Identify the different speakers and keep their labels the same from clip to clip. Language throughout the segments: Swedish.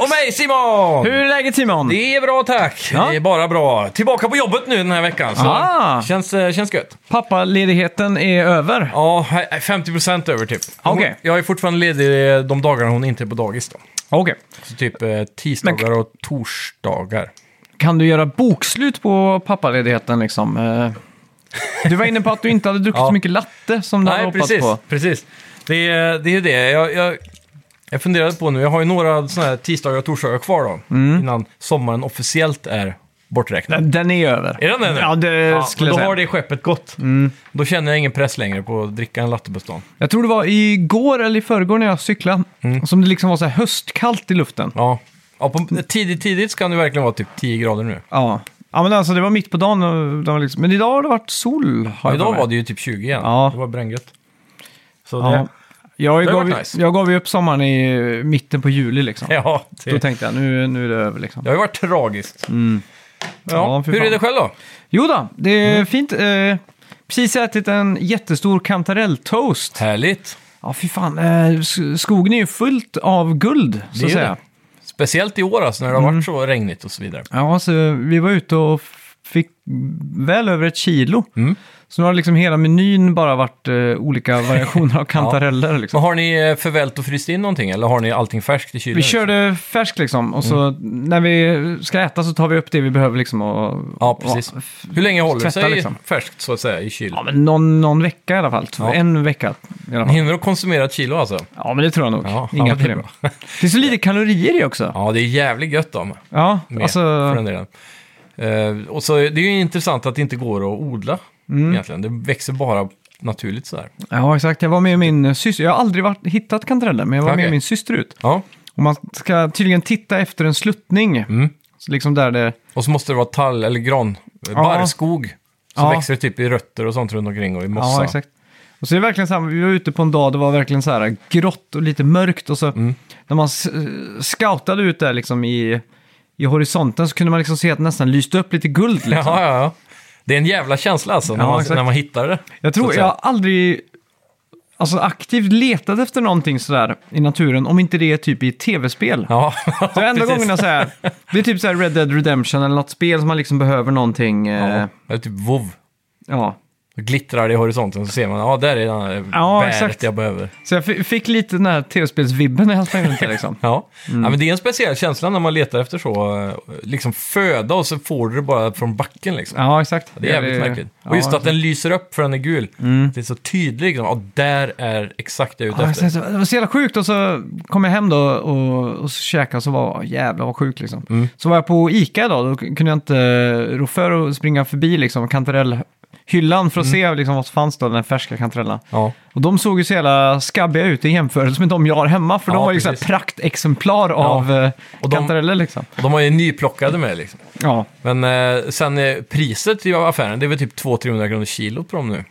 Speaker 1: Ah,
Speaker 2: Hej Simon!
Speaker 1: Hur är läget Simon?
Speaker 2: Det är bra tack.
Speaker 1: Ja.
Speaker 2: Det är bara bra. Tillbaka på jobbet nu den här veckan. Så
Speaker 1: Ah.
Speaker 2: känns, eh, känns gött.
Speaker 1: Pappaledigheten är över.
Speaker 2: Ja, här är 50% över typ. Hon-
Speaker 1: Ah, Okej.
Speaker 2: Jag är fortfarande ledig eh, de dagarna hon inte är på dagis då.
Speaker 1: Okej.
Speaker 2: Så typ eh, tisdagar och torsdagar.
Speaker 1: Kan du göra bokslut på pappaledigheten liksom? Eh, Du var inne på att du inte hade druckit
Speaker 2: Ja.
Speaker 1: så mycket latte som du hade
Speaker 2: Nej,
Speaker 1: hoppats
Speaker 2: precis.
Speaker 1: på.
Speaker 2: precis. Det, är- det är ju det. Jag, jag, jag funderade på nu, jag har ju några sådana här tisdagar och torsdagar kvar då.
Speaker 1: Mm.
Speaker 2: Innan sommaren officiellt är borträknad.
Speaker 1: Den- Den är över.
Speaker 2: Är den det nu?
Speaker 1: Ja, det skulle jag
Speaker 2: men Då
Speaker 1: säga. Mm.
Speaker 2: har det skeppet gått. Då känner jag ingen press längre på att dricka en latte på stan.
Speaker 1: Jag tror det var igår eller i förrgår när jag cyklade
Speaker 2: Mm.
Speaker 1: som det liksom var så här höstkallt i luften.
Speaker 2: Ja. ja på, tidigt, tidigt ska det verkligen vara typ 10 grader nu.
Speaker 1: Ja. ja, men alltså det var mitt på dagen. Och det var liksom... Men idag har det varit sol. Har
Speaker 2: Ja,
Speaker 1: jag för
Speaker 2: idag
Speaker 1: mig.
Speaker 2: var det ju typ 20 igen.
Speaker 1: Ja.
Speaker 2: Det var bränngött. Så
Speaker 1: Ja.
Speaker 2: det...
Speaker 1: Jag,
Speaker 2: Det har
Speaker 1: gav,
Speaker 2: varit
Speaker 1: ju-
Speaker 2: nice.
Speaker 1: jag gav ju upp sommaren i mitten på juli liksom.
Speaker 2: Ja,
Speaker 1: Då
Speaker 2: det,
Speaker 1: tänkte jag nu, nu är det över liksom.
Speaker 2: det har ju varit tragiskt. Ja.
Speaker 1: Ja, fy
Speaker 2: Hur
Speaker 1: fan.
Speaker 2: är det Mm. själv då?
Speaker 1: Jo då, det är fint. Eh, precis ätit en jättestor kantarelltoast.
Speaker 2: Härligt.
Speaker 1: Ja, fy fan. Eh, s- skogen är ju fullt av guld, så
Speaker 2: är
Speaker 1: att
Speaker 2: ju
Speaker 1: säga.
Speaker 2: Speciellt i år alltså, när det har
Speaker 1: Mm.
Speaker 2: varit så regnigt och så vidare.
Speaker 1: Ja, så vi var ute och f- fick väl över ett kilo.
Speaker 2: Mm.
Speaker 1: Så nu har liksom hela menyn bara varit eh, olika variationer av kantareller. liksom.
Speaker 2: Men har ni eh, förvält och fryst in någonting eller har ni allting färskt i kylen?
Speaker 1: Vi körde färskt liksom och så
Speaker 2: Mm.
Speaker 1: när vi ska äta så tar vi upp det vi behöver liksom och...
Speaker 2: Ja, precis.
Speaker 1: och-
Speaker 2: Hur länge håller det
Speaker 1: Tvätta,
Speaker 2: sig
Speaker 1: liksom.
Speaker 2: färskt så att säga i kylen?
Speaker 1: Ja, men någon, någon vecka i alla fall.
Speaker 2: Ja.
Speaker 1: En vecka i alla
Speaker 2: Ni
Speaker 1: fall.
Speaker 2: hinner att konsumera ett kilo alltså?
Speaker 1: Ja, men det tror jag nog.
Speaker 2: Ja, ja,
Speaker 1: Inga
Speaker 2: det är
Speaker 1: problem.
Speaker 2: bra.
Speaker 1: Det är så lite kalorier i också.
Speaker 2: Ja, det är jävligt gött då. Med,
Speaker 1: Ja,
Speaker 2: för
Speaker 1: alltså...
Speaker 2: den delen. Eh, och så, det är ju intressant att det inte går att odla
Speaker 1: Mm.
Speaker 2: egentligen. Det växer bara naturligt sådär.
Speaker 1: Ja, exakt. Jag var med min syster. Jag har aldrig varit, hittat kantareller, men jag var
Speaker 2: Okej.
Speaker 1: med min syster ut.
Speaker 2: Ja.
Speaker 1: Och man ska tydligen titta efter en sluttning.
Speaker 2: Mm.
Speaker 1: Så liksom där det...
Speaker 2: Och så måste det vara tall eller gran,
Speaker 1: Ja.
Speaker 2: barrskog. Så
Speaker 1: Ja.
Speaker 2: växer det typ i rötter och sånt runt omkring och i mossa.
Speaker 1: Ja, exakt. Och så är det verkligen så här, vi var ute på en dag, det var verkligen så här grått och lite mörkt. Och så
Speaker 2: Mm.
Speaker 1: när man s- eh, scoutade ut där liksom i, i horisonten så kunde man liksom se att det nästan lyste upp lite guld. Liksom.
Speaker 2: Ja, ja, ja. Det är en jävla känsla alltså när,
Speaker 1: Ja,
Speaker 2: man,
Speaker 1: exakt.
Speaker 2: när man hittar det.
Speaker 1: Jag
Speaker 2: så
Speaker 1: tror
Speaker 2: att säga.
Speaker 1: jag har aldrig alltså, aktivt letat efter någonting sådär i naturen, om inte det är typ i ett tv-spel.
Speaker 2: Ja,
Speaker 1: Så enda
Speaker 2: precis.
Speaker 1: gången jag säger, det är typ så här Red Dead Redemption eller något spel som man liksom behöver någonting. Eh,
Speaker 2: Ja, eller typ vov.
Speaker 1: ja.
Speaker 2: Då glittrar det i horisonten så ser man, ja där är den här
Speaker 1: Ja,
Speaker 2: bäret
Speaker 1: exakt.
Speaker 2: jag behöver.
Speaker 1: Så jag fi- fick lite den här tv-spelsvibben när jag sprang runt där liksom.
Speaker 2: Ja. ja, men det är en speciell känsla när man letar efter så, eh, liksom föda och så får du det bara från backen liksom.
Speaker 1: Ja, exakt.
Speaker 2: Det är jävligt märkligt. Och just
Speaker 1: ja, Mm.
Speaker 2: att den lyser upp för den är gul. Det är så tydligt liksom, ja där är exakt det jag är ute
Speaker 1: Ja,
Speaker 2: efter.
Speaker 1: exakt. det var så jävla sjukt och så kom jag hem då och, och så käkade och så var jävlar vad sjukt liksom.
Speaker 2: Mm.
Speaker 1: Så var jag på Ica idag, då kunde jag inte rå för att springa förbi liksom kantarellhyllan
Speaker 2: Mm.
Speaker 1: för att se liksom, vad som fanns då, den färska kantarellen.
Speaker 2: Ja.
Speaker 1: Och de såg ju så jävla skabbiga ut i jämförelse med de jag har hemma, för
Speaker 2: Ja,
Speaker 1: de var ju så här
Speaker 2: precis.
Speaker 1: praktexemplar av eh,
Speaker 2: Och de-
Speaker 1: kantareller liksom.
Speaker 2: Och de har ju nyplockade med liksom.
Speaker 1: Ja,
Speaker 2: Men eh, sen eh, priset i affären, det är väl typ 200-300 kronor kilot på dem nu.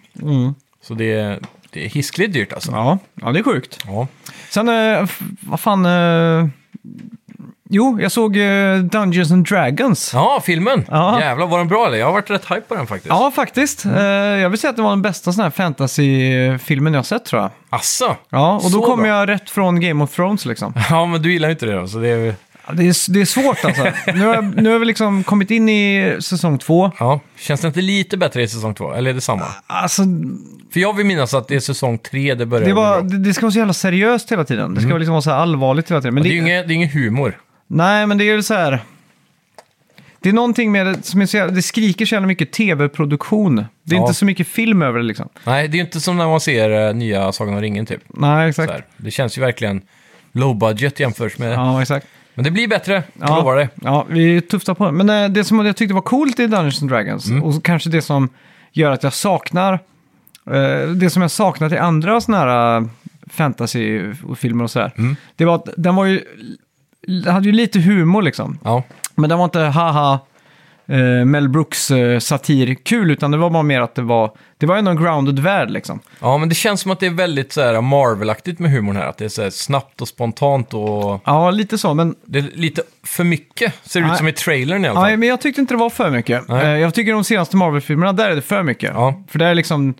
Speaker 2: Så det är, det är hiskligt dyrt alltså.
Speaker 1: mm. ja. ja det är sjukt.
Speaker 2: Ja.
Speaker 1: Sen, eh, f- vad fan... Eh... Jo, jag såg eh, Dungeons and Dragons.
Speaker 2: Ja, filmen!
Speaker 1: Ja.
Speaker 2: Jävlar, var den bra eller? Jag har varit rätt hype på den faktiskt.
Speaker 1: Ja, faktiskt. Eh, Jag vill säga att det var den bästa sån här fantasy-filmen jag sett tror jag.
Speaker 2: Asså?
Speaker 1: Ja, och
Speaker 2: Så
Speaker 1: då kom
Speaker 2: bra.
Speaker 1: jag rätt från Game of Thrones liksom.
Speaker 2: Ja, men du gillar ju inte det då, så det är ju-
Speaker 1: Ja, Det är, det är svårt alltså. Nu har, jag- nu har vi liksom kommit in i säsong två.
Speaker 2: Ja, känns det inte lite bättre i säsong två? Eller är det samma?
Speaker 1: Alltså,
Speaker 2: För jag vill minnas att det är säsong tre det börjar
Speaker 1: det,
Speaker 2: bli
Speaker 1: var,
Speaker 2: bra. Mm.
Speaker 1: det, det ska vara så jävla seriöst hela tiden. Det ska liksom vara så här allvarligt hela tiden. Men
Speaker 2: Det är
Speaker 1: det-
Speaker 2: ju ingen, det är ingen humor.
Speaker 1: Nej, men det är ju så här... Det är någonting med det som är så jävla, det skriker så jävla mycket tv-produktion. Det är
Speaker 2: Ja.
Speaker 1: inte så mycket film över det liksom.
Speaker 2: Nej, det är ju inte som när man ser eh, nya Sagan om ringen typ.
Speaker 1: Nej,
Speaker 2: Så
Speaker 1: exakt.
Speaker 2: här. Det känns ju verkligen low budget jämfört med...
Speaker 1: Ja, exakt.
Speaker 2: Men det blir bättre, jag
Speaker 1: Ja.
Speaker 2: lovar det.
Speaker 1: Ja, vi tuftar på det. Men eh, det som jag tyckte var coolt i Dungeons and Dragons,
Speaker 2: Mm.
Speaker 1: och kanske det som gör att jag saknar, eh, det som jag saknat i andra sådana här fantasyfilmer och sådär,
Speaker 2: Mm.
Speaker 1: det var att den var ju, hade ju lite humor liksom.
Speaker 2: Ja,
Speaker 1: Men den var inte haha, eh, Mel Brooks eh, satir kul, utan det var bara mer att det var, det var ändå en grounded värld liksom.
Speaker 2: ja men det känns som att det är väldigt så här Marvel-aktigt med humorn här. Att det är så här snabbt och spontant och...
Speaker 1: Ja, lite så, men
Speaker 2: Det är lite för mycket, ser det
Speaker 1: Nej.
Speaker 2: ut som i trailern i alla fall.
Speaker 1: Nej, men jag tyckte inte det var för mycket.
Speaker 2: Nej.
Speaker 1: Eh, Jag tycker de senaste Marvel-filmerna, där är det för mycket.
Speaker 2: Ja.
Speaker 1: För det är liksom...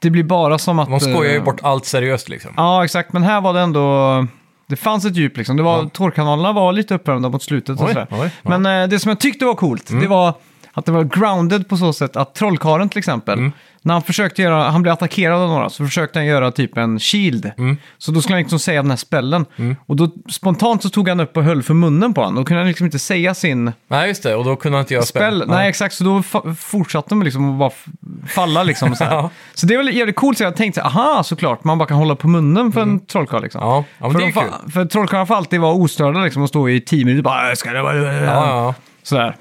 Speaker 1: Det blir bara som att...
Speaker 2: Man skojar ju
Speaker 1: eh,
Speaker 2: bort allt seriöst liksom.
Speaker 1: Ja, exakt. Men här var det ändå... Det fanns ett djup liksom. Det var,
Speaker 2: Ja.
Speaker 1: Torkanalerna var lite uppvärmda mot slutet. och
Speaker 2: Oj,
Speaker 1: sådär.
Speaker 2: oj, ja. Mm.
Speaker 1: Men eh, det som jag tyckte var coolt, det var att det var grounded på så sätt att Trollkaren till exempel,
Speaker 2: Mm.
Speaker 1: när han försökte göra, han blev attackerad av några, så försökte han göra typ en shield.
Speaker 2: Mm.
Speaker 1: Så då skulle han liksom säga den här spellen. Och då spontant så tog han upp och höll för munnen på honom. Då kunde han liksom inte säga sin
Speaker 2: Nej, just det. Och då kunde inte jag
Speaker 1: spell.
Speaker 2: Ja.
Speaker 1: Nej, exakt. Så då fa- fortsatte de liksom att bara f- falla liksom. Så, här.
Speaker 2: Ja.
Speaker 1: så det är väl jävligt coolt. Så jag tänkte, aha, såklart, man bara kan hålla på munnen för en trollkarl liksom.
Speaker 2: Mm. Ja, ja men
Speaker 1: för
Speaker 2: det är
Speaker 1: de
Speaker 2: kul.
Speaker 1: fa- för trollkarlar får alltid vara ostörda liksom och stå i tio minuter bara, "Äh, ska det vara...
Speaker 2: Ja, ja,
Speaker 1: Sådär.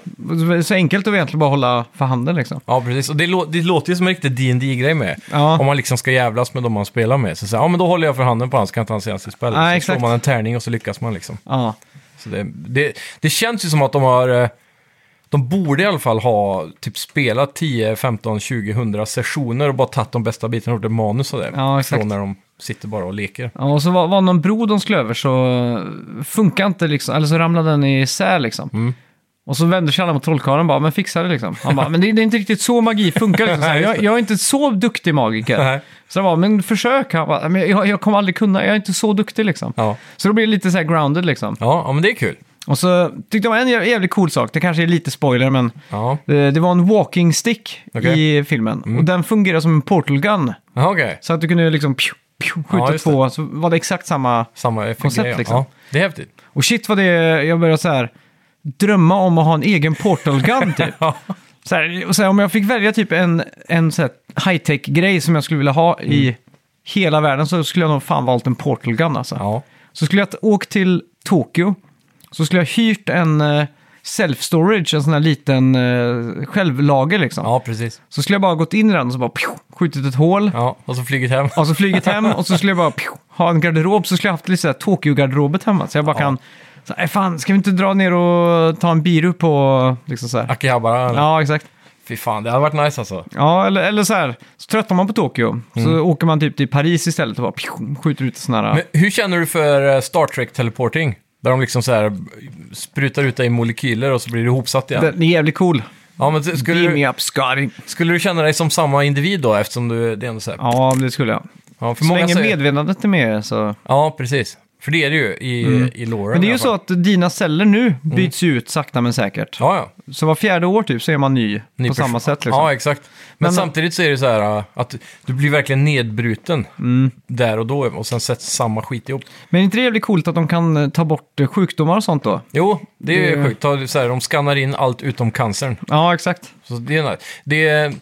Speaker 1: Så- Så enkelt att egentligen bara hålla för handen liksom.
Speaker 2: ja, precis. Och det, lå- det låter ju som en riktig dd grej med.
Speaker 1: Ja.
Speaker 2: Om man liksom ska jävlas med de man spelar med. Så säger ja men då håller jag för handen på hans kan inte han säga sitt spel.
Speaker 1: Nej,
Speaker 2: så
Speaker 1: exakt.
Speaker 2: slår man en tärning och så lyckas man liksom.
Speaker 1: Ja.
Speaker 2: Så det, det, det känns ju som att de har... eh, De borde i alla fall ha typ spelat 10, 15, 20, 100 sessioner och bara tagit de bästa bitarna och gjort ett manus och det.
Speaker 1: Ja, exakt.
Speaker 2: från när de sitter bara och leker.
Speaker 1: ja, och så var, var någon bro de skulle över så eh, funkar inte liksom, eller så ramlade den isär liksom.
Speaker 2: Mm.
Speaker 1: Och så vände sig alla mot trollkarlen och bara, men fixa det liksom. Han bara, men det, det är inte riktigt så magi funkar liksom. Så här,
Speaker 2: Nej, just
Speaker 1: jag,
Speaker 2: det.
Speaker 1: jag är inte så duktig magiker.
Speaker 2: Nej.
Speaker 1: Så jag bara, men försök. Han bara, men jag, jag kommer aldrig kunna, jag är inte så duktig liksom.
Speaker 2: Ja.
Speaker 1: Så då blir det lite så här grounded liksom.
Speaker 2: Ja, ja, men det är kul.
Speaker 1: Och så tyckte jag var en jä- jävligt cool sak, det kanske är lite spoiler men
Speaker 2: Ja,
Speaker 1: eh, det var en walking stick
Speaker 2: Okej. Mm.
Speaker 1: i filmen. Och den fungerar som en portal gun.
Speaker 2: Ja, okej.
Speaker 1: Så att du kunde liksom pju, pju, skjuta
Speaker 2: Ja, just det.
Speaker 1: två, så var det exakt samma.
Speaker 2: Samma
Speaker 1: Koncept,
Speaker 2: grej, ja.
Speaker 1: liksom.
Speaker 2: Ja, det är häftigt.
Speaker 1: Och shit vad det, jag började så här drömma om att ha en egen portal gun typ.
Speaker 2: Ja.
Speaker 1: Så här, och så här, om jag fick välja typ en, en så här high-tech-grej som jag skulle vilja ha
Speaker 2: Mm.
Speaker 1: i hela världen så skulle jag nog fan valt en portal gun alltså.
Speaker 2: Ja.
Speaker 1: Så skulle jag t- åkt till Tokyo, så skulle jag hyrt en eh, self-storage, en sån här liten eh, självlager liksom.
Speaker 2: ja, precis.
Speaker 1: Så skulle jag bara gått in i den och så bara pju, skjutit ett hål.
Speaker 2: Ja, och så flugit hem.
Speaker 1: Och så flugit hem och så skulle jag bara pju, ha en garderob, så skulle jag haft lite såhär Tokyo-garderobet hemma. Så jag bara
Speaker 2: Ja.
Speaker 1: kan, så, här, "Äh, fan ska vi inte dra ner och ta en biru på, liksom så här.
Speaker 2: Akihabara. Ja.
Speaker 1: Ja, exakt.
Speaker 2: Fy fan, det hade varit nice alltså.
Speaker 1: Ja, eller, eller så här, så tröttnar man på Tokyo, så åker man typ till Paris istället och bara pju, skjuter ut sådana här...
Speaker 2: Mm. Men hur känner du för eh, Star Trek-teleporting? Där de liksom så här sprutar ut dig i molekyler och så blir du ihopsatt igen.
Speaker 1: Den är jävligt cool.
Speaker 2: Ja, men skulle
Speaker 1: Beam
Speaker 2: du,
Speaker 1: me up, Scotty.
Speaker 2: skulle du känna dig som samma individ då, eftersom du, det är ändå så här...
Speaker 1: Ja, det skulle jag.
Speaker 2: Ja, för
Speaker 1: Så
Speaker 2: många
Speaker 1: länge
Speaker 2: säger-
Speaker 1: medvetandet är med så...
Speaker 2: Ja, precis. För det är det ju i, i loren.
Speaker 1: Mm. Men det är
Speaker 2: i
Speaker 1: ju
Speaker 2: alla
Speaker 1: så
Speaker 2: fall. Mm.
Speaker 1: att dina celler nu byts ju ut sakta men säkert.
Speaker 2: Ja, ja.
Speaker 1: Så var fjärde år typ så är man ny,
Speaker 2: Ny
Speaker 1: på
Speaker 2: person.
Speaker 1: samma sätt. Liksom.
Speaker 2: Ja, exakt. Men,
Speaker 1: Men-
Speaker 2: samtidigt så är det så här äh, att du blir verkligen nedbruten där och då och sen sätts samma skit ihop.
Speaker 1: Mm. Men är inte det jävligt coolt att de kan eh, ta bort eh, sjukdomar och sånt då?
Speaker 2: Jo, det är
Speaker 1: Det-
Speaker 2: sjukt. Ta det Så här, de skannar in allt utom cancern.
Speaker 1: Ja, exakt.
Speaker 2: Så det är nice. det är,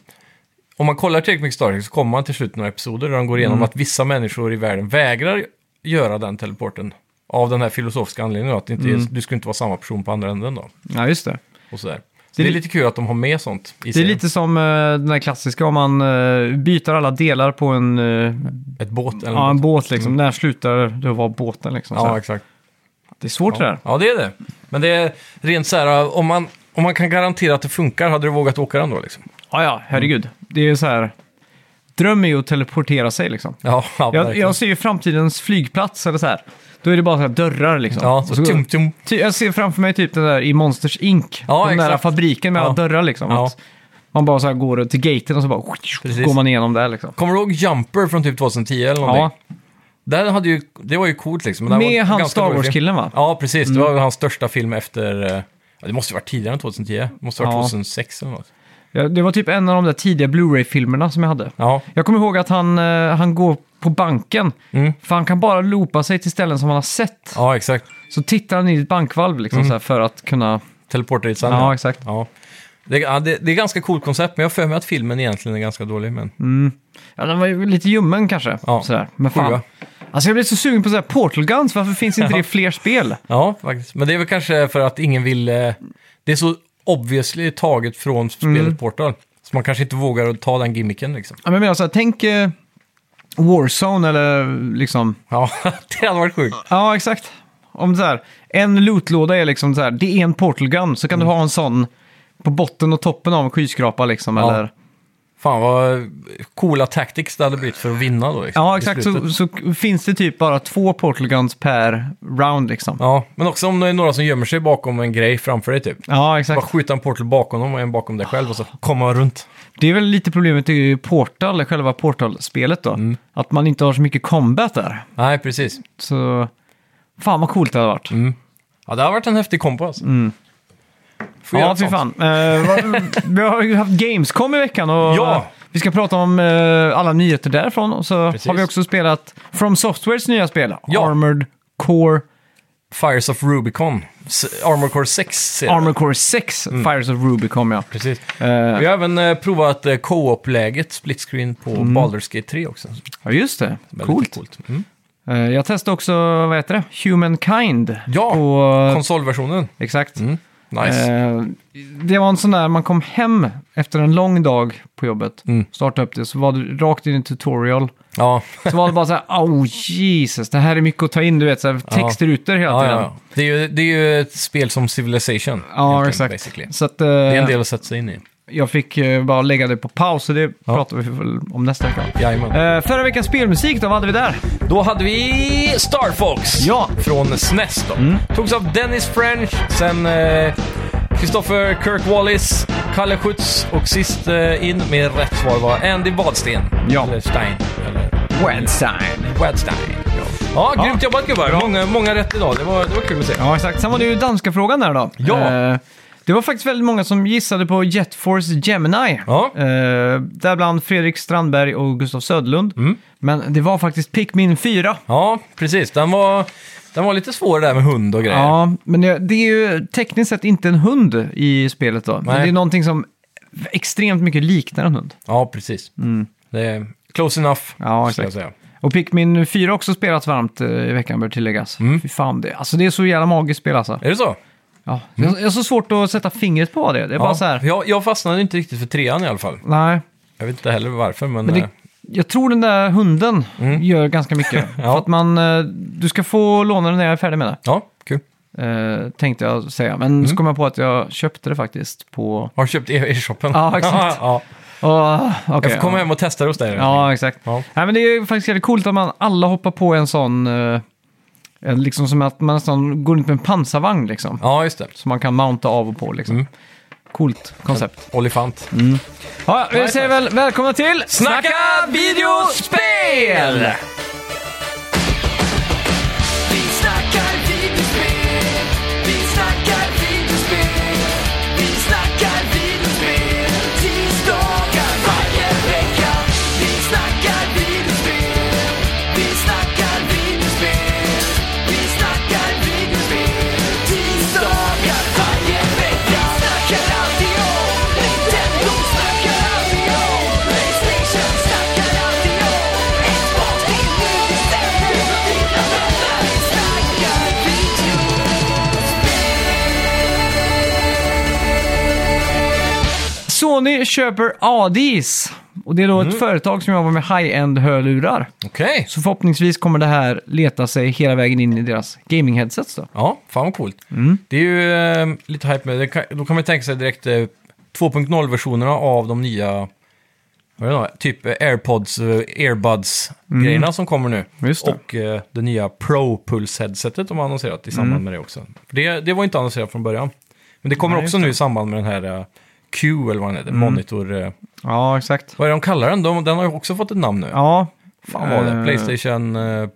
Speaker 2: om man kollar tillräckligt mycket Star Trek så kommer man till slut några episoder där de går
Speaker 1: Mm.
Speaker 2: igenom att vissa människor i världen vägrar göra den teleporten. Av den här filosofiska anledningen då, att det inte
Speaker 1: Mm.
Speaker 2: är, du skulle inte vara samma person på andra änden då.
Speaker 1: Ja, just det.
Speaker 2: Och så där. Så
Speaker 1: Det
Speaker 2: det,
Speaker 1: är
Speaker 2: är
Speaker 1: li-
Speaker 2: lite kul att de har med sånt i
Speaker 1: Det är
Speaker 2: serien.
Speaker 1: lite som eh, den här klassiska om man eh, byter alla delar på en, eh,
Speaker 2: Ett båt eller
Speaker 1: ja, en
Speaker 2: något.
Speaker 1: båt liksom. När slutar det att vara båten liksom? så
Speaker 2: Ja,
Speaker 1: här.
Speaker 2: exakt.
Speaker 1: Det är svårt det där.
Speaker 2: Ja, det är det. Men det är rent så här, om man, om man kan garantera att det funkar, hade du vågat åka den då liksom?
Speaker 1: Ja, ja, herregud.
Speaker 2: Mm.
Speaker 1: Det är så här... Dröm är ju att teleportera sig liksom.
Speaker 2: Ja, ja
Speaker 1: Jag,
Speaker 2: verkligen.
Speaker 1: jag ser ju framtidens flygplats eller så här. Då är det bara så här dörrar liksom.
Speaker 2: Ja,
Speaker 1: Och
Speaker 2: så tum, tum.
Speaker 1: ty, jag ser framför mig typ den där i Monsters Inc.
Speaker 2: Ja,
Speaker 1: den där
Speaker 2: exakt.
Speaker 1: fabriken med
Speaker 2: Ja.
Speaker 1: alla dörrar liksom.
Speaker 2: Ja.
Speaker 1: Att man bara så här går till gaten och så bara
Speaker 2: Precis.
Speaker 1: går man igenom där liksom.
Speaker 2: Kommer du ihåg Jumper från typ 2010 eller någonting?
Speaker 1: Ja,
Speaker 2: Ja. Där hade ju, det var ju coolt liksom. Men det var
Speaker 1: med
Speaker 2: en
Speaker 1: han
Speaker 2: ganska
Speaker 1: Star Mm.
Speaker 2: dålig film.
Speaker 1: Wars-killen va?
Speaker 2: Ja, precis. Det var väl hans största film efter... eh, Ja, det måste ju varit tidigare än 2010. Det måste ha varit
Speaker 1: Ja.
Speaker 2: 2006 eller något.
Speaker 1: Ja, det var typ en av de där tidiga Blu-ray-filmerna som jag hade.
Speaker 2: Ja,
Speaker 1: Jag kommer ihåg att han, eh, han går på banken.
Speaker 2: Mm.
Speaker 1: För han kan bara loopa sig till ställen som han har sett.
Speaker 2: ja exakt.
Speaker 1: Så tittar han in i ett bankvalv liksom så här, för att kunna...
Speaker 2: Teleporter dit sen.
Speaker 1: Ja, exakt.
Speaker 2: Mm. Ja. Det, ja, det, det är ganska coolt koncept, men jag har för mig att filmen egentligen är ganska dålig. Men...
Speaker 1: Mm. Ja, den var ju lite ljummen kanske.
Speaker 2: Ja.
Speaker 1: Sådär. Men fan.
Speaker 2: Sjua.
Speaker 1: Alltså jag blir så sugen på sådär portal guns, varför finns inte det i fler spel?
Speaker 2: Ja, faktiskt. Men det är väl kanske för att ingen vill... eh, Det är så obviously taget
Speaker 1: Mm.
Speaker 2: från spelet Portal. Så man kanske inte vågar att ta den gimmicken liksom.
Speaker 1: Ja, men Jag menar såhär, tänk eh, Warzone eller liksom...
Speaker 2: Ja, det hade varit sjukt.
Speaker 1: Ja, exakt. Om såhär, en lootlåda är liksom såhär, det är en portal gun, så kan du ha en sån på botten och toppen av en skyskrapa liksom.
Speaker 2: Ja.
Speaker 1: Eller...
Speaker 2: Fan vad coola tactics det hade blivit för att vinna då. Liksom,
Speaker 1: ja
Speaker 2: i
Speaker 1: exakt.
Speaker 2: slutet.
Speaker 1: Så, så finns det typ bara två portal guns per round liksom. Ja,
Speaker 2: Ja, men också om det är några som gömmer sig bakom en grej framför dig typ. Bara
Speaker 1: exakt.
Speaker 2: skjuta en portal bakom dem och en bakom dig själv och så komma runt.
Speaker 1: Det är väl lite problemet i Portal, själva Mm. Portal-spelet då. Att man inte har så mycket combat där.
Speaker 2: Nej, precis.
Speaker 1: Så Fan vad coolt det hade varit.
Speaker 2: Ja, det har varit en häftig kompo alltså.
Speaker 1: Mm.
Speaker 2: Får göra
Speaker 1: Ja,
Speaker 2: ett
Speaker 1: fy
Speaker 2: sånt.
Speaker 1: fan. Eh, vad- vi har ju haft Gamescom i veckan och eh,
Speaker 2: Ja!
Speaker 1: vi ska prata om eh, alla nyheter därifrån. Och så
Speaker 2: Precis.
Speaker 1: har vi också spelat From Softwares nya spel,
Speaker 2: Ja.
Speaker 1: Armored Core,
Speaker 2: Fires of Rubicon. S- Armor Core 6 ser jag.
Speaker 1: Armored Core 6,
Speaker 2: Mm.
Speaker 1: Fires of Rubicon ja.
Speaker 2: Precis.
Speaker 1: Eh,
Speaker 2: Vi har även eh, provat eh, co-op-läget, split screen, på Baldur's Gate 3 också. Väldigt
Speaker 1: ja, just det. Mm. Coolt.
Speaker 2: coolt. Mm.
Speaker 1: Eh, jag testade också, vad heter det, Humankind.
Speaker 2: Ja,
Speaker 1: på,
Speaker 2: Konsolversionen.
Speaker 1: exakt.
Speaker 2: Mm. Nice.
Speaker 1: Eh, det var en sån där, man kom hem efter en lång dag på jobbet,
Speaker 2: Mm.
Speaker 1: startade upp det, så var du rakt in i en tutorial.
Speaker 2: Ja.
Speaker 1: Så var det bara så här, oh Jesus, det här är mycket att ta in, du vet, så här,
Speaker 2: Ja.
Speaker 1: textrutor hela
Speaker 2: Ja, ja,
Speaker 1: tiden.
Speaker 2: ja. Det, är ju, det är ju ett spel som Civilization.
Speaker 1: Ja,
Speaker 2: helt enkelt,
Speaker 1: exakt.
Speaker 2: basically.
Speaker 1: Så att, eh,
Speaker 2: Det är en del att sätta sig in i.
Speaker 1: jag fick eh, bara lägga det på paus, så det pratar vi väl om nästa vecka.
Speaker 2: Jajamän.
Speaker 1: Eh, förra veckans spelmusik då, vad hade vi där?
Speaker 2: Då hade vi Star Fox
Speaker 1: Ja. Mm.
Speaker 2: från SNES. Då. Togs av Dennis French, sen eh, Christopher Kirk Wallis, Kalle Schütz och sist eh, in med rätt svar var Andy Wadsten.
Speaker 1: Ja.
Speaker 2: Eller Stein. Eller
Speaker 1: Wildstein.
Speaker 2: Wadstein. Ja,
Speaker 1: Ja.
Speaker 2: grymt jobbat gubbar. Många, många rätt idag. Det var, det var kul att se.
Speaker 1: Ja, exakt. Sen var det ju danska frågan där då.
Speaker 2: Ja.
Speaker 1: Eh, det var faktiskt väldigt många som gissade på Jet Force Gemini.
Speaker 2: Ja.
Speaker 1: Eh, däribland Fredrik Strandberg och Gustav Södlund.
Speaker 2: Mm.
Speaker 1: Men det var faktiskt Pikmin 4.
Speaker 2: Ja, precis. Den var, den var lite svår där med hund och grejer.
Speaker 1: Ja, men det, det är ju tekniskt sett inte en hund i spelet då. Men
Speaker 2: Nej.
Speaker 1: det är någonting som extremt mycket liknar en hund.
Speaker 2: Ja, precis. Det är close enough,
Speaker 1: Mm. Ja,
Speaker 2: ska
Speaker 1: exakt.
Speaker 2: jag säga.
Speaker 1: Och Pikmin 4 har också spelats varmt eh, i veckan, bör tilläggas.
Speaker 2: Mm.
Speaker 1: Fy fan, det, alltså, det är så jävla magiskt spel alltså.
Speaker 2: Är det så?
Speaker 1: Ja.
Speaker 2: Mm.
Speaker 1: Jag, jag har så svårt att sätta fingret på det. Det är bara så här,
Speaker 2: Jag, jag fastnade inte riktigt för trean i alla fall.
Speaker 1: nej.
Speaker 2: Jag vet inte heller varför, men...
Speaker 1: Men
Speaker 2: eh,
Speaker 1: det, jag tror den där hunden
Speaker 2: Mm.
Speaker 1: gör ganska mycket. För att man, eh, du ska få låna den när jag är färdig med det.
Speaker 2: Ja, kul.
Speaker 1: Eh, tänkte jag säga, men
Speaker 2: Mm.
Speaker 1: så kom jag på att jag köpte det faktiskt på...
Speaker 2: Har du köpt e- e-shoppen?
Speaker 1: Ja, exakt.
Speaker 2: ja.
Speaker 1: Oh,
Speaker 2: Jag får komma hem och testa det hos dig.
Speaker 1: Ja, exakt.
Speaker 2: Ja.
Speaker 1: Nej, men det är ju faktiskt jävligt coolt att man alla hoppar på en sån... Eh, en liksom som att man nästan går runt med en pansarvagn liksom.
Speaker 2: ja, just det.
Speaker 1: Som man kan mounta av och på liksom.
Speaker 2: Mm.
Speaker 1: Coolt koncept.
Speaker 2: Olifant.
Speaker 1: Ja, vi
Speaker 2: Nice,
Speaker 1: säger väl välkomna till
Speaker 2: Snacka videospel!
Speaker 3: Vi snackar videospel, vi snackar videospel, vi snackar videospel tisdagar varje vecka. Vi snackar videospel, vi snackar videospel, vi snackar videospel tisdagar varje vecka. Vi snackar alltid om Nintendo, snackar alltid om Playstation, snackar alltid om Xbox, det är nu vi sänder. Dina vänner, vi snackar video.
Speaker 1: Sony köper ADIS. Och det är då
Speaker 2: Mm.
Speaker 1: ett företag som jobbar med high-end hörlurar.
Speaker 2: Okej.
Speaker 1: Så förhoppningsvis kommer det här leta sig hela vägen in i deras gaming-headsets då.
Speaker 2: Ja, fan vad coolt.
Speaker 1: Mm.
Speaker 2: Det är ju eh, lite hype med det. Kan, då kan man ju tänka sig direkt eh, 2.0-versionerna av de nya, vad är det, då? typ eh, airpods, eh, earbuds-grejerna som kommer nu.
Speaker 1: Mm. Just det.
Speaker 2: Och eh, det nya Pro-Pulse-headsetet de har annonserat i
Speaker 1: Mm.
Speaker 2: samband med det också. För det, det var inte annonserat från början. Men det kommer
Speaker 1: Nej, Mm.
Speaker 2: också nu i samband med den här eh, Q, eller vad den heter, monitor... Eh,
Speaker 1: Ja, exakt.
Speaker 2: vad är det de kallar den? De, den har ju också fått ett namn nu.
Speaker 1: Ja,
Speaker 2: Fan vad var det?
Speaker 1: eh,
Speaker 2: Playstation... Eh,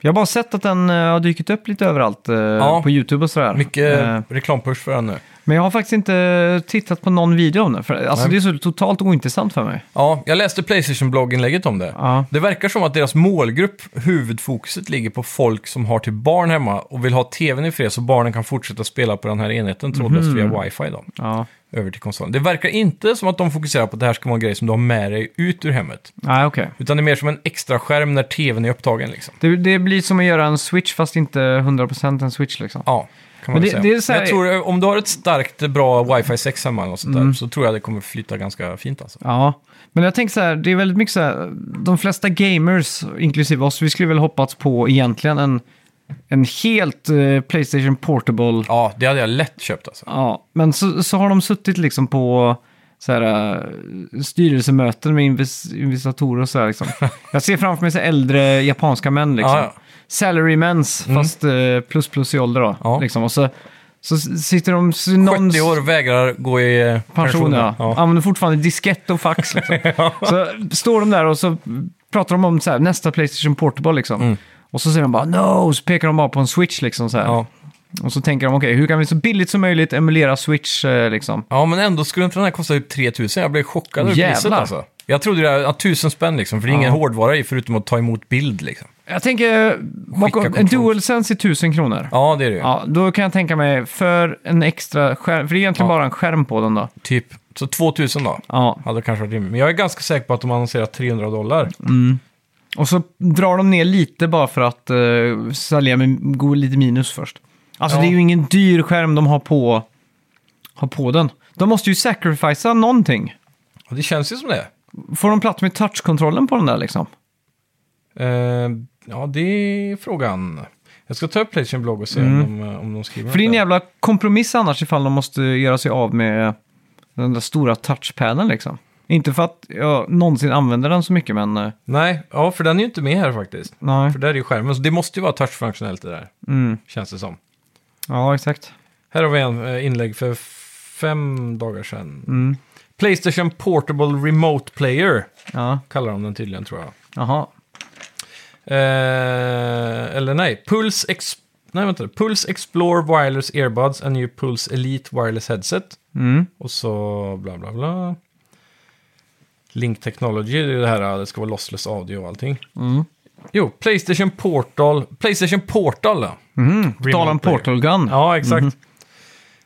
Speaker 1: Jag har bara sett att den eh, har dykt upp lite överallt eh, på YouTube och sådär.
Speaker 2: mycket
Speaker 1: Eh,
Speaker 2: reklampush för den nu.
Speaker 1: men jag har faktiskt inte tittat på någon video om den. För, alltså
Speaker 2: Nej.
Speaker 1: det är så totalt ointressant för mig.
Speaker 2: Ja, jag läste Playstation-blogginlägget om det.
Speaker 1: Ja.
Speaker 2: Det verkar som att deras målgrupp, huvudfokuset, ligger på folk som har till barn hemma och vill ha tvn i fred så barnen kan fortsätta spela på den här enheten trådlöst
Speaker 1: Mhm.
Speaker 2: via wifi då,
Speaker 1: Ja.
Speaker 2: över till konsolen. Det verkar inte som att de fokuserar på att det här ska vara en grej som du har med dig ut ur hemmet.
Speaker 1: Nej, okej.
Speaker 2: Utan det är mer som en extra skärm när tvn är upptagen liksom.
Speaker 1: Det, det blir som att göra en switch fast inte 100% en switch liksom.
Speaker 2: Ja, kan
Speaker 1: Men
Speaker 2: man väl
Speaker 1: det-
Speaker 2: säga.
Speaker 1: det är så här-
Speaker 2: Men jag tror, eh, om du har ett starkt, bra wifi 6 hemma eller något sånt
Speaker 1: Mm.
Speaker 2: där, så tror jag det kommer flyta ganska fint alltså.
Speaker 1: Ja, men jag tänker så här, det är väldigt mycket så här, de flesta gamers, inklusive oss, vi skulle väl hoppats på egentligen en, en helt eh, Playstation Portable. Ja,
Speaker 2: Ja, det hade jag lätt köpt alltså.
Speaker 1: men så, så har de suttit liksom på så här, eh, styrelsemöten med invis- investerare och så här liksom. Jag ser framför mig så här äldre japanska män liksom.
Speaker 2: Ah, Ja, ja.
Speaker 1: Salarymans, fast eh, plus plus i ålder då.
Speaker 2: Ja.
Speaker 1: Liksom. Och så, så sitter de... så någon-
Speaker 2: 70 år vägrar gå i eh,
Speaker 1: pension, ja.
Speaker 2: Ja.
Speaker 1: Använder fortfarande diskett och fax.
Speaker 2: Mm.
Speaker 1: Liksom. Så står de där och så pratar de om så här, nästa Playstation Portable. Liksom. Och så säger de bara no, så pekar de bara på en switch liksom så här.
Speaker 2: Ja.
Speaker 1: Och så tänker de okej, hur kan vi så billigt som möjligt emulera switch eh, liksom?
Speaker 2: ja, men ändå skulle inte den här kosta typ 3000. Jag blev chockad över
Speaker 1: Jävlar.
Speaker 2: priset alltså. Jag trodde det var 1000 spänn liksom, för det är ingen
Speaker 1: Ja.
Speaker 2: hårdvara i förutom att ta emot bild liksom.
Speaker 1: Jag tänker, bakom, en
Speaker 2: kontroll.
Speaker 1: DualSense är 1000 kronor. Ja.
Speaker 2: Ja, det är det ju.
Speaker 1: då kan jag tänka mig för en extra skärm, för det är egentligen
Speaker 2: Ja.
Speaker 1: bara en skärm på den då.
Speaker 2: Typ, så 2000 då.
Speaker 1: Ja,
Speaker 2: Hade kanske varit rimligt. Men jag är ganska säker på att de annonserar 300 dollar.
Speaker 1: och så drar de ner lite bara för att uh, sälja med gå lite minus först. Alltså
Speaker 2: Ja.
Speaker 1: det är ju ingen dyr skärm de har på, har på den. De måste ju sacrificea någonting.
Speaker 2: Och det känns ju som det.
Speaker 1: Får de plats med touchkontrollen på den där liksom?
Speaker 2: Eh, ja, det är frågan. Jag ska ta upp Playstation blogg och se om, de, eh, om de skriver
Speaker 1: Mm. För det är en
Speaker 2: något där.
Speaker 1: jävla kompromiss annars ifall de måste göra sig av med den där stora touchpaden liksom. Inte för att jag någonsin använder den så mycket, men eh,
Speaker 2: Nej, ja, för den är ju inte med här faktiskt.
Speaker 1: nej.
Speaker 2: För där är ju skärmen, så det måste ju vara touchfunktionellt det där,
Speaker 1: Mm.
Speaker 2: känns det som.
Speaker 1: Ja, exakt.
Speaker 2: Här har vi en eh, inlägg för fem dagar sedan.
Speaker 1: Mm.
Speaker 2: Playstation Portable Remote Player
Speaker 1: Ja,
Speaker 2: kallar de den tydligen, tror jag.
Speaker 1: jaha.
Speaker 2: Eh, eller nej, Pulse, Ex- nej vänta, Pulse Explore Wireless Earbuds and new Pulse Elite Wireless Headset.
Speaker 1: Mm.
Speaker 2: Och så bla bla bla. Link Technology, det är det här, det ska vara lossless audio och allting.
Speaker 1: Mm.
Speaker 2: Jo, Playstation Portal, Playstation Portal då.
Speaker 1: Mm. På tal om
Speaker 2: player.
Speaker 1: Portal Gun.
Speaker 2: Ja, exakt.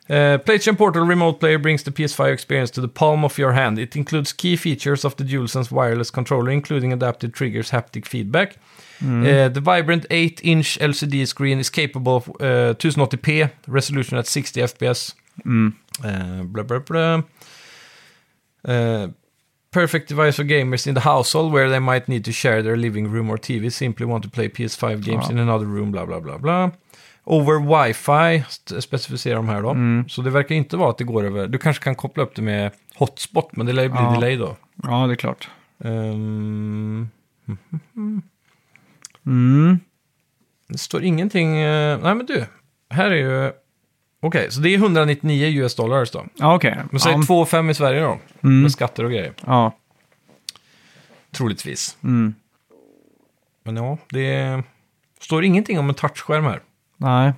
Speaker 2: Eh, PlayStation Portal Remote Player brings the PS5 experience to the palm of your hand. It includes key features of the DualSense wireless controller, including adaptive triggers, haptic feedback.
Speaker 1: Mm.
Speaker 2: Eh, the vibrant 8-inch LCD screen is capable of eh, 1080p, resolution at 60 FPS.
Speaker 1: Mm.
Speaker 2: Eh, blah, blah, blah. Eh, perfect device for gamers in the household where they might need to share their living room or TV. Simply want to play PS5 games in another room, bla bla bla bla. Over wifi st- specificerar de här då.
Speaker 1: Mm.
Speaker 2: Så det verkar inte vara att det går över. Du kanske kan koppla upp det med hotspot, men det lär ju bli
Speaker 1: Ja.
Speaker 2: delay då.
Speaker 1: ja, det är klart.
Speaker 2: Ehm,
Speaker 1: Mm.
Speaker 2: det står ingenting... eh, nej men du, här är ju... Okej, så det är 199 US dollars då.
Speaker 1: Ja, okej.
Speaker 2: Men säg
Speaker 1: Ja,
Speaker 2: 2 5 i Sverige då,
Speaker 1: Mm.
Speaker 2: med skatter och grejer.
Speaker 1: Ja.
Speaker 2: Troligtvis.
Speaker 1: Mm.
Speaker 2: Men ja, det står ingenting om en touchskärm här.
Speaker 1: Nej.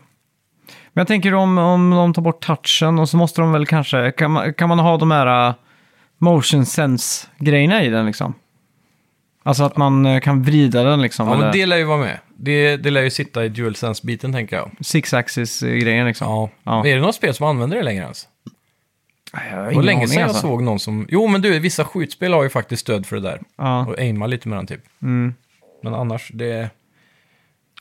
Speaker 1: Men jag tänker om, om de tar bort touchen och så måste de väl kanske... Kan man, kan man ha de här äh, motion sense-grejerna i den liksom? Alltså att man äh, kan vrida den liksom.
Speaker 2: Ja, men
Speaker 1: eller
Speaker 2: det lär ju vara med. Det, det lär ju sitta i DualSense-biten, tänker jag.
Speaker 1: Six-axis-grejen liksom.
Speaker 2: Ja.
Speaker 1: Ja.
Speaker 2: Är det något spel som använder det längre ens?
Speaker 1: Nej, jag har
Speaker 2: Det var
Speaker 1: ingen
Speaker 2: länge
Speaker 1: aning,
Speaker 2: sedan jag
Speaker 1: alltså.
Speaker 2: såg någon som... Jo, men du, vissa skjutspel har ju faktiskt stöd för det där.
Speaker 1: Ja.
Speaker 2: Och aima lite med den, typ.
Speaker 1: Mm.
Speaker 2: Men annars, det...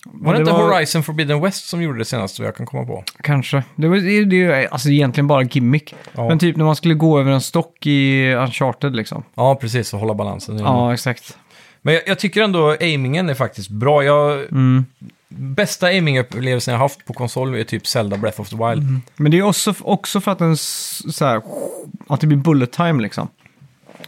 Speaker 2: Var
Speaker 1: Men
Speaker 2: det,
Speaker 1: det
Speaker 2: inte
Speaker 1: var-
Speaker 2: Horizon Forbidden West som gjorde det senast, vad jag kan komma på?
Speaker 1: Kanske. Det, var, det, är- det är ju alltså, egentligen bara gimmick.
Speaker 2: Ja.
Speaker 1: Men typ när man skulle gå över en stock i Uncharted liksom.
Speaker 2: Ja, precis, och hålla balansen.
Speaker 1: Ja, exakt.
Speaker 2: Men jag, jag tycker ändå aimingen är faktiskt bra. Jag, Bästa aimingupplevelsen jag haft på konsol är typ Zelda Breath of the Wild.
Speaker 1: Men det är också, också för att den s- så här, att det blir bullet time liksom.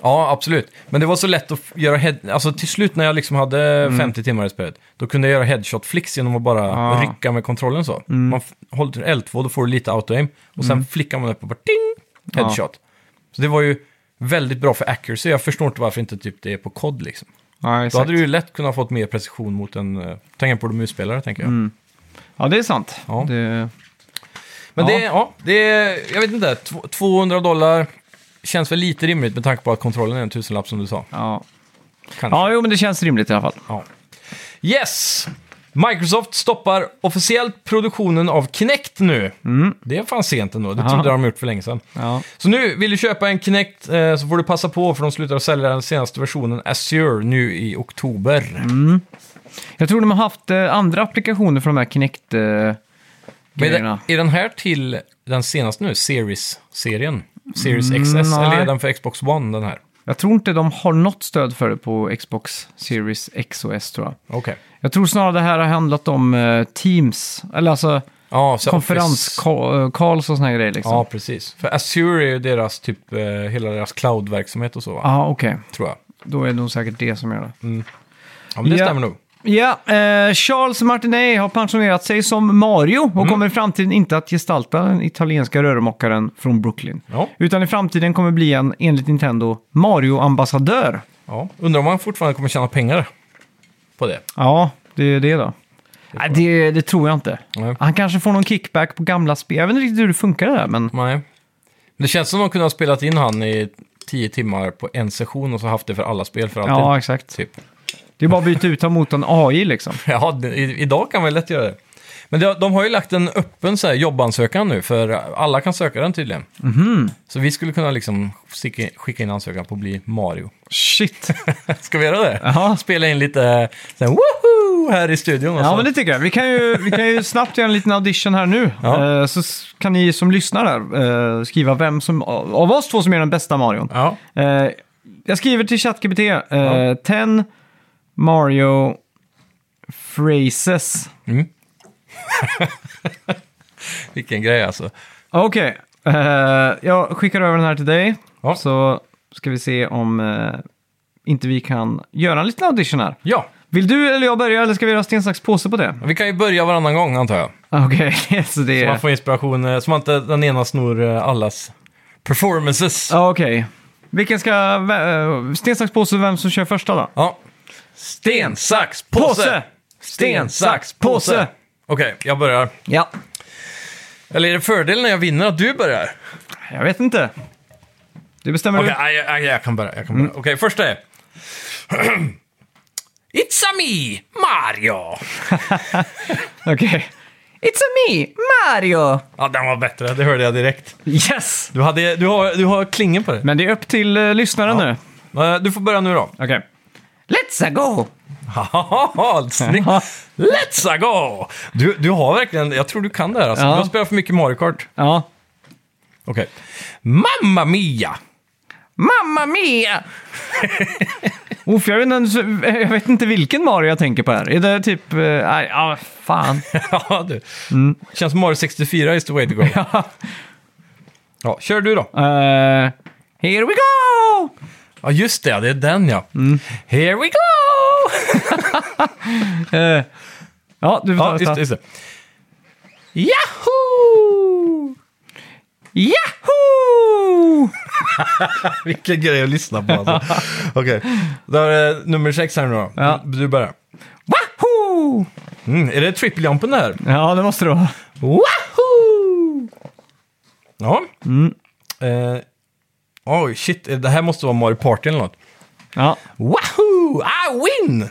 Speaker 2: Ja, absolut. Men det var så lätt att f- göra head... Alltså till slut när jag liksom hade 50 timmar i spelet, då kunde jag göra headshot flicks genom att bara
Speaker 1: Ah.
Speaker 2: rycka med kontrollen så. Man f- håller till L2, då får du lite auto-aim. Och sen flickar man upp och bara ding! Headshot. Så det var ju väldigt bra för accuracy. Jag förstår inte varför inte typ det är på kod liksom.
Speaker 1: Ja,
Speaker 2: Då
Speaker 1: exakt.
Speaker 2: hade du ju lätt kunnat fått mer precision mot en eh, tangentbord och musspelare, tänker jag.
Speaker 1: Ja, det är sant.
Speaker 2: Ja.
Speaker 1: Det... Ja.
Speaker 2: Men det, ja, det är, jag vet inte, tv- 200 dollar känns väl lite rimligt med tanke på att kontrollen är en tusenlapp som du sa.
Speaker 1: Ja.
Speaker 2: Kanske.
Speaker 1: ja, jo, men det känns rimligt i alla fall.
Speaker 2: Ja. Yes! Microsoft stoppar officiellt produktionen av Kinect nu. Det är fan sent ändå, det
Speaker 1: Mm. Ja.
Speaker 2: trodde de gjort för länge sedan.
Speaker 1: Ja.
Speaker 2: Så nu, vill du köpa en Kinect eh, så får du passa på för de slutar sälja den senaste versionen Azure nu i oktober.
Speaker 1: Mm, Jag tror de har haft eh, andra applikationer för de här eh, Kinect-grejerna.
Speaker 2: Men är, den, är den här till den senaste nu, Series-serien? Series
Speaker 1: Mm,
Speaker 2: XS, eller
Speaker 1: nej.
Speaker 2: är den för Xbox One den här?
Speaker 1: Jag tror inte de har något stöd för det på Xbox Series X och S tror jag.
Speaker 2: Okej.
Speaker 1: Jag tror snarare det här har handlat om eh, Teams, eller alltså
Speaker 2: Ja, så Office-
Speaker 1: konferenskalls och sådana grejer liksom.
Speaker 2: Ja,
Speaker 1: Ja,
Speaker 2: precis. För Azure är ju deras, typ, eh, hela deras cloud-verksamhet och så, va?
Speaker 1: ah, okej.
Speaker 2: tror jag.
Speaker 1: Då är det nog säkert det som gör det.
Speaker 2: Ja, men det
Speaker 1: Ja.
Speaker 2: stämmer nog.
Speaker 1: Ja, eh, Charles Martinet har pensionerat sig som Mario och
Speaker 2: Mm.
Speaker 1: kommer i framtiden inte att gestalta den italienska rörmokaren från Brooklyn.
Speaker 2: Ja.
Speaker 1: Utan i framtiden kommer bli en, enligt Nintendo, Mario-ambassadör.
Speaker 2: Ja, undrar om han fortfarande kommer tjäna pengar på det.
Speaker 1: Ja, det är det då. Nej, det, det tror jag inte.
Speaker 2: Nej.
Speaker 1: Han kanske får någon kickback på gamla spel. Jag vet inte riktigt hur det funkar det där, men...
Speaker 2: Nej. Men det känns som de kunde ha spelat in han i tio timmar på en session och så haft det för alla spel för alltid.
Speaker 1: Ja, exakt.
Speaker 2: Typ.
Speaker 1: Det är bara att byta ut honom mot en AI liksom.
Speaker 2: Ja, det- i- idag kan man lätt göra det. Men de, de har ju lagt en öppen så här, jobbansökan nu, för alla kan söka den tydligen.
Speaker 1: Mhm.
Speaker 2: Så vi skulle kunna liksom sticka- skicka in ansökan på att bli Mario.
Speaker 1: Shit!
Speaker 2: Ska vi göra det?
Speaker 1: Ja.
Speaker 2: Spela in lite så här, woho här i studion. och
Speaker 1: Ja,
Speaker 2: så.
Speaker 1: men det tycker jag. Vi kan ju, vi kan ju snabbt göra en liten audition här nu.
Speaker 2: Ja.
Speaker 1: Eh, Så s- kan ni som lyssnar där eh, skriva vem som, av oss två som är den bästa Marion.
Speaker 2: ja.
Speaker 1: Eh, Jag skriver till ChatGPT. eh,
Speaker 2: Ja.
Speaker 1: 10 Mario phrases.
Speaker 2: Vilken grej alltså.
Speaker 1: Okej, eh, jag skickar över den här till dig.
Speaker 2: Ja.
Speaker 1: Så ska vi se om eh, inte vi kan göra en liten audition här.
Speaker 2: Ja,
Speaker 1: Vill du eller jag börja eller ska vi göra sten, sax, påse på det?
Speaker 2: vi kan ju börja varannan gång antar jag.
Speaker 1: Okej, så det
Speaker 2: Så man
Speaker 1: är...
Speaker 2: får inspiration, eh, så man inte den ena snor eh, allas performances. Ja.
Speaker 1: Ja, Okej. Vilken ska... eh, Sten, sax, påse, vem som kör första då?
Speaker 2: Sten, sax, påse! Sten, sax, påse! Okej, jag börjar.
Speaker 1: Ja.
Speaker 2: Eller är det fördel när jag vinner att du börjar?
Speaker 1: Jag vet inte. Det bestämmer
Speaker 2: Okej, okay, jag, jag kan börja. Jag kan börja. Mm. Okej, första är... It's a me, Mario!
Speaker 1: du. Okej. It's a me, Mario!
Speaker 2: Ja, den var bättre. Det hörde jag direkt.
Speaker 1: Yes!
Speaker 2: Du, hade, du, har, du har klingen på det.
Speaker 1: Men det är upp till eh, lyssnaren nu.
Speaker 2: Eh, Du får börja nu då.
Speaker 1: Okej. Let's a go!
Speaker 2: Haha, snyggt! Let's a go! Du, du har verkligen... Jag tror du kan det här. Alltså.
Speaker 1: Ja.
Speaker 2: Du har spelat för mycket Mario Kart.
Speaker 1: Ja.
Speaker 2: Okej. Mamma Mia!
Speaker 1: Mamma mia! Uff, jag, vet inte, jag vet inte vilken Mario jag tänker på här. Är det typ... eh, Nej, ja, fan.
Speaker 2: ja, du. Känns som Mario 64 is the way to go.
Speaker 1: Mm. Ja.
Speaker 2: Ja, kör du då.
Speaker 1: Eh, here we go!
Speaker 2: Ja, just det. Det är den, ja.
Speaker 1: Mm.
Speaker 2: Here we go!
Speaker 1: Eh, ja, du får ta
Speaker 2: Ja, just
Speaker 1: nästa.
Speaker 2: det. Just det. Yahoo!
Speaker 1: Yahoo!
Speaker 2: Vilken grej att lyssna på alltså. Okej, då är det nummer sex här nu då.
Speaker 1: Ja.
Speaker 2: Du du börjar.
Speaker 1: Wahoo!
Speaker 2: Mm, är det trippeljumping det här?
Speaker 1: Ja, det måste det vara.
Speaker 2: Wahoo! Ja.
Speaker 1: Mm.
Speaker 2: Eh, Oj, shit. eh, Det här måste vara Mario Party eller något.
Speaker 1: Ja.
Speaker 2: Wahoo! I win!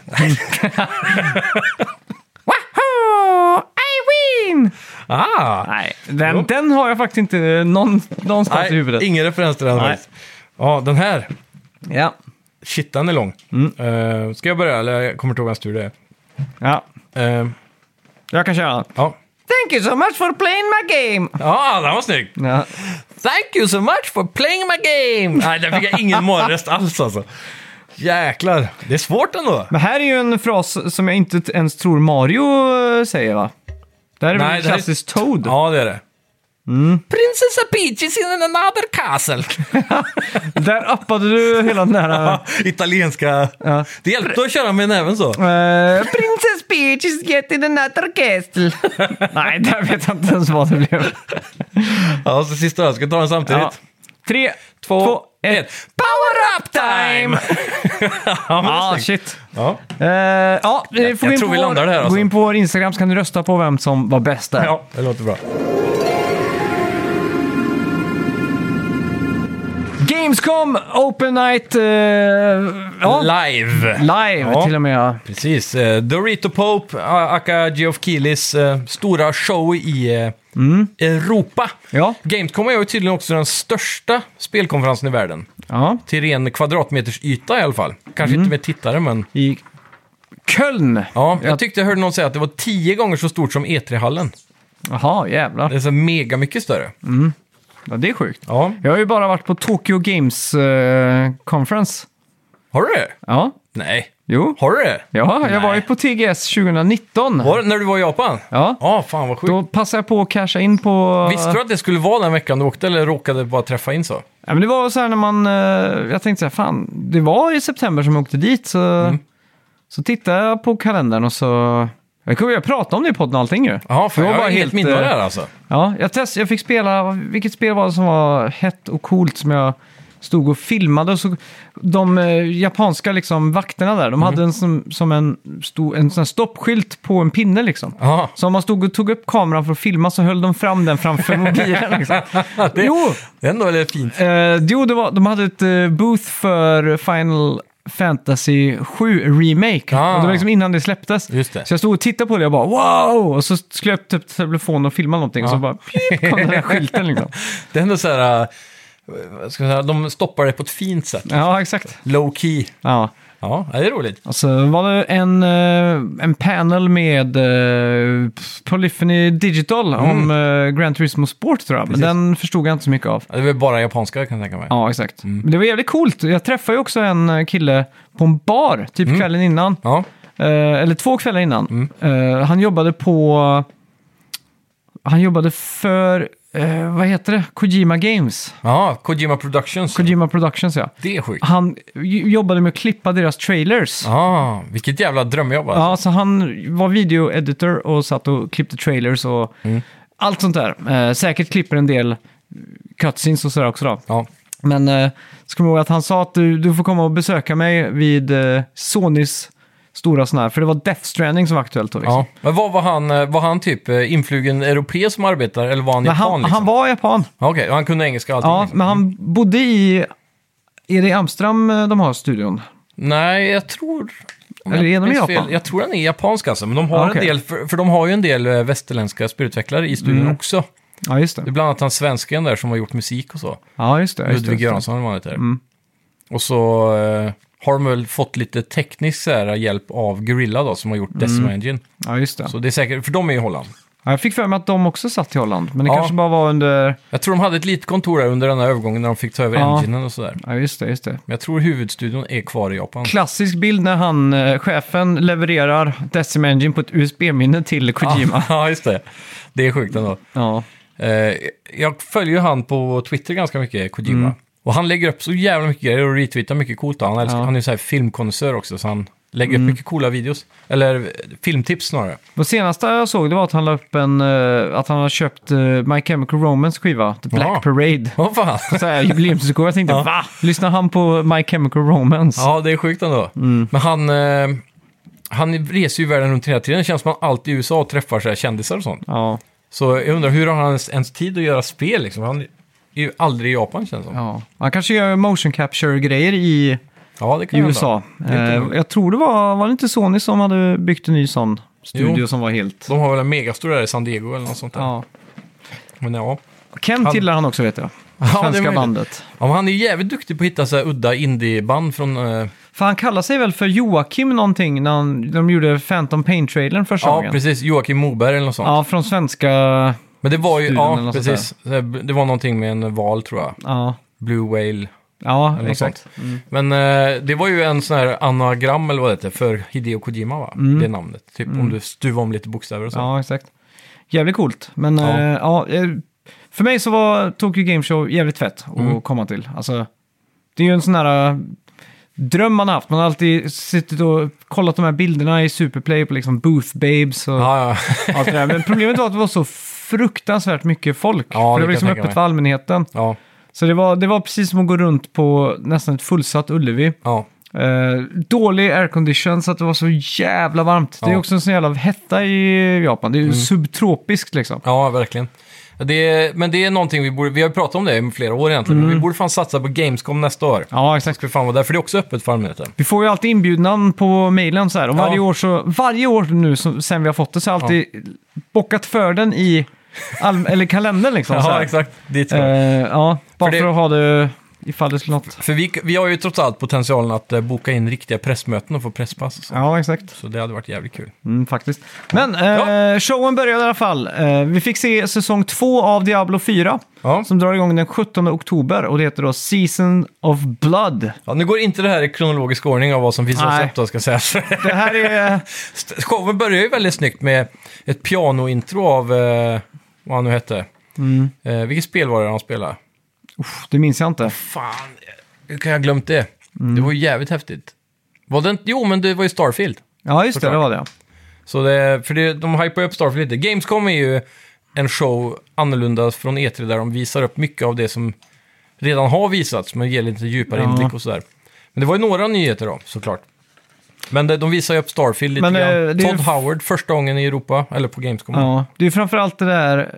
Speaker 1: Wahoo! I win!
Speaker 2: ah!
Speaker 1: Nej, den, den har jag faktiskt inte någon, någonstans i huvudet.
Speaker 2: Nej, ingen referens till den
Speaker 1: Nej.
Speaker 2: faktiskt. Ja, den här.
Speaker 1: Ja.
Speaker 2: Shit, den är lång.
Speaker 1: Mm.
Speaker 2: Eh, ska jag börja? Eller jag kommer inte ihåg vems tur det
Speaker 1: ja,
Speaker 2: är. Eh,
Speaker 1: jag kan köra.
Speaker 2: ja.
Speaker 1: Thank you so much for playing my game!
Speaker 2: Ja, den var snygg!
Speaker 1: Ja.
Speaker 2: Thank you so much for playing my game! Nej, där fick jag ingen morgonröst alls alltså. Jäklar, det är svårt ändå.
Speaker 1: Men här är ju en fras som jag inte t- ens tror Mario eh, säger va? Det här är
Speaker 2: Nej,
Speaker 1: väl
Speaker 2: det här är-
Speaker 1: klassiskt Toad?
Speaker 2: Ja, det är det.
Speaker 1: Mm.
Speaker 2: Princess Peach is in another castle.
Speaker 1: Där uppade du hela den här... eh,
Speaker 2: Italienska.
Speaker 1: Ja.
Speaker 2: Det hjälpte att köra med näven så.
Speaker 1: eh, Princess Peach is getting another castle. Nej, där vet jag inte ens vad det blev.
Speaker 2: Ja, så sista då. Ska jag ta den samtidigt?
Speaker 1: Ja. Tre,
Speaker 2: Två,
Speaker 1: två, ett.
Speaker 2: ett. Power up time! ja, men det är
Speaker 1: Ah,
Speaker 2: snyggt.
Speaker 1: shit.
Speaker 2: ja.
Speaker 1: Eh, ja, vi
Speaker 2: Jag-
Speaker 1: får
Speaker 2: jag
Speaker 1: gå in
Speaker 2: tror
Speaker 1: på
Speaker 2: vi
Speaker 1: vår-
Speaker 2: landar där, alltså.
Speaker 1: Gå in på vår Instagram så kan du rösta på vem som var bäst där.
Speaker 2: ja, det låter bra.
Speaker 1: Gamescom Open Night... eh, ja.
Speaker 2: Live!
Speaker 1: Live
Speaker 2: Ja.
Speaker 1: till och med. ja.
Speaker 2: Precis. Eh, Dorito Pope, eh, aka Geoff Keelys eh, stora show i eh,
Speaker 1: Mm.
Speaker 2: Europa.
Speaker 1: Ja.
Speaker 2: Gamescom är ju tydligen också den största spelkonferensen i världen.
Speaker 1: ja.
Speaker 2: Till ren kvadratmeters yta i alla fall. Kanske
Speaker 1: Mm.
Speaker 2: inte med tittare, men...
Speaker 1: I Köln.
Speaker 2: Ja, jag tyckte jag hörde någon säga att det var tio gånger så stort som E3-hallen.
Speaker 1: Jaha, jävlar.
Speaker 2: Det är så mega mycket större.
Speaker 1: Ja, det är sjukt.
Speaker 2: Ja,
Speaker 1: Jag har ju bara varit på Tokyo Games eh, Conference.
Speaker 2: har du det?
Speaker 1: Ja,
Speaker 2: Nej.
Speaker 1: jo.
Speaker 2: Har du det?
Speaker 1: Ja, jag var
Speaker 2: Nej.
Speaker 1: ju på TGS 2019.
Speaker 2: Var, det när du var i Japan?
Speaker 1: Ja,
Speaker 2: Ja, fan vad sjukt.
Speaker 1: då passade jag på att casha in på...
Speaker 2: Visste du att det skulle vara den veckan du åkte eller råkade bara träffa in så?
Speaker 1: Ja, men det var så här när man... eh, jag tänkte så här, fan, det var i september som jag åkte dit så...
Speaker 2: Mm.
Speaker 1: Så tittade jag på kalendern och så... Jag kommer ju prata om det i podden och allting ju.
Speaker 2: Ja, för
Speaker 1: Det
Speaker 2: jag
Speaker 1: var
Speaker 2: har helt minne av det
Speaker 1: eh,
Speaker 2: här alltså.
Speaker 1: Ja, jag, test, jag fick spela, vilket spel var det som var hett och coolt som jag stod och filmade. Och så, de eh, japanska liksom, vakterna där, de
Speaker 2: Mm.
Speaker 1: hade en, som, som en, stor, en sån här stoppskylt på en pinne liksom.
Speaker 2: Ja,
Speaker 1: Så om man stod och tog upp kameran för att filma så höll de fram den framför mobilen. Liksom.
Speaker 2: det,
Speaker 1: Jo,
Speaker 2: det är ändå väldigt fint.
Speaker 1: Eh, jo, det var, de hade ett eh, booth för Final Fantasy 7 Remake.
Speaker 2: Ah.
Speaker 1: Och det var liksom innan det släpptes.
Speaker 2: Just det.
Speaker 1: Så jag stod och tittade på det och bara wow! Och så skulle jag upp typ telefonen och filma någonting
Speaker 2: Ah.
Speaker 1: och så bara pip, kom den där skylten liksom.
Speaker 2: Det är ändå så här, eh, vad ska jag säga, de stoppar det på ett fint sätt.
Speaker 1: Ja, exakt.
Speaker 2: Low key.
Speaker 1: Ja.
Speaker 2: Ja, det är roligt.
Speaker 1: Och så var det en, eh, en panel med eh, Polyphony Digital om eh, Gran Turismo Sport tror jag. Men
Speaker 2: Mm. Precis.
Speaker 1: den förstod jag inte så mycket av.
Speaker 2: Ja, Det är väl bara japanska kan jag tänka mig.
Speaker 1: Ja, exakt.
Speaker 2: Mm.
Speaker 1: Men det var jävligt coolt. Jag träffade ju också en eh, kille på en bar, typ
Speaker 2: Mm.
Speaker 1: kvällen innan.
Speaker 2: Ja,
Speaker 1: Eh, eller två kvällar innan. Eh, han jobbade på... Han jobbade för, eh, vad heter det, Kojima Games.
Speaker 2: ja Kojima Productions.
Speaker 1: Kojima Productions ja.
Speaker 2: Det är sjukt.
Speaker 1: Han j- jobbade med att klippa deras trailers. Ja.
Speaker 2: Ah, vilket jävla drömjobb alltså.
Speaker 1: så han var videoeditor och satt och klippte trailers och allt sånt där. Eh, säkert klipper en del cutscenes och sådär också då.
Speaker 2: Ja.
Speaker 1: Men eh, så kommer jag ihåg att han sa att du, du får komma och besöka mig vid eh, Sonys stora sån här, för det var Death Stranding som var aktuellt då. Liksom.
Speaker 2: Ja. Men vad var han, eh, var han typ eh, influgen europé som arbetar eller var han
Speaker 1: Men
Speaker 2: japan?
Speaker 1: han,
Speaker 2: liksom?
Speaker 1: han var japan.
Speaker 2: Ja, Okej, och han kunde engelska och allting?
Speaker 1: Ja,
Speaker 2: liksom.
Speaker 1: men han bodde i... Är det i Amsterdam eh, de har studion?
Speaker 2: Nej, jag tror... om
Speaker 1: Eller
Speaker 2: jag
Speaker 1: är de i
Speaker 2: minns
Speaker 1: Japan?
Speaker 2: Jag tror han är japansk alltså, men de har
Speaker 1: Ja, okej.
Speaker 2: en del, för, för de har ju en del eh, västerländska spelutvecklare i studion
Speaker 1: Mm.
Speaker 2: också.
Speaker 1: Ja, just
Speaker 2: Det är
Speaker 1: det.
Speaker 2: bland annat han svensken där som har gjort musik och så.
Speaker 1: Ja, just det. Just det, Mm.
Speaker 2: Ludvig
Speaker 1: just
Speaker 2: Göransson eller vad han heter. Och så eh, har de väl fått lite teknisk så här, hjälp av Gorilla då, som har gjort
Speaker 1: Mm.
Speaker 2: Decima Engine.
Speaker 1: det. Ja, just det.
Speaker 2: Så det är säkert, för de är i Holland.
Speaker 1: Ja, jag fick för mig att de också satt i Holland, men det
Speaker 2: Ja.
Speaker 1: kanske bara var under...
Speaker 2: Jag tror de hade ett litet kontor där under den här övergången när de fick ta över
Speaker 1: Ja.
Speaker 2: enginen och sådär.
Speaker 1: Ja, just det, just det.
Speaker 2: Men jag tror huvudstudion är kvar i Japan.
Speaker 1: Klassisk bild när han, eh, chefen levererar Decim Engine på ett USB-minne till Kojima.
Speaker 2: ja, just det. Det är sjukt ändå.
Speaker 1: Ja.
Speaker 2: Eh, jag följer ju han på Twitter ganska mycket, Kojima.
Speaker 1: Mm.
Speaker 2: Och han lägger upp så jävla mycket grejer och retweetar mycket coolt. Han, älskar,
Speaker 1: Ja. Mm.
Speaker 2: han är ju så här filmkonnässör också, så han lägger upp mycket coola videos. Eller eh, filmtips snarare.
Speaker 1: Det senaste jag såg det var att han la upp en... eh, att han har köpt eh, My Chemical Romance skiva, The Black
Speaker 2: Ja.
Speaker 1: Parade.
Speaker 2: Vad fan?
Speaker 1: Så här jubileumsutgåva. Jag tänkte,
Speaker 2: Ja.
Speaker 1: va? Lyssnar han på My Chemical Romance?
Speaker 2: ja, det är sjukt ändå.
Speaker 1: Mm.
Speaker 2: Men han, eh, han reser ju världen runt hela tiden. Det känns som att han alltid i USA träffar så här kändisar och sånt.
Speaker 1: Ja,
Speaker 2: Så jag undrar, hur har han ens, ens tid att göra spel liksom? Han är ju aldrig i Japan känns det som. Ja,
Speaker 1: ja. Man kanske gör motion capture-grejer i
Speaker 2: det kan
Speaker 1: i
Speaker 2: hända.
Speaker 1: USA.
Speaker 2: Det är inte
Speaker 1: Eh,
Speaker 2: dumt.
Speaker 1: jag tror det var, var det inte Sony som hade byggt en ny sån studio
Speaker 2: Jo.
Speaker 1: som var helt...
Speaker 2: De har väl en megastor där i San Diego eller något sånt där.
Speaker 1: Ja.
Speaker 2: Men ja.
Speaker 1: Kent
Speaker 2: Han-
Speaker 1: gillar han också vet jag.
Speaker 2: det är
Speaker 1: Svenska
Speaker 2: möjligt.
Speaker 1: bandet.
Speaker 2: Ja, men han är ju jävligt duktig på att hitta så här udda indieband från... eh,
Speaker 1: För han kallar sig väl för Joakim någonting när han, de gjorde Phantom Pain-trailern första
Speaker 2: ja,
Speaker 1: gången?
Speaker 2: precis. Joakim Moberg eller något sånt.
Speaker 1: Ja, från svenska...
Speaker 2: men det var ju...
Speaker 1: Studion eller
Speaker 2: Ja,
Speaker 1: något
Speaker 2: precis. Eh, Det var någonting med en val, tror jag.
Speaker 1: Ja,
Speaker 2: Blue Whale
Speaker 1: ja
Speaker 2: eller något
Speaker 1: exakt.
Speaker 2: sånt. Men eh, det var ju en sån här anagram, eller vad det heter, för Hideo Kojima, va? Det namnet. Typ om du stuvar om lite bokstäver och så.
Speaker 1: Mm. Ja, exakt. Jävligt coolt. Men
Speaker 2: Ja.
Speaker 1: ja. ja, eh, för mig så var Tokyo Game Show jävligt fett att
Speaker 2: Mm.
Speaker 1: komma till. Alltså, det är ju en sån här eh, dröm man har haft. Man har alltid suttit och kollat de här bilderna i Superplay på liksom Booth Babes och
Speaker 2: Ja, ja.
Speaker 1: allt det där. Men problemet var att det var så fruktansvärt mycket folk.
Speaker 2: Ja,
Speaker 1: för det
Speaker 2: det kan
Speaker 1: var liksom
Speaker 2: jag tänka
Speaker 1: öppet
Speaker 2: mig.
Speaker 1: för allmänheten.
Speaker 2: ja,
Speaker 1: Så det var, det var precis som att gå runt på nästan ett fullsatt Ullevi.
Speaker 2: ja.
Speaker 1: Eh, dålig aircondition så att det var så jävla varmt. Det är
Speaker 2: Ja. Mm.
Speaker 1: också en sån jävla hetta i Japan. Det är ju subtropiskt liksom.
Speaker 2: Ja, verkligen. Det är, men det är någonting vi borde, vi har ju pratat om det i flera år egentligen,
Speaker 1: Mm.
Speaker 2: men vi borde fan satsa på Gamescom nästa år.
Speaker 1: Ja, exakt.
Speaker 2: Ska fan vara där, för det är också öppet för allmänheten.
Speaker 1: Vi får ju alltid inbjudan på mejlen så här. Och
Speaker 2: Ja.
Speaker 1: varje, år så, varje år nu som, sen vi har fått det så har jag alltid bockat för den i all, eller kalendern liksom. så här.
Speaker 2: exakt. Dit
Speaker 1: Eh,
Speaker 2: ska vi.
Speaker 1: ja, bara
Speaker 2: För
Speaker 1: för,
Speaker 2: det-
Speaker 1: att ha det ifall det skulle något.
Speaker 2: För vi, vi har ju trots allt potentialen att eh, boka in riktiga pressmöten och få presspass. och Så,
Speaker 1: Ja, exakt.
Speaker 2: så det hade varit jävligt kul.
Speaker 1: Mm, faktiskt. Men eh, showen började i alla fall. Eh, vi fick se säsong två av Diablo 4
Speaker 2: Ja.
Speaker 1: som drar igång den 17 oktober och det heter då Season of Blood.
Speaker 2: Ja, nu går inte det här i kronologisk ordning av vad som finns
Speaker 1: Nej.
Speaker 2: recept då, ska sägas.
Speaker 1: Det här är...
Speaker 2: St- Showen börjar ju väldigt snyggt med ett pianointro av, eh, vad han nu hette.
Speaker 1: Mm.
Speaker 2: Eh, vilket spel var det han spelade?
Speaker 1: det minns jag inte.
Speaker 2: Fan, hur kan jag ha glömt det?
Speaker 1: Mm.
Speaker 2: Det var ju jävligt häftigt. Var det inte? Jo, men det var ju Starfield.
Speaker 1: Ja, just det,
Speaker 2: Såklart.
Speaker 1: det var det.
Speaker 2: Så det, för det, de hypar upp Starfield lite. E Gamescom är ju en show annorlunda från E3 där de visar upp mycket av det som redan har visats, men ger lite djupare
Speaker 1: Ja.
Speaker 2: inblick och sådär. Men det var ju några nyheter då, såklart. Men de, de visar ju upp Starfield lite
Speaker 1: Men, eh,
Speaker 2: grann.
Speaker 1: det är ju-
Speaker 2: Todd Howard, första gången i Europa, eller på Gamescom.
Speaker 1: Ja, det är framförallt det där,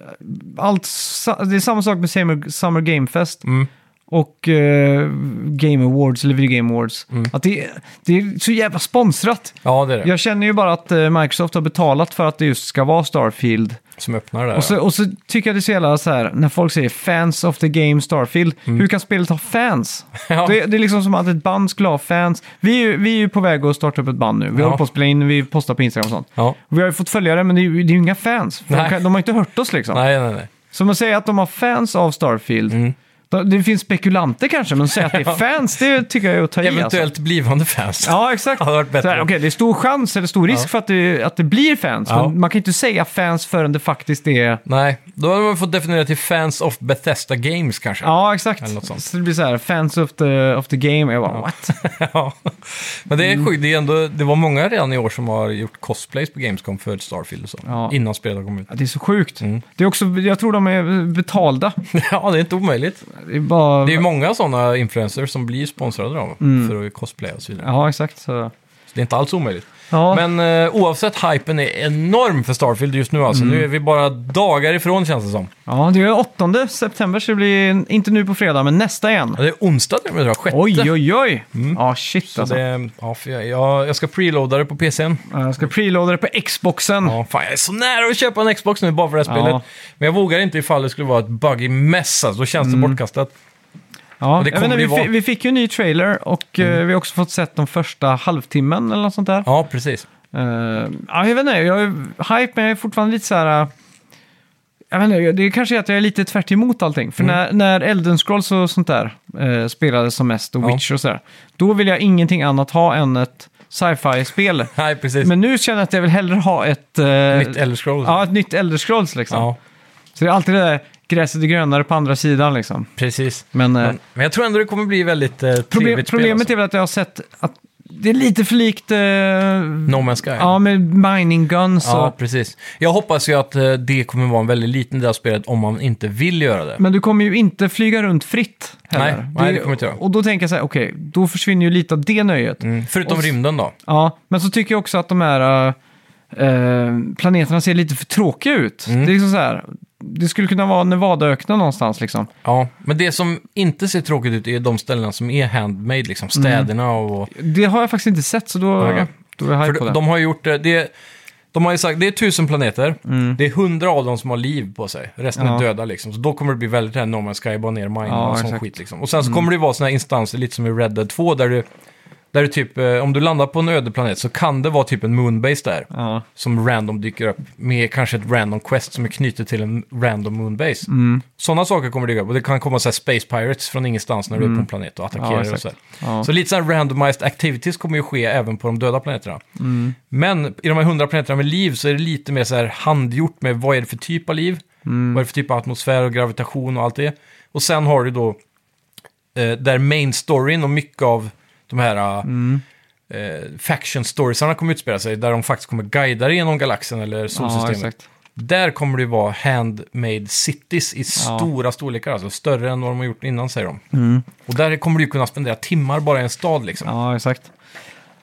Speaker 1: allt, sa- det är samma sak med Summer, Summer Game Fest
Speaker 2: Mm.
Speaker 1: och eh, Game Awards, eller Video Game Awards.
Speaker 2: Mm.
Speaker 1: Att det, är- det är så jävla sponsrat.
Speaker 2: Ja, det är det.
Speaker 1: Jag känner ju bara att eh, Microsoft har betalat för att det just ska vara Starfield.
Speaker 2: Som öppnar där.
Speaker 1: Och, så, och så tycker jag det är så jävla så här, när folk säger fans of the game Starfield, hur kan spelet ha fans?
Speaker 2: Mm. ja.
Speaker 1: Det, det är liksom som att ett band skulle ha fans. Vi är ju, vi är ju på väg att starta upp ett band nu. Vi
Speaker 2: Ja.
Speaker 1: håller på att spela in, vi postar på Instagram och sånt.
Speaker 2: ja.
Speaker 1: Vi har ju fått följare, men det är ju, det är ju inga fans. För
Speaker 2: Nej.
Speaker 1: De, kan, de har inte hört oss liksom.
Speaker 2: Nej, Mm. nej, nej.
Speaker 1: Så man säger att de har fans av Starfield. Då- Det finns spekulanter kanske, men att säga att det är fans, det tycker jag är att ta i. Alltså.
Speaker 2: Eventuellt blivande fans.
Speaker 1: Ja, exakt.
Speaker 2: Det hade varit bättre.
Speaker 1: Så här, Okej, det är stor chans eller stor risk
Speaker 2: Ja.
Speaker 1: för att det, att det blir fans,
Speaker 2: Ja.
Speaker 1: men man kan ju inte säga fans förrän det faktiskt är...
Speaker 2: Nej, då hade man fått definiera till fans of Bethesda Games kanske.
Speaker 1: Ja,
Speaker 2: Eller något sånt.
Speaker 1: exakt. Så det blir så här, fans of the, of the game. Jag bara, what?
Speaker 2: Ja. Men det
Speaker 1: Mm.
Speaker 2: är sjukt, det, är ändå, det var många redan i år som har gjort cosplays på Gamescom för Starfield och så.
Speaker 1: Ja.
Speaker 2: Innan spelet kom ut.
Speaker 1: Ja, Det är så sjukt.
Speaker 2: Mm.
Speaker 1: Det är också, jag tror de är betalda.
Speaker 2: Ja, det är inte omöjligt.
Speaker 1: Det är bara...
Speaker 2: Det är ju många sådana influencers som blir sponsrade av för att cosplaya och så vidare.
Speaker 1: Mm. Ja, exakt. Så.
Speaker 2: Så det är inte alls omöjligt.
Speaker 1: Ja.
Speaker 2: Men eh, oavsett, hypen är enorm för Starfield just nu alltså.
Speaker 1: Mm.
Speaker 2: Nu är vi bara dagar ifrån känns det som.
Speaker 1: Ja, det är 8 september så det blir inte nu på fredag, men nästa igen.
Speaker 2: Ja, det är onsdag till och med, tror jag. Sjätte.
Speaker 1: Oj, oj, oj! Ja, shit
Speaker 2: Mm. Så
Speaker 1: alltså.
Speaker 2: det, ja, för jag, jag, jag ska preloada det på PCn.
Speaker 1: Ja, Jag ska preloada det på Xboxen.
Speaker 2: Ja, fan, jag är så nära att köpa en Xbox nu bara för det här
Speaker 1: Ja.
Speaker 2: spelet. Men jag vågar inte ifall det skulle vara ett buggy mess. Alltså, då känns det
Speaker 1: Mm.
Speaker 2: bortkastat.
Speaker 1: Ja,
Speaker 2: Och det
Speaker 1: jag vet
Speaker 2: kommer Mm.
Speaker 1: inte, vi,
Speaker 2: det vara.
Speaker 1: fi- vi fick ju en ny trailer och eh, vi har också fått sett den första halvtimmen eller något sånt där. Ja.
Speaker 2: Ja, precis.
Speaker 1: Ehm, ja, jag vet inte, jag är hype men jag är fortfarande lite så här... eh, Jag vet inte, jag- det kanske är att jag är lite tvärt emot allting.
Speaker 2: Mm.
Speaker 1: För när, när Elden Scrolls och sånt där eh, spelades som mest och
Speaker 2: Ja.
Speaker 1: Witcher och sådär. Då vill jag ingenting annat ha än ett sci-fi-spel.
Speaker 2: Nej, precis.
Speaker 1: Men nu känner jag att jag vill hellre ha ett... eh,
Speaker 2: Nytt Elder Scrolls.
Speaker 1: Ja, ett nytt Elder Scrolls liksom.
Speaker 2: Ja,
Speaker 1: Så det är alltid det där gräset är grönare på andra sidan liksom.
Speaker 2: precis.
Speaker 1: Men, eh,
Speaker 2: Men, men jag tror ändå det kommer bli väldigt eh,
Speaker 1: problem,
Speaker 2: trevligt spel.
Speaker 1: problemet
Speaker 2: alltså.
Speaker 1: är väl att jag har sett att det är lite för likt... eh,
Speaker 2: No Man's Sky.
Speaker 1: Ja, med mining guns och...
Speaker 2: Ja, precis. Jag hoppas ju att eh, det kommer vara en väldigt liten del av spelet om man inte vill göra det.
Speaker 1: Men du kommer ju inte flyga runt fritt heller.
Speaker 2: Nej, nej, det kommer jag inte göra.
Speaker 1: Och då tänker jag så här, okej, då försvinner ju lite av det nöjet.
Speaker 2: Mm. Förutom
Speaker 1: Och s-
Speaker 2: rymden då.
Speaker 1: Ja, men så tycker jag också att de här eh, eh, planeterna ser lite för tråkiga ut.
Speaker 2: Mm.
Speaker 1: Det är liksom så här, det skulle kunna vara Nevadaöknen någonstans liksom.
Speaker 2: Ja, men det som inte ser tråkigt ut är de ställena som är handmade, liksom
Speaker 1: Mm.
Speaker 2: städerna och...
Speaker 1: Det har jag faktiskt inte sett, så då,
Speaker 2: Okej.
Speaker 1: då är jag
Speaker 2: För
Speaker 1: hype på
Speaker 2: de,
Speaker 1: det.
Speaker 2: de har gjort eh, det. De har ju sagt det är tusen planeter. Det är hundra av dem som har liv på sig. Resten är
Speaker 1: Mm. Ja.
Speaker 2: döda liksom. Så då kommer det bli väldigt här No Man's Sky, bara ner mine
Speaker 1: Ja,
Speaker 2: och sån
Speaker 1: exakt. Mm.
Speaker 2: skit liksom. Och sen så kommer det ju vara såna här instanser, lite som i Red Dead 2, där du, där du typ, eh, om du landar på en öde planet så kan det vara typ en moonbase där.
Speaker 1: Ja.
Speaker 2: Som random dyker upp med kanske ett random quest som är knutet till en random moonbase. Mm. Sådana saker kommer dyka upp. Och det kan komma så här space pirates från ingenstans när du är på en planet och attackerar. och
Speaker 1: Mm. exakt.
Speaker 2: så, här.
Speaker 1: Ja.
Speaker 2: så lite så här randomized activities kommer ju ske även på de döda planeterna.
Speaker 1: Mm.
Speaker 2: Men i de här hundra planeterna med liv så är det lite mer så här handgjort med vad är det för typ av liv?
Speaker 1: Mm.
Speaker 2: Vad är det för typ av atmosfär och gravitation och allt det? Och sen har du då eh, där main storyn och mycket av de här eh,
Speaker 1: Mm.
Speaker 2: eh, faction storiesarna kommer utspela sig, där de faktiskt kommer guida dig genom galaxen eller
Speaker 1: Ja,
Speaker 2: solsystemet.
Speaker 1: exakt.
Speaker 2: där kommer det ju vara handmade cities i stora storlekar, alltså större än vad de har gjort innan säger de. Och där kommer du ju kunna spendera timmar bara i en stad liksom.
Speaker 1: Mm. Ja, exakt.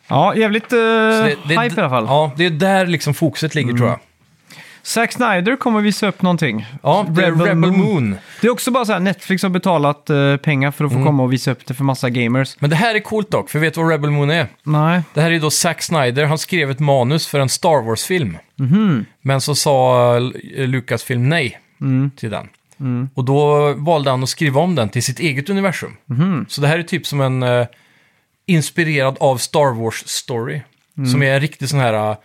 Speaker 1: Ja, jävligt eh,
Speaker 2: Så
Speaker 1: hype i alla fall. Mm.
Speaker 2: Ja, det är där liksom fokuset ligger tror jag.
Speaker 1: Zack Snyder kommer visa upp någonting.
Speaker 2: Ja, det är Rebel, Moon.
Speaker 1: Det är också bara så här, Netflix har betalat eh, pengar för att
Speaker 2: Mm.
Speaker 1: få komma och visa upp det för massa gamers.
Speaker 2: Men det här är coolt dock, för vet du vad Rebel Moon är?
Speaker 1: Nej.
Speaker 2: Det här är ju då Zack Snyder, han skrev ett manus för en Star Wars-film.
Speaker 1: Mhm.
Speaker 2: Men så sa eh, Lucasfilm nej
Speaker 1: Mm.
Speaker 2: till den. Och då valde han att skriva om den till sitt eget universum.
Speaker 1: Mhm.
Speaker 2: Så det här är typ som en eh, inspirerad av Star Wars-story.
Speaker 1: Mm.
Speaker 2: Som är en riktig sån här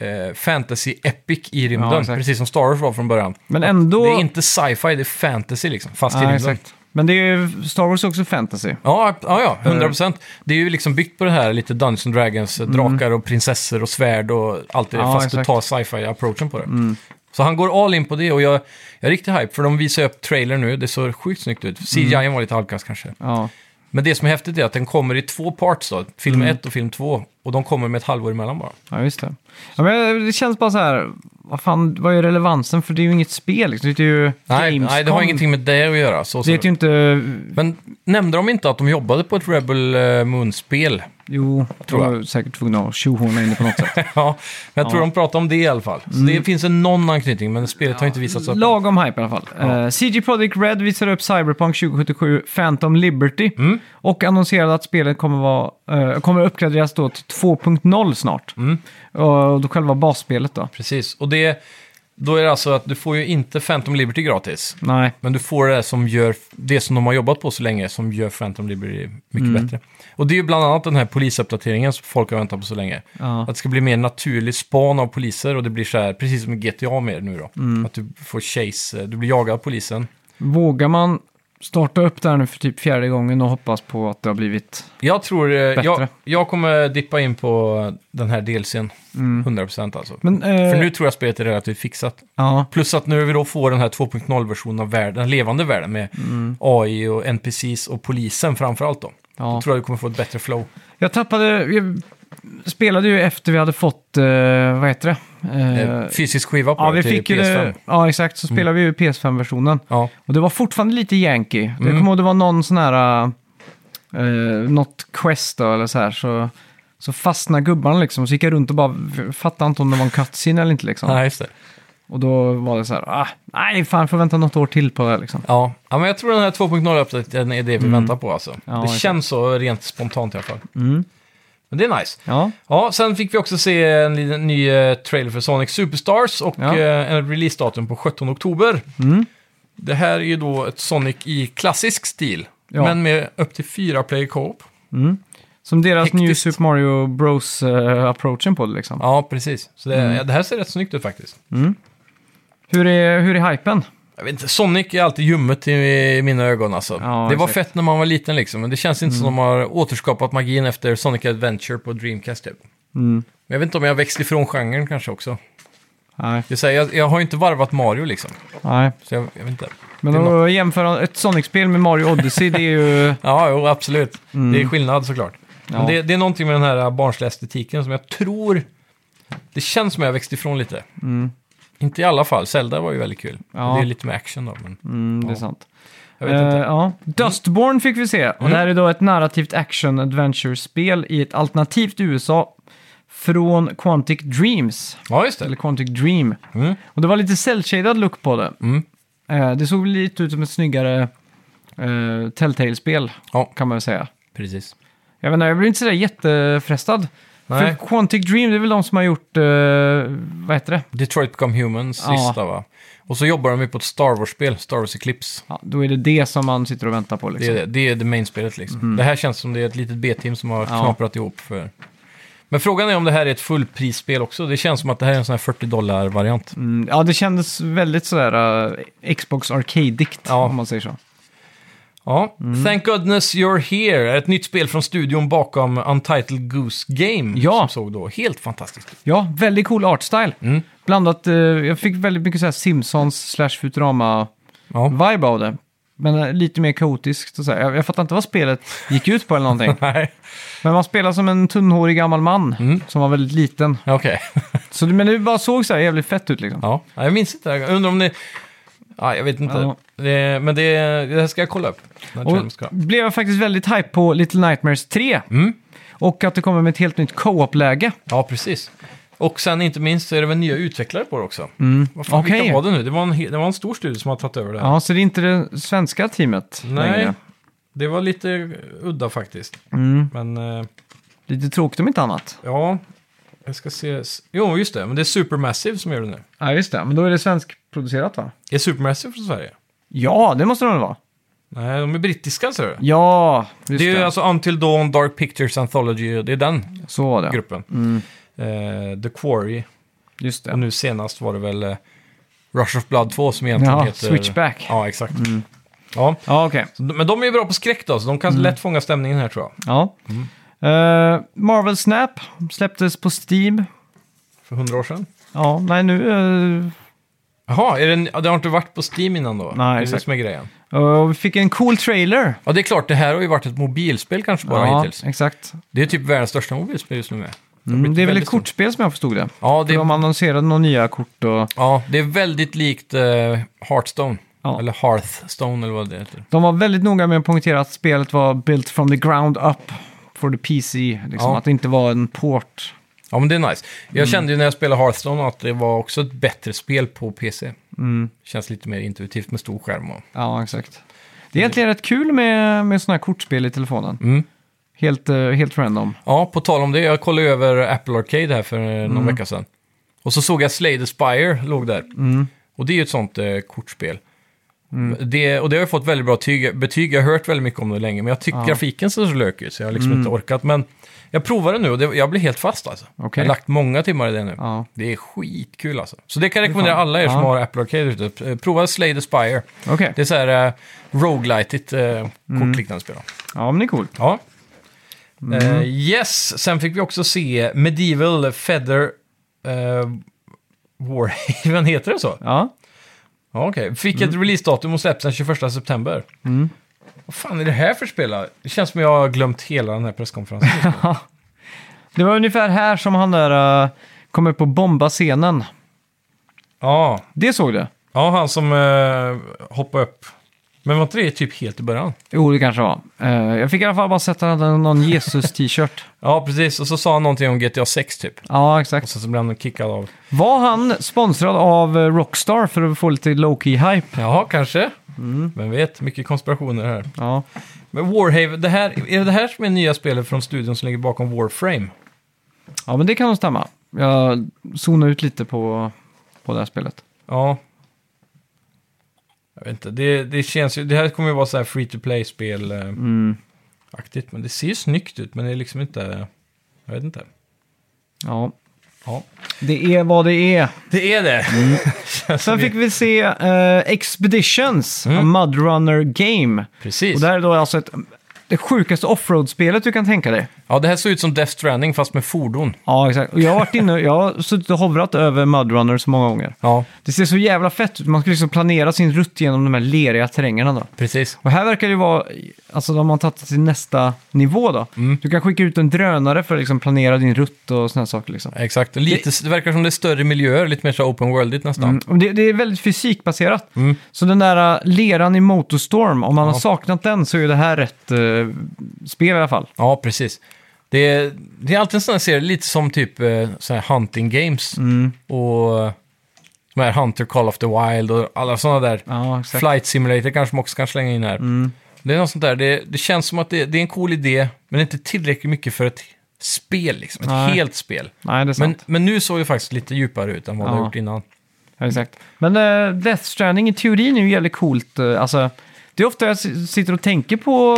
Speaker 2: eh, fantasy-epic i
Speaker 1: Ja,
Speaker 2: rymden.
Speaker 1: exakt.
Speaker 2: precis som Star Wars var från början.
Speaker 1: Men ändå...
Speaker 2: Det är inte sci-fi, det är fantasy liksom. Fast i
Speaker 1: Nej,
Speaker 2: rymden.
Speaker 1: exakt. Men det är ju- Star Wars är också fantasy.
Speaker 2: Ja, ja, ja,
Speaker 1: Eh.
Speaker 2: 100 procent. Det är ju liksom byggt på det här lite Dungeons and Dragons, eh, drakar och prinsessor och svärd och allt det,
Speaker 1: Mm. Ja,
Speaker 2: fast du
Speaker 1: exakt. Mm.
Speaker 2: tar sci-fi-approachen på det. Så han går all in på det och jag, jag är riktigt hype, för de visar ju upp trailer nu, det ser sjukt snyggt ut. CGI mm. var lite halvkass kanske.
Speaker 1: Ja.
Speaker 2: Men det som är häftigt är att den kommer i två parts då,
Speaker 1: Mm.
Speaker 2: film 1 och film 2, och de kommer med ett halvår emellan bara.
Speaker 1: Ja, just det. Ja, men det känns bara så här, vad fan, vad är relevansen? För det är ju inget spel liksom. Det är ju
Speaker 2: Nej, nej, det har
Speaker 1: Gamescom.
Speaker 2: ingenting med det att göra. Så,
Speaker 1: Det
Speaker 2: så.
Speaker 1: är typ- ju inte...
Speaker 2: Men nämnde de inte att de jobbade på ett Rebel eh, Moon-spel?
Speaker 1: Jo,
Speaker 2: Tror
Speaker 1: tror
Speaker 2: jag.
Speaker 1: jag. säkert tvungna att tjohorna in det på något sätt.
Speaker 2: ja, men jag tror de pratade om det i alla fall. Så det finns en någon anknytning, men spelet har inte visats upp.
Speaker 1: Lagom hype i alla fall. Eh, CG Projekt Red visade upp Cyberpunk 2077 Phantom Liberty
Speaker 2: Mm.
Speaker 1: och annonserade att spelet kommer, vara, eh, kommer uppgraderas då till 2.0 snart.
Speaker 2: Mm.
Speaker 1: Och då själva basspelet då.
Speaker 2: Precis, och det, då är det alltså att du får ju inte Phantom Liberty gratis.
Speaker 1: Nej,
Speaker 2: Men du får det som gör, det som de har jobbat på så länge, som gör Phantom Liberty mycket bättre. Och det är ju bland annat den här polisuppdateringen som folk har väntat på så länge.
Speaker 1: Ja.
Speaker 2: Att det ska bli mer naturlig span av poliser och det blir så här, precis som i GTA mer nu då. Att du får chase, eh, du blir jagad av polisen.
Speaker 1: vågar man starta upp där nu för typ fjärde gången och hoppas på att det har blivit...
Speaker 2: Jag tror, eh, jag,
Speaker 1: Bättre.
Speaker 2: jag kommer dippa in på den här delsen 100% alltså.
Speaker 1: Men, eh,
Speaker 2: För nu tror jag spelet är relativt fixat.
Speaker 1: Ja,
Speaker 2: Plus att nu vi då får den här 2.0-versionen av världen, den levande världen med
Speaker 1: Mm.
Speaker 2: AI och NPCs och polisen framförallt då.
Speaker 1: ja.
Speaker 2: Då tror jag vi kommer få ett bättre flow.
Speaker 1: Jag tappade... Jag spelade ju efter vi hade fått, eh, vad heter det? Eh,
Speaker 2: Eh, Fysisk skiva på
Speaker 1: ja,
Speaker 2: det
Speaker 1: vi
Speaker 2: till
Speaker 1: fick ju
Speaker 2: PS5.
Speaker 1: det, Ja, exakt.
Speaker 2: Mm.
Speaker 1: Så spelade vi ju PS5-versionen.
Speaker 2: Ja,
Speaker 1: Och det var fortfarande lite yankee. Jag kommer ihåg det var någon sån här... eh, något quest då, eller så här. Så, så fastnade gubbarna liksom. Så gick jag runt och bara v- fattade inte om det var en cutscene eller inte liksom.
Speaker 2: nej just det.
Speaker 1: Och då var det så här, ah, nej fan får vänta något år till på det här, liksom.
Speaker 2: Ja. ja, men jag tror den här 2.0-uppdateringen är det vi väntar på alltså.
Speaker 1: Mm. Ja,
Speaker 2: det
Speaker 1: exakt.
Speaker 2: känns så rent spontant i alla fall.
Speaker 1: Mm.
Speaker 2: Men det är nice.
Speaker 1: Ja,
Speaker 2: Ja, sen fick vi också se en liten ny eh, trailer för Sonic Superstars och
Speaker 1: Ja.
Speaker 2: eh, en releasedatum på 17 oktober.
Speaker 1: Mm.
Speaker 2: Det här är ju då ett Sonic i klassisk stil,
Speaker 1: Ja.
Speaker 2: men med upp till fyra player co-op.
Speaker 1: Mm. som deras New
Speaker 2: Hektiskt.
Speaker 1: Super Mario Bros-approachen på det liksom.
Speaker 2: Ja, precis. Så det, det här ser rätt snyggt ut faktiskt.
Speaker 1: Hur, är, hur är hypen?
Speaker 2: Jag vet inte, Sonic är alltid ljummet i mina ögon alltså.
Speaker 1: Ja,
Speaker 2: det var
Speaker 1: exakt.
Speaker 2: fett när man var liten liksom, men det känns inte som de har återskapat magin efter Sonic Adventure på Dreamcast typ.
Speaker 1: Mm.
Speaker 2: Men jag vet inte om jag växt ifrån genren kanske också.
Speaker 1: Nej,
Speaker 2: Jag, säger, jag, jag har ju inte varvat Mario liksom,
Speaker 1: nej.
Speaker 2: så jag, jag vet inte. Det är
Speaker 1: Men att jämföra ett Sonic-spel med Mario Odyssey, det är ju...
Speaker 2: Ja, jo, absolut. Det är skillnad såklart. Men
Speaker 1: Mm. Ja.
Speaker 2: det, det är någonting med den här äh, barnsliga estetiken som jag tror... Det känns som jag växte ifrån lite. Inte i alla fall. Zelda var ju väldigt kul.
Speaker 1: Mm. Ja.
Speaker 2: Det är lite med action då, men
Speaker 1: Mm, det är sant.
Speaker 2: jag vet inte. Mm.
Speaker 1: Eh, ja. Dustborn fick vi se. Och det här är då ett narrativt action-adventure-spel i ett alternativt USA från Quantic Dreams.
Speaker 2: Ja, just
Speaker 1: Eller
Speaker 2: det.
Speaker 1: Quantic Dream.
Speaker 2: Mm.
Speaker 1: Och det var lite cell-shaded look på det.
Speaker 2: Mm.
Speaker 1: Eh, det såg lite ut som ett snyggare uh, Telltale-spel,
Speaker 2: Ja.
Speaker 1: kan man väl säga.
Speaker 2: Precis.
Speaker 1: Jag menar, jag blir inte sådär jättefrestad.
Speaker 2: Nej.
Speaker 1: För Quantic Dream, det är väl de som har gjort, eh, vad heter det?
Speaker 2: Detroit Become Human
Speaker 1: Ja.
Speaker 2: sista, va? Och så jobbar de ju på ett Star Wars-spel, Star Wars Eclipse.
Speaker 1: Ja, då är det det som man sitter och väntar på
Speaker 2: Det
Speaker 1: liksom.
Speaker 2: är det, det, är det main-spelet liksom.
Speaker 1: Mhm.
Speaker 2: Det här känns som det är ett litet B-team som har knaprat ihop för... Men frågan är om det här är ett fullprisspel också. Det känns som att det här är en sån här 40 dollar-variant.
Speaker 1: Mm, ja, det kändes väldigt sådär eh, Xbox Arcade-digt,
Speaker 2: Ja.
Speaker 1: om man säger så.
Speaker 2: Ja,
Speaker 1: Mm.
Speaker 2: Thank Goodness You're Here är ett nytt spel från studion bakom Untitled Goose Game.
Speaker 1: Ja.
Speaker 2: Som såg då helt fantastiskt ut.
Speaker 1: Ja, väldigt cool artstyle.
Speaker 2: Mm.
Speaker 1: Blandat, eh, jag fick väldigt mycket så här Simpsons slash Futurama-vibe
Speaker 2: Ja.
Speaker 1: av det. Men eh, lite mer kaotiskt och så här. Jag, jag fattar inte vad spelet gick ut på eller någonting.
Speaker 2: Nej,
Speaker 1: Men man spelar som en tunnhårig gammal man som var väldigt liten.
Speaker 2: okej.
Speaker 1: Så, det- men det bara såg så här jävligt fett ut liksom.
Speaker 2: Ja. Ja, jag minns inte. det här. Jag undrar om det... Ja, jag vet inte.
Speaker 1: Ja.
Speaker 2: Det, men det, det här ska jag kolla upp. När trailern ska.
Speaker 1: och blev jag faktiskt väldigt hype på Little Nightmares 3. Och att det kommer med ett helt nytt co-op-läge.
Speaker 2: Ja, precis. Och sen inte minst så är det väl nya utvecklare på det också. Vad fan,
Speaker 1: Mm. Okej.
Speaker 2: Vilka var det nu? Det var, en, he- det var en stor studio som har tagit över det här.
Speaker 1: Ja, så det är inte det svenska teamet
Speaker 2: Nej,
Speaker 1: längre.
Speaker 2: det var lite udda faktiskt.
Speaker 1: Mm.
Speaker 2: Men... eh,
Speaker 1: Lite tråkigt om inte annat.
Speaker 2: Ja, jag ska se. Jo, just det. Men det är Supermassive som gör det nu.
Speaker 1: Ja, just det. Men då är det svenskproducerat va?
Speaker 2: Är Supermassive från Sverige?
Speaker 1: Ja, det måste det väl vara?
Speaker 2: Nej, de är brittiska, ser du.
Speaker 1: Ja, just
Speaker 2: Det är
Speaker 1: det.
Speaker 2: ju alltså Until Dawn, Dark Pictures Anthology, det är den
Speaker 1: Så var det.
Speaker 2: gruppen.
Speaker 1: Mm,
Speaker 2: Eh, The Quarry,
Speaker 1: just
Speaker 2: och
Speaker 1: det.
Speaker 2: nu senast var det väl eh, Rush of Blood 2 som egentligen
Speaker 1: Ja, Mm.
Speaker 2: heter...
Speaker 1: Switchback.
Speaker 2: Ja, exakt. Ja,
Speaker 1: Ja, okej.
Speaker 2: så de- men de är ju bra på skräck då, så de kan
Speaker 1: Mm.
Speaker 2: lätt fånga stämningen här tror jag.
Speaker 1: Ja. Eh, Marvel Snap släpptes på Steam.
Speaker 2: För hundra år sedan.
Speaker 1: Ja, nej nu... eh,
Speaker 2: Jaha, är det, en- ja, det har inte varit på Steam innan då?
Speaker 1: Nej,
Speaker 2: det är det
Speaker 1: exakt.
Speaker 2: som är grejen.
Speaker 1: eh, vi fick en cool trailer.
Speaker 2: Ja, det är klart, det här har ju varit ett mobilspel kanske bara
Speaker 1: ja,
Speaker 2: hittills.
Speaker 1: exakt.
Speaker 2: Det är typ världens största mobilspel just nu med.
Speaker 1: Mm, det är väl ett
Speaker 2: väldigt stort.
Speaker 1: kortspel som jag förstod det.
Speaker 2: Ja,
Speaker 1: För
Speaker 2: det,
Speaker 1: De annonserade några nya kort och
Speaker 2: ja, det är väldigt likt eh, Hearthstone.
Speaker 1: Ja.
Speaker 2: Eller Hearthstone eller vad det heter.
Speaker 1: de var väldigt noga med att poängtera att spelet var built from the ground up for the PC. Liksom,
Speaker 2: Ja.
Speaker 1: Att det inte var en port.
Speaker 2: Ja, men det är nice. Jag kände ju när jag spelade Hearthstone att det var också ett bättre spel på PC. Känns lite mer intuitivt med stor skärm och...
Speaker 1: Mm. Ja, exakt. Det är egentligen rätt kul med, med sådana här kortspel i telefonen.
Speaker 2: Mm.
Speaker 1: Helt, eh, helt random.
Speaker 2: Ja, på tal om det, jag kollade över Apple Arcade här för eh, någon vecka sedan. Och så såg jag Slay the Spire låg där. Och det är ju ett sånt eh, kortspel. Det, och det har ju fått väldigt bra tyg, betyg, jag har hört väldigt mycket om det länge, men jag tycker grafiken ser så lök ut så jag har liksom inte orkat. Men jag provar det nu och det, jag blir helt fast alltså.
Speaker 1: Okej.
Speaker 2: Jag har lagt många timmar i det nu.
Speaker 1: Ja.
Speaker 2: Det är skitkul alltså. Så det kan jag rekommendera alla er som
Speaker 1: Ja.
Speaker 2: har Apple Arcade ute. Eh, Prova Slay the Spire.
Speaker 1: Okej.
Speaker 2: Det är så här eh, roguelightigt eh,
Speaker 1: Mm.
Speaker 2: kortliknande spel.
Speaker 1: Ja, men det är coolt.
Speaker 2: Ja.
Speaker 1: Mm.
Speaker 2: Eh, yes, sen fick vi också se Medieval Feather eh, Warhaven, heter det så?
Speaker 1: Ja.
Speaker 2: Ja, okej. Fick ett releasedatum och släpps den 21 september.
Speaker 1: Mm.
Speaker 2: Vad fan är det här för spel? då? Det känns som jag har glömt hela den här presskonferensen.
Speaker 1: Det var ungefär här som han där eh, kom upp och bomba scenen.
Speaker 2: ja.
Speaker 1: Det såg du?
Speaker 2: ja, han som uh, hoppade upp. Men var inte det typ helt i början?
Speaker 1: Jo, det kanske var. Eh, jag fick i alla fall bara sätta hade någon Jesus-t-shirt.
Speaker 2: Ja, precis. Och så sa han någonting om GTA 6 typ.
Speaker 1: ja,
Speaker 2: Och
Speaker 1: exakt.
Speaker 2: sen så blev han kickad av.
Speaker 1: Var han sponsrad av eh, Rockstar för att få lite low-key hype?
Speaker 2: Jaha, kanske. Vem vet, mycket konspirationer här.
Speaker 1: Ja.
Speaker 2: Men Warhaven, det här, är det det här som är nya spelet från studion som ligger bakom Warframe?
Speaker 1: ja, men det kan nog stämma. Jag zonade ut lite på, på det här spelet.
Speaker 2: Ja. Jag vet inte, det, det känns ju, det här kommer ju vara så här free to play-spel eh, aktigt. Men det ser ju snyggt ut, men det är liksom inte, jag vet inte.
Speaker 1: Ja,
Speaker 2: Ja. Mm.
Speaker 1: det är vad det är.
Speaker 2: Det är det!
Speaker 1: Sen fick vi se eh, Expeditions,
Speaker 2: Mm.
Speaker 1: a Mudrunner Game.
Speaker 2: Precis.
Speaker 1: Och det här är då alltså ett, det sjukaste offroad-spelet du kan tänka dig.
Speaker 2: Ja, det här såg ut som Death Stranding fast med fordon.
Speaker 1: Ja, exakt. Och jag har varit inne, jag har suttit och hovrat över Mudrunner så många gånger.
Speaker 2: Ja,
Speaker 1: Det ser så jävla fett ut. Man ska liksom planera sin rutt genom de här leriga terrängerna då.
Speaker 2: precis.
Speaker 1: Och här verkar det ju vara, alltså de har tagit det till nästa nivå då. Du kan skicka ut en drönare för att liksom planera din rutt och sådana saker liksom.
Speaker 2: Exakt, lite, det verkar som det är större miljöer, lite mer så här open worldigt nästan.
Speaker 1: Mm. Och Det, det är väldigt fysikbaserat. Så den där äh, leran i Motorstorm, om man har saknat den så är det här rätt eh, spel i alla fall.
Speaker 2: Ja, precis. Det är, det är alltid en sån här serie, lite som typ eh, så här hunting games.
Speaker 1: Mm.
Speaker 2: Och eh, de här Hunter Call of the Wild och alla sådana där.
Speaker 1: Ja, exakt. Mm.
Speaker 2: Flight Simulator kanske man också kan slänga in här. Det är något sånt där, det, det känns som att det, det är en cool idé, men inte tillräckligt mycket för ett spel, liksom. Ett
Speaker 1: Nej.
Speaker 2: helt spel.
Speaker 1: Nej, det är
Speaker 2: Men,
Speaker 1: sant.
Speaker 2: men nu såg det faktiskt lite djupare ut än vad det
Speaker 1: Ja.
Speaker 2: har gjort innan.
Speaker 1: Men, exakt. Men eh, Death Stranding i teorin är ju jävligt coolt. eh, alltså, det är ofta jag s- sitter och tänker på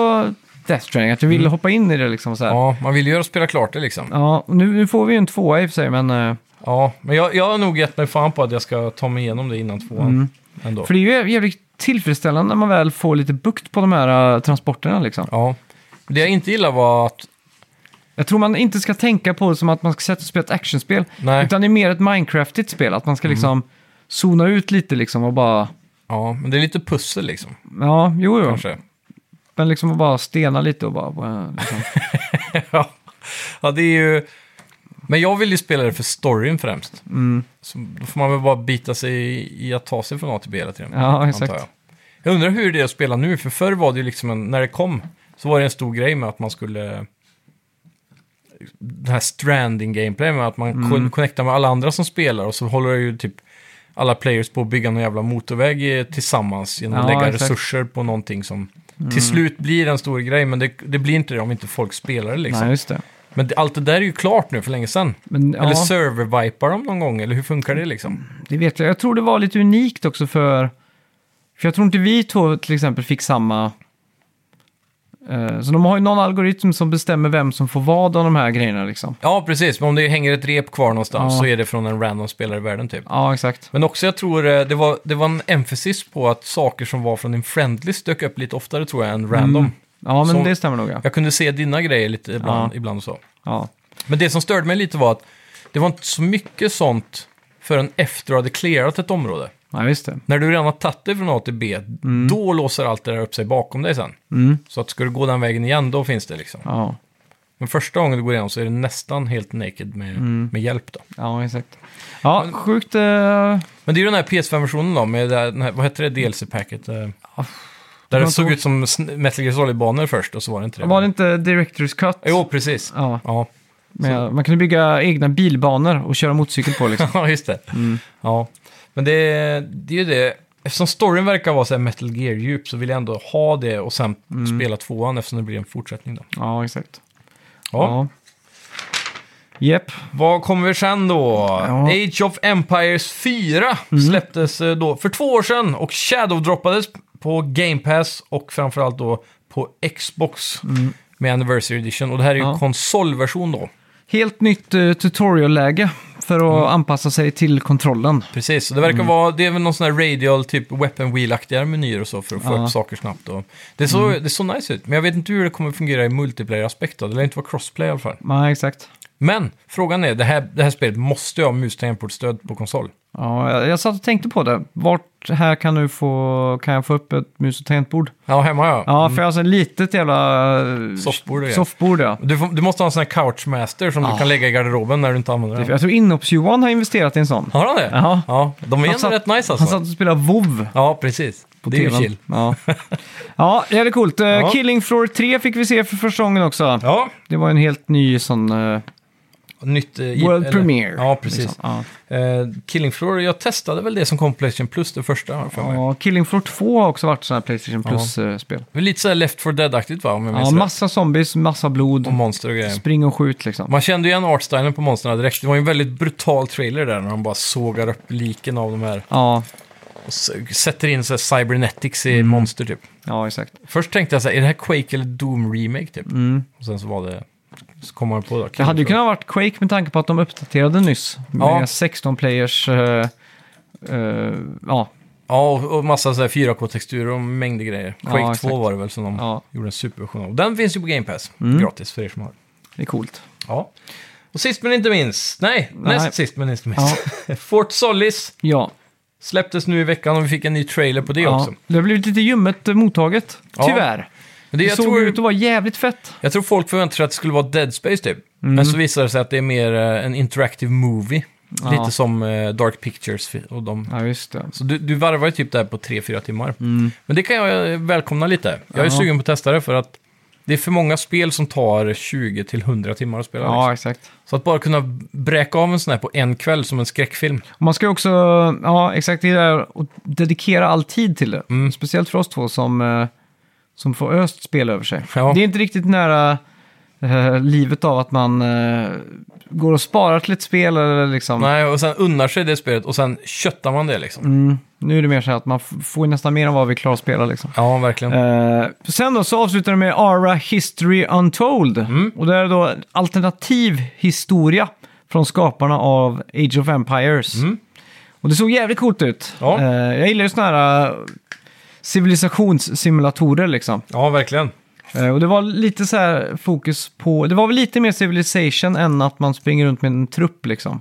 Speaker 1: Death Stranding, att jag vill hoppa in i det liksom så här. Ja.
Speaker 2: Mm. Ja, man vill ju göra spela klart det liksom.
Speaker 1: och nu, nu får vi ju en tvåa i och för sig, men... eh,
Speaker 2: Ja, men jag, jag har nog gett mig fan på att jag ska ta mig igenom det innan tvåan. Ändå.
Speaker 1: Mm. För det är ju jävligt tillfredsställande när man väl får lite bukt på de här eh, transporterna liksom.
Speaker 2: Ja. Det jag inte gillar var att
Speaker 1: Jag tror man inte ska tänka på det som att man ska sätta och spela ett actionspel.
Speaker 2: Nej. Mm.
Speaker 1: Utan det är mer ett Minecraftigt spel. Att man ska liksom zona ut lite liksom och bara...
Speaker 2: Ja, men det är lite pussel liksom,
Speaker 1: Ja, jo, jo.
Speaker 2: kanske.
Speaker 1: Men liksom att bara stena lite och bara... eh, Liksom.
Speaker 2: ja. ja, det är ju... Men jag vill ju spela det för storyn främst.
Speaker 1: Mm.
Speaker 2: Så då får man väl bara bita sig i- i att ta sig från A till B hela tiden.
Speaker 1: Ja, exakt.
Speaker 2: antar Jag. jag undrar hur det är att spela nu, för förr var det ju liksom en, när det kom, så var det en stor grej med att man skulle... Den här stranding gameplay med att man mm. connectar med alla andra som spelar och så håller ju typ alla players på att bygga någon jävla motorväg eh, tillsammans genom att
Speaker 1: Ja,
Speaker 2: lägga
Speaker 1: exakt. Mm.
Speaker 2: resurser på någonting som till slut blir en stor grej, men det, det blir inte det om inte folk spelar det liksom.
Speaker 1: Nej, just det.
Speaker 2: Men det, allt det där är ju klart nu för länge sedan.
Speaker 1: Men ja,
Speaker 2: Eller server-vipar de någon gång, eller hur funkar det liksom?
Speaker 1: det vet jag. Jag tror det var lite unikt också för... För jag tror inte vi två till exempel fick samma... eh, Så de har ju någon algoritm som bestämmer vem som får vad av de här grejerna liksom.
Speaker 2: Ja, precis. Men om det hänger ett rep kvar någonstans
Speaker 1: Ja.
Speaker 2: så är det från en random spelare i världen typ.
Speaker 1: Ja, exakt.
Speaker 2: Men också jag tror eh, det var, det var en emphasis på att saker som var från din friendlist dök upp lite oftare tror jag
Speaker 1: Mm.
Speaker 2: än random.
Speaker 1: Ja, men
Speaker 2: Som-
Speaker 1: det stämmer nog ja.
Speaker 2: Jag kunde se dina grejer lite ibland,
Speaker 1: Ja.
Speaker 2: ibland och så.
Speaker 1: ja.
Speaker 2: Men det som störde mig lite var att det var inte så mycket sånt förrän efter du hade clearat ett område.
Speaker 1: Ja, just det.
Speaker 2: När du redan har tagit dig från A till B,
Speaker 1: Mm.
Speaker 2: då låser allt det där upp sig bakom dig sen. Så att ska du gå den vägen igen, då finns det liksom.
Speaker 1: Ja.
Speaker 2: Men första gången du går igenom så är det nästan helt naked med,
Speaker 1: Mm.
Speaker 2: med hjälp då.
Speaker 1: Ja, exakt. Ja, sjukt... eh,
Speaker 2: Men det är ju den här PS5-versionen då, med det här- den här, vad hette det, DLC-packet? eh, Där
Speaker 1: kommer
Speaker 2: det såg
Speaker 1: inte
Speaker 2: ut som sn- Metal Gear Solid-banor först och så var det inte det.
Speaker 1: Var det inte Directors Cut?
Speaker 2: Jo, precis.
Speaker 1: Ja,
Speaker 2: Ja,
Speaker 1: men man kunde bygga egna bilbanor och köra motorcykel på liksom.
Speaker 2: ja just det. Ja. Men det, det är ju det. Eftersom storyn verkar vara så här Metal Gear-djup så vill jag ändå ha det och sen spela tvåan eftersom det blir en fortsättning då.
Speaker 1: Ja, exakt.
Speaker 2: Ja.
Speaker 1: Jep.
Speaker 2: Vad kommer vi sen då?
Speaker 1: Ja. Mm.
Speaker 2: Age of Empires 4 släpptes eh, då för två år sedan och shadow-droppades på Game Pass och framförallt då på Xbox med Anniversary Edition. Och det här är ju
Speaker 1: Mm. Ja.
Speaker 2: konsolversion då.
Speaker 1: Helt nytt eh, tutorial-läge för att
Speaker 2: Mm.
Speaker 1: anpassa sig till kontrollen.
Speaker 2: Precis, så det
Speaker 1: Mm.
Speaker 2: verkar vara, det är väl någon sån här radial, typ weapon wheel-aktigare menyer och så för att få
Speaker 1: Ja. Mm.
Speaker 2: upp saker snabbt. Och det, såg, det såg nice ut, men jag vet inte hur det kommer fungera i multiplayer-aspekt då. Det lär inte vara crossplay i alla fall.
Speaker 1: Ja, exakt.
Speaker 2: Men frågan är, det här, det här spelet måste ju ha mus stöd på konsol.
Speaker 1: Ja, jag, jag satt och tänkte på det. Vart här kan, du få, kan jag få upp ett mus och tangentbord?
Speaker 2: Ja, hemma ja.
Speaker 1: Ja, för jag har så ett litet jävla... eh,
Speaker 2: Mm. Soffbord och
Speaker 1: Soffbord, ja.
Speaker 2: Du, får, du måste ha en sån här couchmaster som du
Speaker 1: Ja.
Speaker 2: kan lägga i garderoben när du inte använder den.
Speaker 1: Jag tror Inops-Johan har investerat i en sån.
Speaker 2: Har han det?
Speaker 1: Ja.
Speaker 2: Ja, de är
Speaker 1: Han
Speaker 2: ändå
Speaker 1: satt-
Speaker 2: rätt nice alltså.
Speaker 1: Han satt och spelade WoW
Speaker 2: ja, precis.
Speaker 1: på
Speaker 2: det är ju
Speaker 1: TVn.
Speaker 2: chill.
Speaker 1: Ja, ja det är coolt. Eh,
Speaker 2: Ja.
Speaker 1: Killing Floor 3 fick vi se för första gången också.
Speaker 2: Ja,
Speaker 1: Det var en helt ny sån... eh,
Speaker 2: nytt... eh, i-
Speaker 1: World
Speaker 2: eller-
Speaker 1: Premiere.
Speaker 2: Ja, precis.
Speaker 1: Liksom. Ja.
Speaker 2: Eh, Killing Floor, jag testade väl det som kom på Playstation Plus, det första har jag för mig.
Speaker 1: Ja, Killing Floor 2 har också varit sådana här Playstation eh, Plus-spel.
Speaker 2: Det är Lite såhär Left 4 Dead-aktigt va, om jag
Speaker 1: Ja,
Speaker 2: minns rätt.
Speaker 1: massa zombies, massa blod,
Speaker 2: Och monster och grejer.
Speaker 1: spring och skjut liksom.
Speaker 2: Man kände ju igen artstylen på monstren direkt. Det var ju en väldigt brutal trailer där när de bara sågar upp liken av de här.
Speaker 1: Ja,
Speaker 2: Och s- sätter in så här cybernetics
Speaker 1: Mm.
Speaker 2: i monster typ.
Speaker 1: ja exakt.
Speaker 2: Först tänkte jag så här, är det här Quake eller Doom Remake typ? Och sen så var det... Så kom man på då.
Speaker 1: Mm. Det hade ju kunnat varit Quake med tanke på att de uppdaterade nyss. Med
Speaker 2: Ja.
Speaker 1: 16 players... eh, eh, ja,
Speaker 2: Ja, och- och massa så här 4K-texturer och mängder grejer. Quake
Speaker 1: Ja,
Speaker 2: 2
Speaker 1: exakt.
Speaker 2: var det väl som de
Speaker 1: ja, Mm.
Speaker 2: gjorde en superversion av. Den finns ju på Game Pass, gratis för er som har.
Speaker 1: det är coolt.
Speaker 2: Ja. Och sist men inte minst, nej,
Speaker 1: Nej.
Speaker 2: näst sist men inte minst. Fort Solis
Speaker 1: Ja,
Speaker 2: släpptes nu i veckan och vi fick en ny trailer på det
Speaker 1: ja.
Speaker 2: också.
Speaker 1: det har blivit lite ljummet eh, mottaget,
Speaker 2: Ja.
Speaker 1: tyvärr.
Speaker 2: Men
Speaker 1: Det,
Speaker 2: det, jag,
Speaker 1: såg
Speaker 2: tror,
Speaker 1: ut att vara jävligt fett.
Speaker 2: jag tror folk förväntade sig att det skulle vara Dead Space typ.
Speaker 1: Mm.
Speaker 2: Men så visade det sig att det är mer eh, en interactive movie.
Speaker 1: Ja.
Speaker 2: Lite som eh, Dark Pictures och de
Speaker 1: Ja, just det. Mm.
Speaker 2: Så du, du varvar ju typ det här på 3-4 timmar. Men det kan jag eh, välkomna lite. Jag är sugen på att testa det för att det är för många spel som tar 20-100 timmar att spela.
Speaker 1: Ja,
Speaker 2: Liksom.
Speaker 1: exakt.
Speaker 2: Så att bara kunna bräka av en sån här på en kväll som en skräckfilm.
Speaker 1: Och Man ska ju också, ja exakt, det där att dedikera all tid till det.
Speaker 2: Mm.
Speaker 1: Speciellt för oss två som, eh, som får öst spel över sig.
Speaker 2: Ja.
Speaker 1: Det är inte riktigt nära eh, livet av att man eh, går och sparar till ett spel eller liksom.
Speaker 2: Nej, och sen unnar sig det spelet och sen köttar man det liksom.
Speaker 1: Mm, nu är det mer så här att man f- får ju nästan mer än vad vi klarar att spela liksom.
Speaker 2: Ja, verkligen.
Speaker 1: Eh, sen då så avslutar de med Ara History Untold.
Speaker 2: Mm.
Speaker 1: Och det är då en alternativ historia från skaparna av Age of Empires. Och det såg jävligt coolt ut.
Speaker 2: Mm. Ja.
Speaker 1: Eh, jag gillar ju sådana här eh, civilisationssimulatorer liksom.
Speaker 2: Ja, verkligen.
Speaker 1: Eh, och det var lite så här fokus på, det var väl lite mer civilization än att man springer runt med en trupp liksom.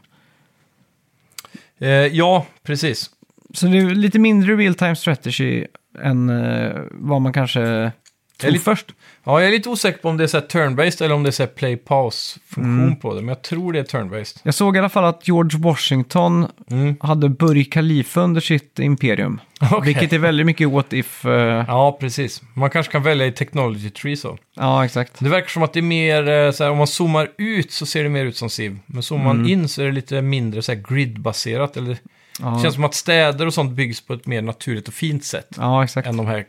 Speaker 2: Eh, ja, precis.
Speaker 1: Så det är lite mindre real time strategy än eh, vad man kanske tror
Speaker 2: lite-
Speaker 1: först.
Speaker 2: Ja, jag är lite osäker på om det är så här turn-based eller om det är så här play-pause-funktion
Speaker 1: Mm.
Speaker 2: på det. Men jag tror det är turn-based.
Speaker 1: Jag såg i alla fall att George Washington
Speaker 2: Mm.
Speaker 1: hade Burj Khalifa under sitt imperium.
Speaker 2: Okej.
Speaker 1: Vilket är väldigt mycket what if... eh, ja.
Speaker 2: Ja, precis. Man kanske kan välja i technology tree så.
Speaker 1: exakt.
Speaker 2: Det verkar som att det är mer, eh, så här, om man zoomar ut så ser det mer ut som Civ. Men zoomar man
Speaker 1: Mm.
Speaker 2: in så är det lite mindre så här gridbaserat. Eller, Det
Speaker 1: Ja,
Speaker 2: känns som att städer och sånt byggs på ett mer naturligt och fint sätt.
Speaker 1: ja exakt. Mm.
Speaker 2: Än de här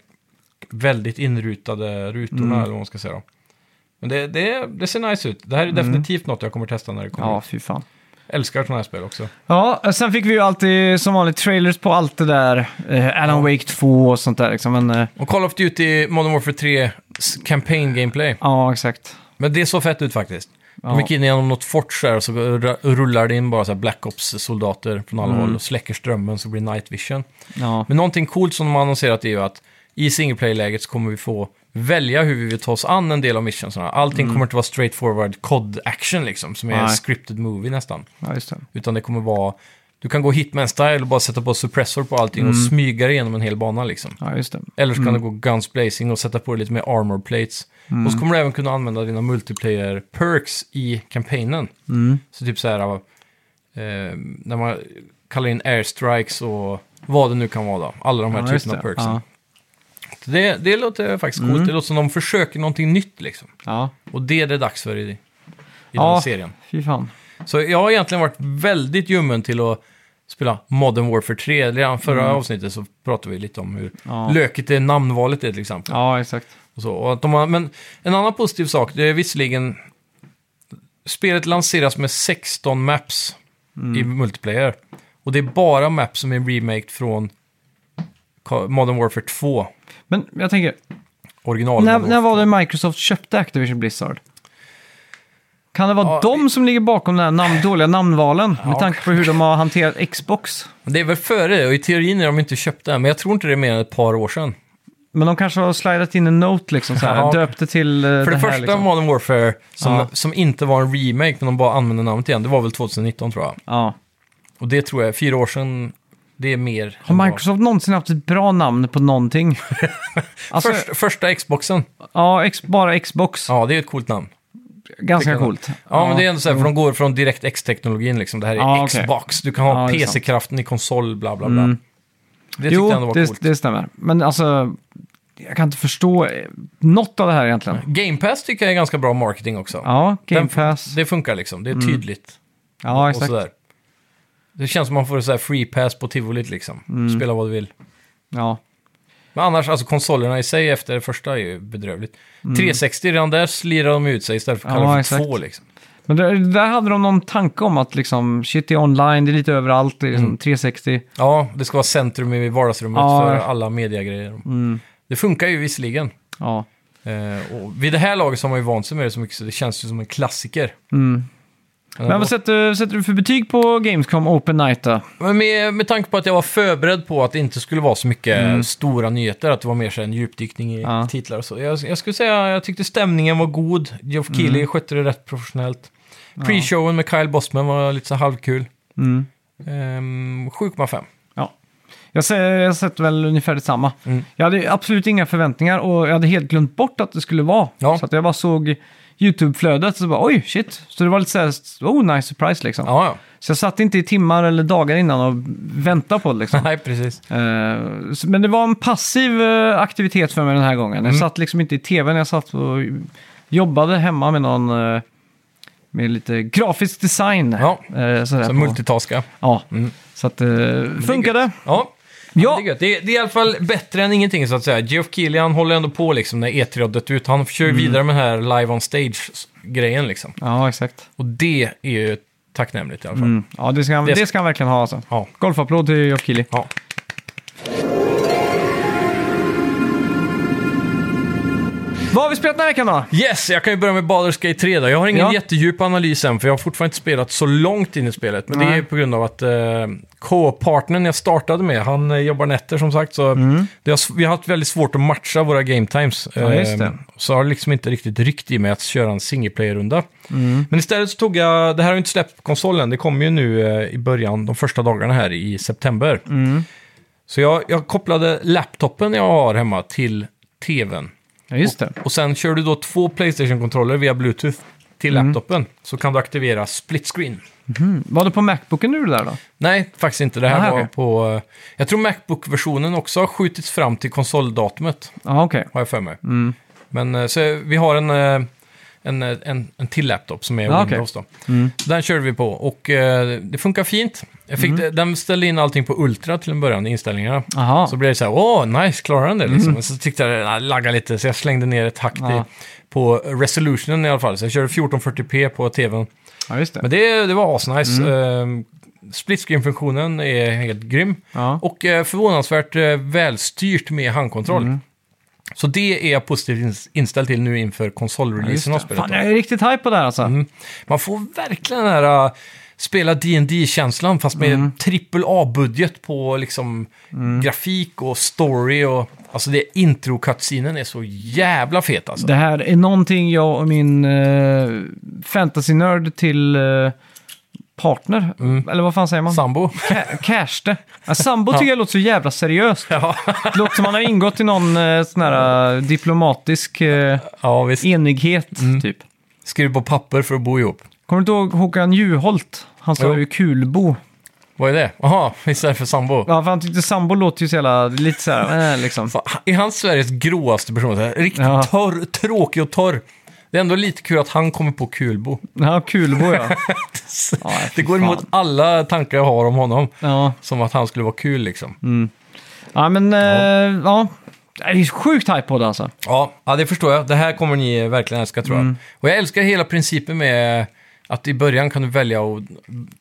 Speaker 2: väldigt inrutade rutorna, eller vad man ska säga. Då. Men det, det, det ser nice ut. Det här är definitivt något jag kommer testa när det kommer.
Speaker 1: Mm. Ja,
Speaker 2: ut.
Speaker 1: fy fan.
Speaker 2: Älskar sådana här spel också.
Speaker 1: Ja, eh, sen fick vi ju alltid som vanligt trailers på allt det där. Eh, Alan Wake 2 och sånt där liksom. Men, eh,
Speaker 2: Och Call of Duty Modern Warfare 3 s- campaign gameplay.
Speaker 1: ja, exakt.
Speaker 2: Men det såg fett ut faktiskt.
Speaker 1: Ja.
Speaker 2: De gick in genom något fort så här och så ra- rullar det in bara så här Black Ops-soldater från
Speaker 1: Mm.
Speaker 2: alla håll och släcker strömmen så blir night vision.
Speaker 1: Ja,
Speaker 2: Men någonting coolt som de har annonserat är ju att i singleplay-läget så kommer vi få välja hur vi vill ta oss an en del av missionsarna. Allting kommer inte vara straightforward cod action liksom, som är
Speaker 1: Mm. Nej.
Speaker 2: scripted movie nästan.
Speaker 1: ja just det.
Speaker 2: Utan det kommer vara Du kan gå hitman-style och bara sätta på suppressor på allting
Speaker 1: Mm.
Speaker 2: och smyga dig igenom en hel bana liksom.
Speaker 1: Ja, just det.
Speaker 2: Eller så kan du gå guns blazing och sätta på dig lite mer armor plates. Och
Speaker 1: Mm.
Speaker 2: så kommer du även kunna använda dina multiplayer perks i kampanjen.
Speaker 1: Mm.
Speaker 2: Så typ så här, eh, när man kallar in airstrikes och vad det nu kan vara då. Alla de här
Speaker 1: ja, just
Speaker 2: typerna av
Speaker 1: det.
Speaker 2: perksen.
Speaker 1: Ja. Mm.
Speaker 2: Det, det låter faktiskt coolt. Det låter som de försöker någonting nytt liksom.
Speaker 1: ja,
Speaker 2: Och det är det dags för i, i den
Speaker 1: Ja.
Speaker 2: här serien.
Speaker 1: fy fan.
Speaker 2: Så jag har egentligen varit väldigt ljummen till att spela Modern Warfare 3. Redan förra avsnittet så pratade vi lite om hur
Speaker 1: Mm. Ja.
Speaker 2: lökigt det namnvalet är till exempel.
Speaker 1: Ja, exakt.
Speaker 2: Och så. Och att de har, men en annan positiv sak, det är visserligen... Spelet lanseras med 16 maps i
Speaker 1: Mm.
Speaker 2: multiplayer. Och det är bara maps som är remake från Ka- Modern Warfare 2,
Speaker 1: Men jag tänker,
Speaker 2: original.
Speaker 1: när,
Speaker 2: Modern Warfare.
Speaker 1: när var det Microsoft köpte Activision Blizzard? Kan det vara
Speaker 2: Ja,
Speaker 1: de som ligger bakom den här namn, dåliga namnvalen? Med
Speaker 2: Ja.
Speaker 1: tanke på hur de har hanterat Xbox.
Speaker 2: Det är väl före det, och i teorin är de inte köpta än, men jag tror inte det är mer än ett par år sedan.
Speaker 1: Men de kanske har slidat in en note liksom så här.
Speaker 2: Ja.
Speaker 1: Döpte till eh,
Speaker 2: För
Speaker 1: det
Speaker 2: det,
Speaker 1: här
Speaker 2: första
Speaker 1: liksom.
Speaker 2: Modern Warfare, som,
Speaker 1: Ja.
Speaker 2: som inte var en remake, men de bara använde namnet igen, det var väl 2019 tror jag.
Speaker 1: Ja.
Speaker 2: Och det tror jag, fyra år sedan, det är mer. än
Speaker 1: Har
Speaker 2: vad-
Speaker 1: Microsoft någonsin haft ett bra namn på någonting? alltså,
Speaker 2: Först, första Xboxen,
Speaker 1: ja, ex, bara Xbox.
Speaker 2: ja det är ett coolt namn.
Speaker 1: Ganska
Speaker 2: det kan-
Speaker 1: coolt.
Speaker 2: Ja, men det är ändå så här, för de går från DirectX-teknologin liksom. Det här är
Speaker 1: Mm. Ja, okej.
Speaker 2: Xbox, du kan ha
Speaker 1: Ja, det är sant. Mm.
Speaker 2: PC-kraften i konsol, bla bla bla. Det tyckte
Speaker 1: jo,
Speaker 2: jag ändå var
Speaker 1: det,
Speaker 2: coolt.
Speaker 1: det stämmer. Men alltså, jag kan inte förstå eh, något av det här egentligen.
Speaker 2: Game Pass tycker jag är ganska bra marketing också.
Speaker 1: Ja, Game
Speaker 2: Den-
Speaker 1: Pass.
Speaker 2: Det funkar liksom, det är tydligt.
Speaker 1: ja, exakt.
Speaker 2: Och sådär. Det känns som man får så här free pass på tivolit liksom.
Speaker 1: Mm.
Speaker 2: Spela vad du vill.
Speaker 1: Ja.
Speaker 2: Men annars, alltså konsolerna i sig efter det första är ju bedrövligt. 360, redan där slirar de ut sig istället för att
Speaker 1: Mm. Ja,
Speaker 2: kalla det för
Speaker 1: exakt.
Speaker 2: två liksom.
Speaker 1: Men där, där hade de någon tanke om att liksom, shit, det är online, det är lite överallt, det är liksom
Speaker 2: Mm.
Speaker 1: 360.
Speaker 2: Ja, det ska vara centrum i vardagsrummet
Speaker 1: Ja. Mm.
Speaker 2: för alla mediagrejer. Det funkar ju visserligen.
Speaker 1: Ja,
Speaker 2: Eh, och vid det här laget så har man ju vant sig med det så mycket så det känns ju som en klassiker.
Speaker 1: Mm. Men vad sätter, sätter du för betyg på Gamescom Open Night då?
Speaker 2: Men med, med tanke på att jag var förberedd på att det inte skulle vara så mycket stora nyheter, att det var mer så här en djupdykning i
Speaker 1: Ja.
Speaker 2: titlar och så. Jag, jag skulle säga jag tyckte stämningen var god. Geoff Keighley skötte det rätt professionellt. Pre-showen med Kyle Bosman var lite så här halvkul.
Speaker 1: Mm.
Speaker 2: Ehm, 7,5.
Speaker 1: Ja. Jag, säger, jag sätter väl ungefär detsamma.
Speaker 2: Mm.
Speaker 1: Jag hade absolut inga förväntningar och jag hade helt glömt bort att det skulle vara.
Speaker 2: Ja.
Speaker 1: Så att jag bara såg YouTube-flödet och så bara oj, shit. Så det var lite såhär, oh nice surprise liksom.
Speaker 2: Ja, ja.
Speaker 1: Så jag satt inte i timmar eller dagar innan och väntade på det liksom.
Speaker 2: Nej, precis.
Speaker 1: Eh, så- Men det var en passiv eh, aktivitet för mig den här gången.
Speaker 2: Mm.
Speaker 1: Jag satt liksom inte i tvn, jag satt och jobbade hemma med någon... eh, Med lite grafisk design.
Speaker 2: Ja.
Speaker 1: Eh, sådär
Speaker 2: Så
Speaker 1: på-
Speaker 2: multitaska.
Speaker 1: Ja, så att eh, funkade.
Speaker 2: Ja.
Speaker 1: Ja.
Speaker 2: Det, är gött. det, är, det är i alla fall bättre än ingenting så att säga. Geoff Keighley han håller ändå på liksom när E3 har dött ut. Han
Speaker 1: Mm.
Speaker 2: kör ju vidare med den här live on stage-grejen liksom.
Speaker 1: Ja, exakt.
Speaker 2: Och det är ju tacknämligt i alla fall.
Speaker 1: Mm. Ja, det ska, han,
Speaker 2: Det-
Speaker 1: det ska han verkligen ha alltså.
Speaker 2: Ja.
Speaker 1: Golfapplåd till Geoff Keighley.
Speaker 2: ja.
Speaker 1: Vad har vi spelat den här veckan då?
Speaker 2: Yes, jag kan ju börja med Baldur's Gate 3 då. Jag har ingen
Speaker 1: Ja.
Speaker 2: jättedjup analys än, för jag har fortfarande inte spelat så långt in i spelet. Men det
Speaker 1: Nej.
Speaker 2: är på grund av att eh, K-partnern jag startade med, han eh, jobbar nätter som sagt. Så det har, s- vi har haft väldigt svårt att matcha våra game times.
Speaker 1: Mm. Ja, just det.
Speaker 2: Eh, så har det liksom inte riktigt ryckt i mig att köra en single player-runda.
Speaker 1: Mm.
Speaker 2: Men istället så tog jag, det här har ju inte släppt på konsolen, det kommer ju nu eh, i början, de första dagarna här i september.
Speaker 1: Mm.
Speaker 2: Så jag, jag kopplade laptopen jag har hemma till tvn.
Speaker 1: Ja, just det.
Speaker 2: Och sen kör du då två Playstation-kontroller via Bluetooth till
Speaker 1: Mm.
Speaker 2: laptopen så kan du aktivera split screen.
Speaker 1: Var det på Macbooken nu det där då?
Speaker 2: Nej, faktiskt inte. Det här
Speaker 1: Aha,
Speaker 2: var
Speaker 1: okej.
Speaker 2: på... eh, Jag tror Macbook-versionen också har skjutits fram till konsoldatumet,
Speaker 1: Ja, okej.
Speaker 2: har jag för mig.
Speaker 1: Mm.
Speaker 2: Men eh, så vi har en, eh, en, eh, en, en till laptop som är
Speaker 1: Ja, okej. Mm.
Speaker 2: Windows. Då. Så den körde vi på och eh, det funkar fint. Jag
Speaker 1: Mm.
Speaker 2: fick, det- Den ställde in allting på Ultra till en början, i inställningarna.
Speaker 1: Aha.
Speaker 2: Så blev det så här, åh, nice, klarar den det? Liksom. Och Så tyckte jag det laggade lite, så jag slängde ner ett hack
Speaker 1: Mm. Ja.
Speaker 2: i, på resolutionen i alla fall. Så jag körde 1440p på tvn.
Speaker 1: Ja, just det.
Speaker 2: Men det, det var asnice. Mm. split screen-funktionen är helt grym.
Speaker 1: Ja.
Speaker 2: Och eh, förvånansvärt eh, välstyrt med handkontroll.
Speaker 1: Mm.
Speaker 2: Så det är jag positivt ins- inställd till nu inför
Speaker 1: Just
Speaker 2: konsolreleasen av
Speaker 1: det.
Speaker 2: spelet.
Speaker 1: Fan,
Speaker 2: då. Mm.
Speaker 1: jag är riktigt hype på det här alltså.
Speaker 2: Man får verkligen den här äh, spela dd känslan fast
Speaker 1: Mm.
Speaker 2: med trippel A-budget på liksom grafik och story och alltså det intro cutscenen är så jävla fet alltså.
Speaker 1: Det här är någonting jag och min eh, fantasy-nörd till eh, partner.
Speaker 2: Mm.
Speaker 1: Eller vad fan säger man?
Speaker 2: Sambo?
Speaker 1: Ca- Cashte. Ja, sambo tycker jag låter så jävla seriöst.
Speaker 2: Ja.
Speaker 1: Det låter som man har ingått i någon eh, sån här eh, diplomatisk eh,
Speaker 2: ja, visst.
Speaker 1: enighet,
Speaker 2: Mm.
Speaker 1: typ.
Speaker 2: Skriv på papper för att bo ihop.
Speaker 1: Kommer du inte ihåg Håkan Juholt? Han sa
Speaker 2: Jo.
Speaker 1: ju kulbo.
Speaker 2: Vad är det? Jaha, istället för sambo.
Speaker 1: Ja, för han tyckte sambo låter ju så jävla, lite så här, eh, liksom.
Speaker 2: Fan, Är han Sveriges gråaste person? Så här, Riktigt
Speaker 1: Ja.
Speaker 2: torr, tråkig och torr. Det är ändå lite kul att han kommer på kulbo.
Speaker 1: Ja, kulbo ja. ja
Speaker 2: Det
Speaker 1: fy
Speaker 2: går
Speaker 1: fan.
Speaker 2: emot alla tankar jag har om honom.
Speaker 1: Ja,
Speaker 2: Som att han skulle vara kul liksom.
Speaker 1: ja men eh, ja. Det är sjukt hype på det alltså.
Speaker 2: Ja, ja, det förstår jag. Det här kommer ni verkligen älska tror jag.
Speaker 1: Mm.
Speaker 2: Och jag älskar hela principen med att i början kan du välja att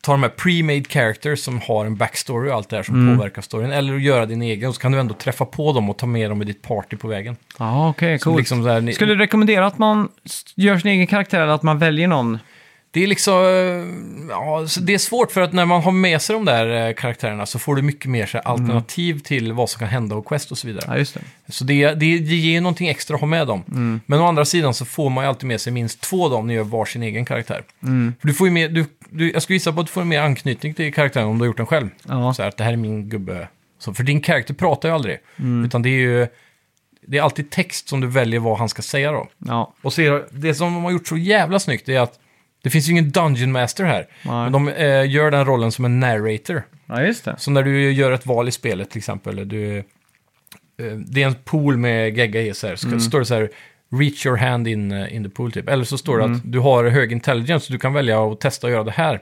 Speaker 2: ta de här pre-made characters som har en backstory och allt det här som
Speaker 1: Mm.
Speaker 2: påverkar storyn. Eller att göra din egen och så kan du ändå träffa på dem och ta med dem i ditt party på vägen.
Speaker 1: Ja, okej,
Speaker 2: Så
Speaker 1: coolt.
Speaker 2: Liksom så här, ni,
Speaker 1: Skulle du rekommendera att man s- gör sin egen karaktär eller att man väljer någon?
Speaker 2: Det är liksom... eh, Ja, så det är svårt för att när man har med sig de där eh, karaktärerna så får du mycket mer så här,
Speaker 1: Mm.
Speaker 2: alternativ till vad som kan hända och quest och så vidare.
Speaker 1: Ja, just det.
Speaker 2: Så det, det, det ger ju någonting extra att ha med dem.
Speaker 1: Mm.
Speaker 2: Men å andra sidan så får man ju alltid med sig minst två av dem när du gör var sin egen karaktär.
Speaker 1: Mm.
Speaker 2: För du får ju mer, du, du, jag skulle gissa på att du får mer anknytning till karaktären om du har gjort den själv.
Speaker 1: Ja.
Speaker 2: Så här, att det här är min gubbe. Så, för din karaktär pratar ju aldrig.
Speaker 1: Mm.
Speaker 2: Utan det är ju... Det är alltid text som du väljer vad han ska säga då.
Speaker 1: Ja,
Speaker 2: Och så är det, det som de har gjort så jävla snyggt är att det finns ju ingen Dungeon Master här.
Speaker 1: Nej.
Speaker 2: Men de eh, gör den rollen som en narrator.
Speaker 1: ja just det.
Speaker 2: Så när du gör ett val i spelet till exempel, eller du, eh, det är en pool med gegga i så här, så står det så här reach your hand in, eh, in the pool typ. Eller så står det att du har hög intelligence, så du kan välja att testa att göra det här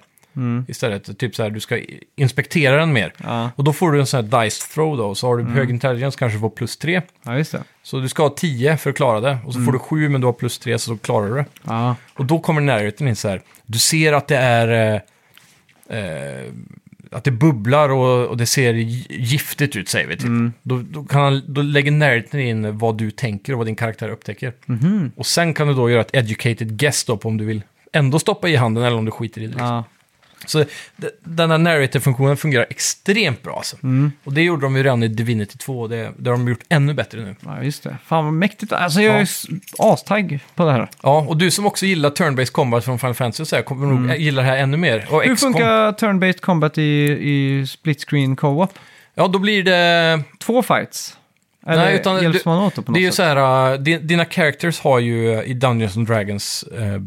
Speaker 2: istället. Typ så här, du ska i- inspektera den mer.
Speaker 1: Ja,
Speaker 2: Och då får du en sån här dice throw då, och så har du hög intelligence, kanske får plus tre.
Speaker 1: ja just det.
Speaker 2: Så du ska ha 10 för att klara det. Och så får du 7 men du har plus 3 så då klarar du det.
Speaker 1: Ja,
Speaker 2: Och då kommer närheten in så här. Du ser att det är... Eh, eh, att det bubblar och, och det ser gi- giftigt ut, säger vi. Typ.
Speaker 1: Mm.
Speaker 2: Då, då, kan han, då lägger närheten in vad du tänker och vad din karaktär upptäcker.
Speaker 1: Mhm.
Speaker 2: Och sen kan du då göra ett educated guess då på om du vill ändå stoppa i handen eller om du skiter i det. Liksom.
Speaker 1: ja.
Speaker 2: Så d- den här narrator-funktionen fungerar extremt bra alltså.
Speaker 1: Mm.
Speaker 2: Och det gjorde de ju redan i Divinity 2 och det, det har de gjort ännu bättre nu.
Speaker 1: ja just det. Fan vad mäktigt. Alltså jag är
Speaker 2: Ja.
Speaker 1: s- astagg på det här.
Speaker 2: Ja, och du som också gillar turn-based combat från Final Fantasy och så här, kommer nog ä- gilla det här ännu mer. Och
Speaker 1: Mm. Hur
Speaker 2: XCOM-
Speaker 1: funkar turn-based combat i, i split screen co-op?
Speaker 2: Ja, då blir det...
Speaker 1: Två fights? Eller
Speaker 2: Nej, utan
Speaker 1: hjälps
Speaker 2: du-
Speaker 1: man åt det på något
Speaker 2: Det är ju
Speaker 1: sätt?
Speaker 2: så här, äh, di- dina characters har ju äh, i Dungeons and Dragons äh, l-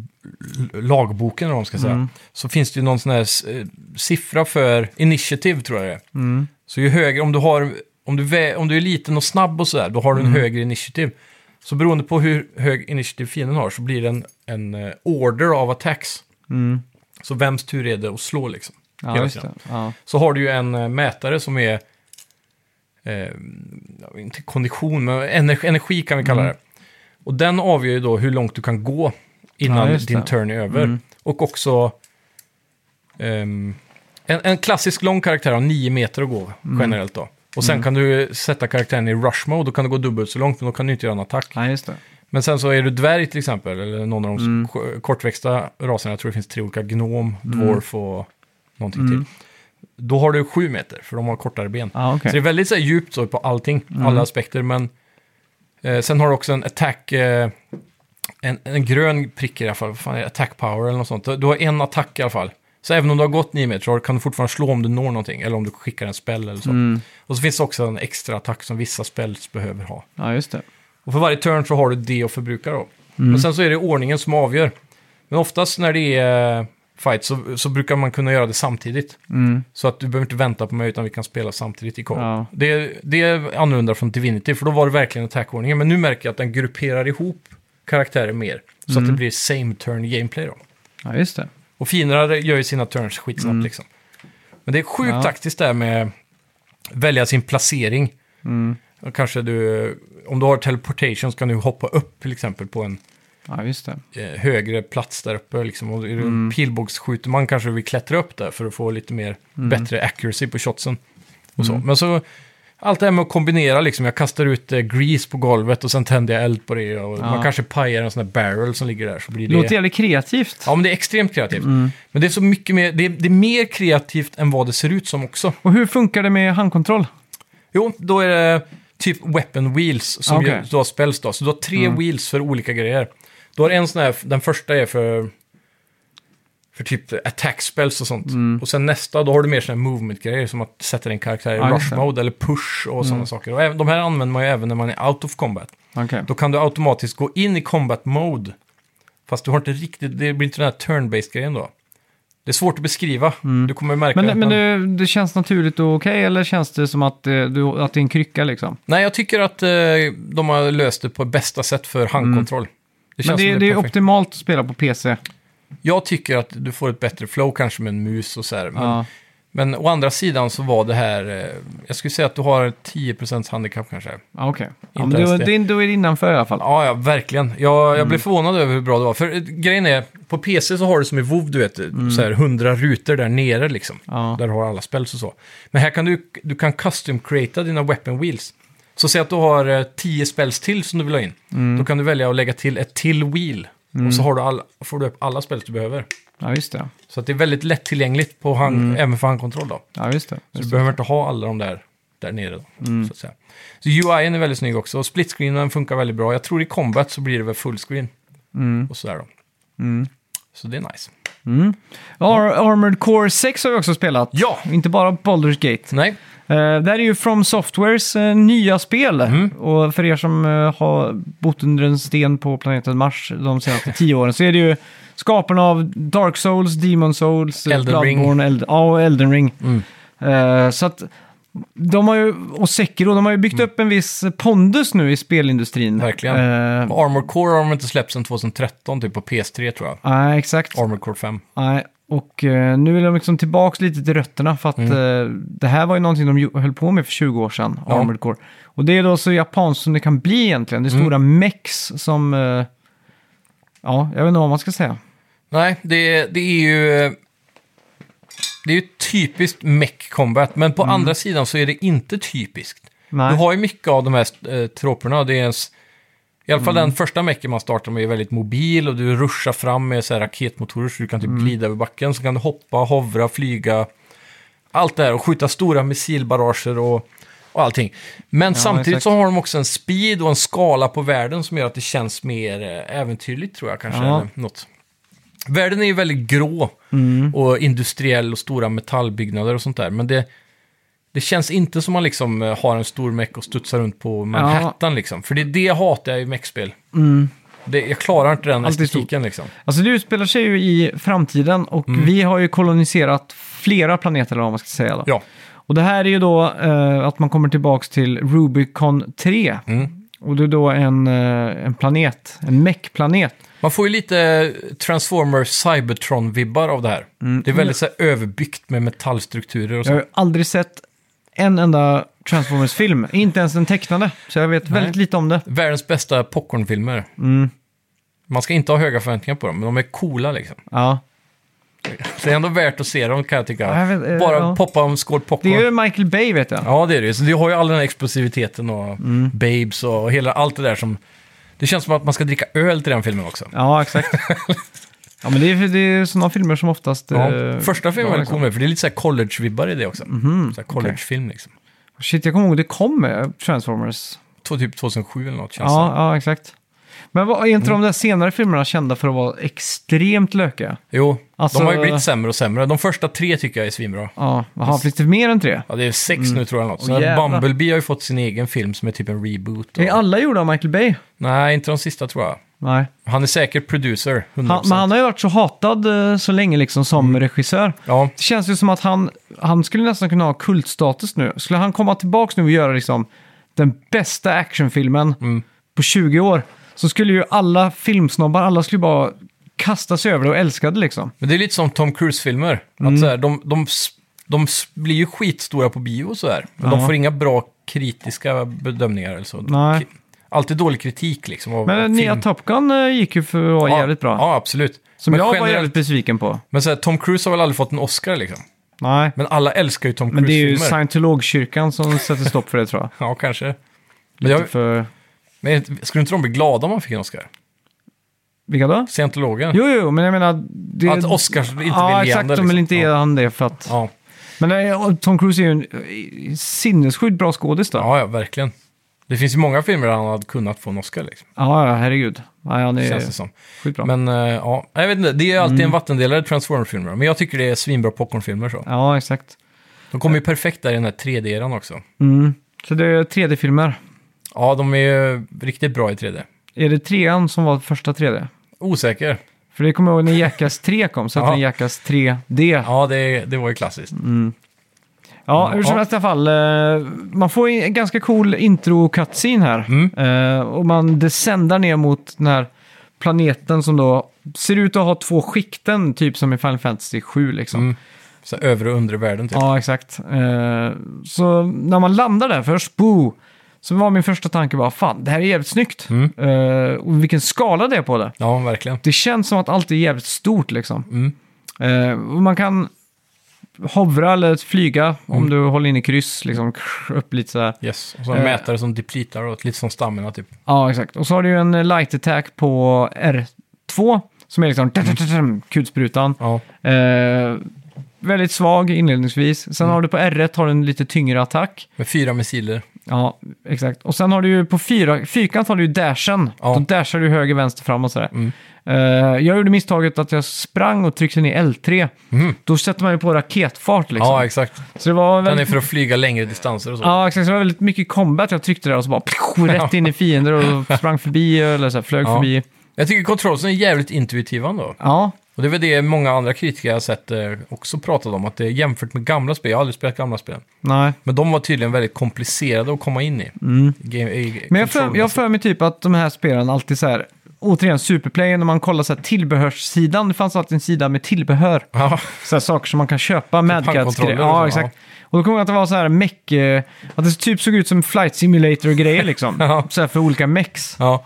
Speaker 2: lagboken, eller vad man ska
Speaker 1: Mm.
Speaker 2: säga, så finns det ju någon sån här s- eh, siffra för initiativ, tror jag det är.
Speaker 1: Mm,
Speaker 2: Så ju högre, om du, har, om, du vä- om du är liten och snabb och sådär, då har du en
Speaker 1: Mm.
Speaker 2: högre initiativ. Så beroende på hur hög initiativ fienden har så blir det en, en eh, order av attacks.
Speaker 1: Mm.
Speaker 2: Så vems tur är det att slå liksom?
Speaker 1: Ja,
Speaker 2: hela
Speaker 1: just
Speaker 2: tiden.
Speaker 1: det. Ja.
Speaker 2: så har du ju en eh, mätare som är, eh, ja, inte kondition, men energi, energi kan vi kalla
Speaker 1: Mm.
Speaker 2: det. Och den avgör ju då hur långt du kan gå innan
Speaker 1: Ja, just
Speaker 2: din
Speaker 1: det. Mm.
Speaker 2: turn är över. Och också ehm, en, en klassisk lång karaktär har 9 meter att gå
Speaker 1: Mm.
Speaker 2: generellt då. Och sen kan du sätta karaktären i rush mode, då kan du gå dubbelt så långt, men då kan du inte göra en attack.
Speaker 1: ja, just det.
Speaker 2: Men sen så är du dvärg till exempel, eller någon av de k- kortväxta raserna, jag tror det finns tre olika, gnom, dwarf och någonting till. Då har du sju meter, för de har kortare ben.
Speaker 1: Ja, okej.
Speaker 2: Så det är väldigt så här, djupt så, på allting, alla aspekter, men eh, sen har du också en attack, eh, en, en grön prick i alla fall, vad fan är det? attack power eller något sånt. Du har en attack i alla fall. Så även om du har gått nio meter så har- kan du fortfarande slå om du når någonting, eller om du skickar en spell eller så.
Speaker 1: Mm.
Speaker 2: Och så finns det också en extra attack som vissa spells behöver ha.
Speaker 1: Ja, just det.
Speaker 2: Och för varje turn så har du det att förbruka då. Men sen så är det ordningen som avgör. Men oftast när det är eh, fight så, så brukar man kunna göra det samtidigt.
Speaker 1: Mm.
Speaker 2: Så att du behöver inte vänta på mig utan vi kan spela samtidigt i co
Speaker 1: Ja.
Speaker 2: det, det är annorlunda från Divinity för då var det verkligen attackordningen. Men nu märker jag att den grupperar ihop karaktärer mer. Så att det blir same turn gameplay då.
Speaker 1: Ja, just det.
Speaker 2: Och finare gör ju sina turns skitsnabbt liksom. Men det är sjukt
Speaker 1: Mm. Ja.
Speaker 2: taktiskt där med välja sin placering.
Speaker 1: Mm.
Speaker 2: Och kanske du, om du har teleportation så kan du hoppa upp till exempel på en
Speaker 1: Ja, just det.
Speaker 2: eh, högre plats där uppe. Liksom. Och är du
Speaker 1: Mm.
Speaker 2: en pilbågsskjuter man kanske vill klättra upp där för att få lite mer
Speaker 1: Mm.
Speaker 2: bättre accuracy på shotsen. Och så. Men så allt det här med att kombinera, liksom, jag kastar ut eh, grease på golvet och sen tänder jag eld på det. Och Man kanske pajar en sån där barrel som ligger där. Så blir
Speaker 1: Det
Speaker 2: det...
Speaker 1: låter jävligt kreativt.
Speaker 2: Ja, men det är extremt kreativt. Men det är så mycket mer, det är, det är mer kreativt än vad det ser ut som också.
Speaker 1: Och hur funkar det med handkontroll?
Speaker 2: Jo, då är det typ weapon wheels som
Speaker 1: Ah, Okej. Mm.
Speaker 2: gör- du har spells då. Så du har tre wheels för olika grejer. Du har en sån här, den första är för... för typ attack spells och sånt.
Speaker 1: Mm.
Speaker 2: Och sen nästa, då har du mer sådana här movement-grejer som att sätta din karaktär i
Speaker 1: Ja, just
Speaker 2: rush
Speaker 1: det. Mm.
Speaker 2: mode eller push och sådana saker. Och även, de här använder man ju även när man är out of combat.
Speaker 1: Okej.
Speaker 2: Då kan du automatiskt gå in i combat mode. Fast du har inte riktigt, det blir inte den här turn-based grejen då. Det är svårt att beskriva. Du kommer märka att
Speaker 1: Mm. Men, men
Speaker 2: man-
Speaker 1: det, det känns naturligt och okej, eller känns det som att, eh, du, att det är en krycka liksom?
Speaker 2: Nej, jag tycker att eh, de har löst det på bästa sätt för handkontroll. Det
Speaker 1: Mm. Men
Speaker 2: känns
Speaker 1: det,
Speaker 2: som
Speaker 1: det är
Speaker 2: perfekt.
Speaker 1: optimalt att spela på PC.
Speaker 2: Jag tycker att du får ett bättre flow kanske med en mus och så här. Men,
Speaker 1: Ja.
Speaker 2: men å andra sidan så var det här, eh, jag skulle säga att du har ett 10% handikapp kanske.
Speaker 1: Ja, okej. Ja, men
Speaker 2: Inte
Speaker 1: då,
Speaker 2: ens det.
Speaker 1: det. då är det innanför i alla fall.
Speaker 2: Ja, ja, verkligen. Jag,
Speaker 1: Mm.
Speaker 2: jag blev förvånad över hur bra det var. För eh, grejen är, på PC så har du som i WoW, du vet, så här 100 rutor där nere liksom.
Speaker 1: Mm. Ja.
Speaker 2: Där du har alla spells och så. Men här kan du, du kan custom-creata dina weapon wheels. Så säg att du har eh, 10 spells till som du vill ha in. Då kan du välja att lägga till ett till wheel. Och så har du all, får du upp alla spells du behöver.
Speaker 1: Ja, just det.
Speaker 2: Så att det är väldigt lättillgängligt på hand, även för handkontroll då.
Speaker 1: Ja, just det.
Speaker 2: Så du behöver inte ha alla de där där nere. Då, så, att säga. så UIn är väldigt snygg också. Och splitscreenen funkar väldigt bra. Jag tror i combat så blir det väl fullscreen. Och sådär då. Så det är nice.
Speaker 1: Ar Armored Core 6 har vi också spelat.
Speaker 2: Ja!
Speaker 1: Inte bara Baldur's Gate.
Speaker 2: Nej,
Speaker 1: Eh, det här är ju From Softwares eh, nya spel.
Speaker 2: Mm.
Speaker 1: Och för er som eh, har bott under en sten på planeten Mars de senaste tio åren så är det ju skaparna av Dark Souls, Demon Souls, eh,
Speaker 2: Elden Ring. Mm.
Speaker 1: Bloodborne, Eld ja, och Elden Ring. Eh, så att de har ju, och Sekiro, de har ju byggt upp en viss pondus nu i spelindustrin.
Speaker 2: Verkligen.
Speaker 1: Eh,
Speaker 2: Armor Core har de inte släppt sedan 2013, typ på PS3 tror jag.
Speaker 1: Nej, exakt.
Speaker 2: Armor Core 5.
Speaker 1: Nej, och eh, nu är de liksom tillbaka lite till rötterna för att
Speaker 2: Mm.
Speaker 1: eh, det här var ju någonting de ju- höll på med för 20 år sedan,
Speaker 2: Ja.
Speaker 1: Armored Core. Och det är då så japanskt som det kan bli egentligen.
Speaker 2: Mm.
Speaker 1: Det är stora mex som... Eh, ja, jag vet inte vad man ska säga.
Speaker 2: Nej, det, det är ju... Det är ju typiskt mech combat, men på andra sidan så är det inte typiskt.
Speaker 1: Nej.
Speaker 2: Du har ju mycket av de här eh, troperna. Det är ens, I alla fall
Speaker 1: Mm.
Speaker 2: den första mecken man startar med är väldigt mobil och du ruschar fram med så här raketmotorer så du kan typ
Speaker 1: Mm.
Speaker 2: glida över backen. Så kan du hoppa, hovra, flyga. Allt det här och skjuta stora missilbarrager och, och allting. Men samtidigt
Speaker 1: exakt.
Speaker 2: så har de också en speed och en skala på världen som gör att det känns mer eh, äventyrligt tror jag kanske.
Speaker 1: Ja.
Speaker 2: Eller något. Världen är ju väldigt grå
Speaker 1: Mm.
Speaker 2: och industriell och stora metallbyggnader och sånt där. Men det, det känns inte som man liksom eh, har en stor meck och studsar runt på Manhattan liksom. För det, det hatar jag i meckspel. Det, jag klarar inte den
Speaker 1: Mm. Alltid
Speaker 2: estetiken liksom.
Speaker 1: Alltså det utspelar sig ju i framtiden och
Speaker 2: Mm.
Speaker 1: vi har ju koloniserat flera planeter eller vad man ska säga. Då.
Speaker 2: Ja,
Speaker 1: Och det här är ju då eh, att man kommer tillbaka till Rubicon 3.
Speaker 2: Mm.
Speaker 1: Och det är då en, eh, en planet, en mech-planet.
Speaker 2: man får ju lite eh, Transformers Cybertron-vibbar av det här.
Speaker 1: Mm.
Speaker 2: Det är väldigt så här, överbyggt med metallstrukturer och
Speaker 1: Jag
Speaker 2: så.
Speaker 1: har ju aldrig sett en enda Transformers-film, inte ens den tecknade. Så jag vet väldigt lite om det.
Speaker 2: Världens bästa popcornfilmer.
Speaker 1: Mm.
Speaker 2: Man ska inte ha höga förväntningar på dem, men de är coola liksom.
Speaker 1: Ja.
Speaker 2: Så det är ändå värt att se dem kan jag tycka.
Speaker 1: Ja, jag vet, eh,
Speaker 2: Bara
Speaker 1: ja.
Speaker 2: poppa en skål
Speaker 1: Det
Speaker 2: popcorn.
Speaker 1: är ju Michael Bay vet jag.
Speaker 2: Ja, det är det ju. Så du har ju all den här explosiviteten och
Speaker 1: Mm.
Speaker 2: babes och hela, allt det där som... Det känns som att man ska dricka öl till den filmen också.
Speaker 1: Ja, exakt. Ja, men det är, det är sådana filmer som oftast... eh,
Speaker 2: Ja. Första filmen
Speaker 1: ja, Mhm,
Speaker 2: var
Speaker 1: liksom.
Speaker 2: väldigt cool med, för det är lite så här college-vibbar i det också. så här college-film liksom.
Speaker 1: Shit, jag kommer ihåg det kom med Transformers.
Speaker 2: Två, typ 2007 eller något känns
Speaker 1: Ja, ja, exakt. Men vad, är inte de där senare filmerna kända för att vara extremt lökiga?
Speaker 2: det. Jo,
Speaker 1: Alltså-
Speaker 2: de har ju blivit sämre och sämre. De första tre tycker jag är svinbra.
Speaker 1: Ja, jaha, finns det mer än tre?
Speaker 2: Ja, det är sex nu tror jag eller något. Så
Speaker 1: Mm. Åh,
Speaker 2: här,
Speaker 1: jävlar.
Speaker 2: Bumblebee har ju fått sin egen film som är typ en reboot. Och...
Speaker 1: Är alla gjorda av Michael Bay?
Speaker 2: Nej, inte de sista tror jag.
Speaker 1: Nej.
Speaker 2: Han är säkert producer, 100%.
Speaker 1: Han, men han har ju varit så hatad eh, så länge liksom som regissör.
Speaker 2: Mm. Ja,
Speaker 1: Det känns ju som att han, han skulle nästan kunna ha kultstatus nu. Skulle han komma tillbaka nu och göra liksom den bästa actionfilmen
Speaker 2: Mm.
Speaker 1: på 20 år så skulle ju alla filmsnobbar, alla skulle bara kasta sig över det och älska det liksom.
Speaker 2: Men det är lite som Tom Cruise-filmer.
Speaker 1: Mm.
Speaker 2: Att så här, de, de, s- de s- blir ju skitstora på bio och sådär. Men de
Speaker 1: Ja.
Speaker 2: får inga bra kritiska bedömningar eller så.
Speaker 1: Nej.
Speaker 2: K- Alltid dålig kritik liksom. Av
Speaker 1: Men
Speaker 2: av
Speaker 1: nya
Speaker 2: film.
Speaker 1: Top Gun eh, gick ju för att vara jävligt bra.
Speaker 2: Ja, absolut.
Speaker 1: Som
Speaker 2: men
Speaker 1: jag var
Speaker 2: generellt-
Speaker 1: jävligt besviken på.
Speaker 2: Men så här, Tom Cruise har väl aldrig fått en Oscar liksom.
Speaker 1: Nej.
Speaker 2: Men alla älskar ju Tom
Speaker 1: Men det är ju
Speaker 2: Cruise-filmer.
Speaker 1: scientologkyrkan som sätter stopp för det tror jag.
Speaker 2: Ja, kanske. Men,
Speaker 1: Lite
Speaker 2: jag,
Speaker 1: för...
Speaker 2: men skulle inte de bli glada om man fick en Oscar?
Speaker 1: Vilka då?
Speaker 2: Scientologen?
Speaker 1: Jo, jo, men jag menar... Det...
Speaker 2: Att Oscars inte
Speaker 1: ja,
Speaker 2: vill ge
Speaker 1: exakt.
Speaker 2: henne,
Speaker 1: De vill
Speaker 2: liksom.
Speaker 1: inte ge
Speaker 2: ja.
Speaker 1: han det för att...
Speaker 2: Ja.
Speaker 1: Men eh, Tom Cruise är ju en eh, sinnessjukt bra skådis då.
Speaker 2: ja, ja, verkligen. Det finns ju många filmer där han hade kunnat få en Oscar, liksom,
Speaker 1: Ja, ja, herregud. Ja, ja, Mm. det
Speaker 2: känns det
Speaker 1: är
Speaker 2: som.
Speaker 1: skitbra.
Speaker 2: Men eh, ja, jag vet inte, det är ju alltid en vattendelare, Transformers-filmer. Men jag tycker det är svinbra popcornfilmer så.
Speaker 1: Ja, exakt.
Speaker 2: De kommer ju perfekt där i den här 3D-eran också.
Speaker 1: Mm. Så det är 3D-filmer.
Speaker 2: Ja, de är ju riktigt bra i 3D.
Speaker 1: Är det trean som var första 3D?
Speaker 2: Osäker.
Speaker 1: För det kommer jag ihåg när Jackass 3 kom, så att
Speaker 2: Ja.
Speaker 1: den Jackass 3D.
Speaker 2: Ja, det, det var ju klassiskt.
Speaker 1: Mm. Ja, hur som
Speaker 2: Ja.
Speaker 1: helst i alla fall. eh, Man får en ganska cool intro-cutscene här.
Speaker 2: Mm.
Speaker 1: Eh, Och man descendar ner mot den här planeten som då ser ut att ha två skikten, typ som i Final Fantasy 7 liksom.
Speaker 2: Mm. Så här övre och undre världen typ.
Speaker 1: Ja, exakt. Eh, Så när man landar där först, boo, så var min första tanke bara, fan, det här är jävligt snyggt.
Speaker 2: Mm.
Speaker 1: Eh, Och vilken skala det är på det.
Speaker 2: Ja, verkligen.
Speaker 1: Det känns som att allt är jävligt stort liksom.
Speaker 2: Mm.
Speaker 1: Eh, och man kan hovra eller flyga
Speaker 2: Mm.
Speaker 1: om du håller in i kryss, liksom krr, upp lite sådär.
Speaker 2: Yes. Och så en
Speaker 1: Eh.
Speaker 2: mätare som depletar och lite som stammarna typ.
Speaker 1: Ja, exakt. Och så har du ju en eh, light attack på R2, som är
Speaker 2: Mm.
Speaker 1: liksom tatatam, kulsprutan.
Speaker 2: Ja.
Speaker 1: Eh, väldigt svag inledningsvis. Sen
Speaker 2: Mm.
Speaker 1: har du på R1 har du en lite tyngre attack.
Speaker 2: Med fyra missiler.
Speaker 1: Ja, exakt. Och sen har du ju på fyra, fyrkant har du ju dashen.
Speaker 2: Ja.
Speaker 1: Då dashar du höger, vänster, fram och sådär.
Speaker 2: Mm.
Speaker 1: Eh, jag gjorde misstaget att jag sprang och tryckte ner L3.
Speaker 2: Mm.
Speaker 1: Då sätter man ju på raketfart liksom.
Speaker 2: Ja, exakt.
Speaker 1: så det var
Speaker 2: Den
Speaker 1: väldigt
Speaker 2: är för att flyga längre distanser och så.
Speaker 1: Ja, exakt. Så det var väldigt mycket combat. Jag tryckte där och så bara pju, rätt in i fiender och sprang förbi eller så här, flög
Speaker 2: Ja.
Speaker 1: förbi.
Speaker 2: Jag tycker kontrollsen är jävligt intuitiva ändå.
Speaker 1: Ja,
Speaker 2: Och det är väl det många andra kritiker jag har sett eh, också pratade om, att det är jämfört med gamla spel, jag har aldrig spelat gamla spel.
Speaker 1: nej.
Speaker 2: Men de var tydligen väldigt komplicerade att komma in i. Game, i
Speaker 1: Mm. Men jag för, jag för mig typ att de här spelen alltid så här, återigen Superplay, när man kollar så här tillbehörssidan, det fanns alltid en sida med tillbehör.
Speaker 2: Ja,
Speaker 1: Så här saker som man kan köpa, Madcats
Speaker 2: Typ handkontroller
Speaker 1: grejer.
Speaker 2: och så,
Speaker 1: Ja, exakt. Och då kommer jag att det var så här meck, eh, att det typ såg ut som flight simulator-grejer liksom.
Speaker 2: Ja.
Speaker 1: Så här för olika mechs.
Speaker 2: ja.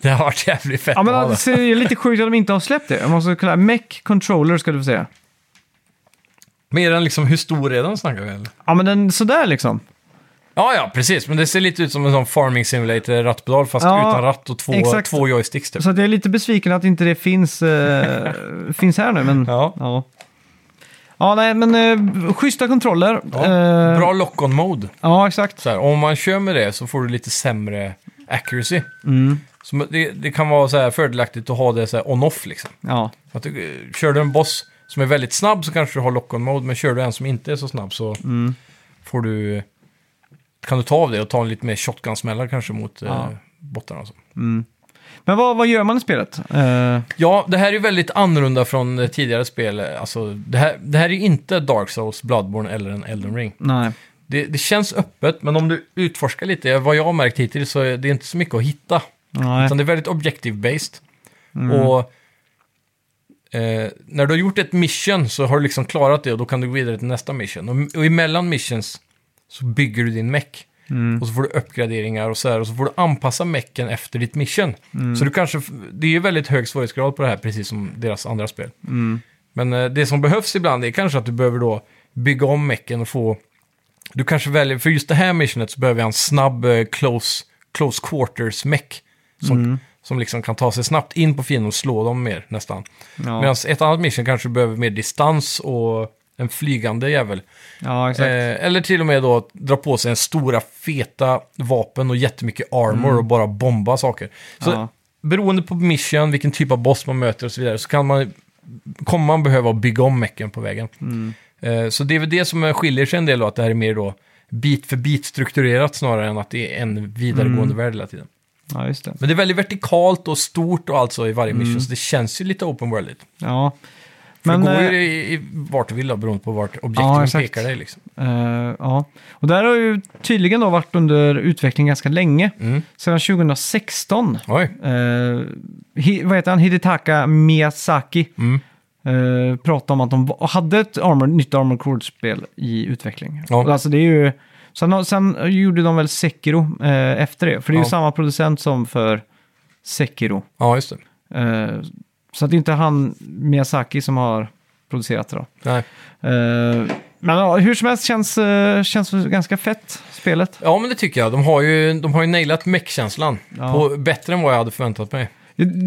Speaker 2: Det har varit jävligt fett
Speaker 1: Ja, men
Speaker 2: att ha det.
Speaker 1: alltså, det är lite sjukt att de inte har släppt det. Jag måste kolla, här. mech controller ska du få se.
Speaker 2: Mer än liksom, hur stor är den snackar vi eller?
Speaker 1: Ja, men den sådär liksom.
Speaker 2: Ja, ja, precis. Men det ser lite ut som en sån farming simulator rattpedal fast
Speaker 1: Ja,
Speaker 2: utan ratt och två,
Speaker 1: exakt.
Speaker 2: två joysticks typ.
Speaker 1: Så att jag är lite besviken att inte det finns, eh, finns här nu. Men, ja.
Speaker 2: Ja.
Speaker 1: ja. nej, men eh, schyssta kontroller.
Speaker 2: Ja.
Speaker 1: Eh,
Speaker 2: Bra lock-on-mode.
Speaker 1: Ja, exakt.
Speaker 2: Så här, om man kör med det så får du lite sämre accuracy.
Speaker 1: Mm.
Speaker 2: Så det, det kan vara så här fördelaktigt att ha det så här on-off liksom.
Speaker 1: Ja,
Speaker 2: Att du, eh, kör du en boss som är väldigt snabb så kanske du har lock-on-mode, men kör du en som inte är så snabb så får du, kan du ta av det och ta en lite mer shotgun-smällar kanske mot
Speaker 1: Ja.
Speaker 2: eh, bottarna. Och så.
Speaker 1: Mm. men vad, vad gör man i spelet? Eh,
Speaker 2: Ja, det här är ju väldigt annorlunda från eh, tidigare spel. Alltså, det, här, det här är ju inte Dark Souls, Bloodborne eller en Elden Ring.
Speaker 1: nej.
Speaker 2: Det, det känns öppet, men om du utforskar lite, vad jag har märkt hittills, så är det inte så mycket att hitta.
Speaker 1: nej.
Speaker 2: Utan det är väldigt objective-based. Och eh, när du har gjort ett mission så har du liksom klarat det och då kan du gå vidare till nästa mission. Och, och emellan missions så bygger du din mech. Och så får du uppgraderingar och så här. Och så får du anpassa mechen efter ditt mission. Så du kanske, f- det är ju väldigt hög svårighetsgrad på det här, precis som deras andra spel.
Speaker 1: Mm.
Speaker 2: Men eh, det som behövs ibland är kanske att du behöver då bygga om mechen och få... Du kanske väljer, för just det här missionet så behöver jag en snabb eh, close, close quarters mech. Som,
Speaker 1: Mm.
Speaker 2: som liksom kan ta sig snabbt in på fienden och slå dem mer nästan.
Speaker 1: Ja.
Speaker 2: Medan ett annat mission kanske behöver mer distans och en flygande jävel.
Speaker 1: ja,
Speaker 2: Eh,
Speaker 1: exakt.
Speaker 2: eller till och med då att dra på sig en stora feta vapen och jättemycket armor och bara bomba saker. Så
Speaker 1: Mm. Ja.
Speaker 2: beroende på mission, vilken typ av boss man möter och så vidare, så kan man, kommer man behöva bygga om mecken på vägen.
Speaker 1: Mm.
Speaker 2: Eh, så det är väl det som skiljer sig en del då, att det här är mer då bit för bit strukturerat snarare än att det är en vidaregående
Speaker 1: Mm.
Speaker 2: värld hela tiden.
Speaker 1: Ja, just det.
Speaker 2: Men det är väldigt vertikalt och stort och allt så i varje
Speaker 1: Mm.
Speaker 2: mission, så det känns ju lite open worldigt.
Speaker 1: Ja.
Speaker 2: Men, det går
Speaker 1: eh,
Speaker 2: ju i, i vart du vill då, beroende på vart
Speaker 1: Ja,
Speaker 2: objekten
Speaker 1: exakt.
Speaker 2: pekar dig. Liksom.
Speaker 1: Eh, ja, och där har ju tydligen då varit under utveckling ganska länge.
Speaker 2: Mm.
Speaker 1: Sedan 2016.
Speaker 2: Oj,
Speaker 1: Eh, hi, vad heter han? Hidetaka Miyazaki.
Speaker 2: Mm.
Speaker 1: Eh, pratade om att de va- hade ett armor, nytt Armored Core-spel i utveckling.
Speaker 2: Ja.
Speaker 1: Och Alltså det är ju, sen, har- sen gjorde de väl Sekiro eh, efter det. För det är
Speaker 2: Ja.
Speaker 1: ju samma producent som för Sekiro.
Speaker 2: ja just det.
Speaker 1: Eh, så att det är inte han Miyazaki som har producerat det då.
Speaker 2: Nej.
Speaker 1: Eh, men ja, hur som helst känns, eh, känns det ganska fett, spelet.
Speaker 2: Ja, men det tycker jag. De har ju, de har ju nailat mech-känslan.
Speaker 1: Ja.
Speaker 2: På, bättre än vad jag hade förväntat mig.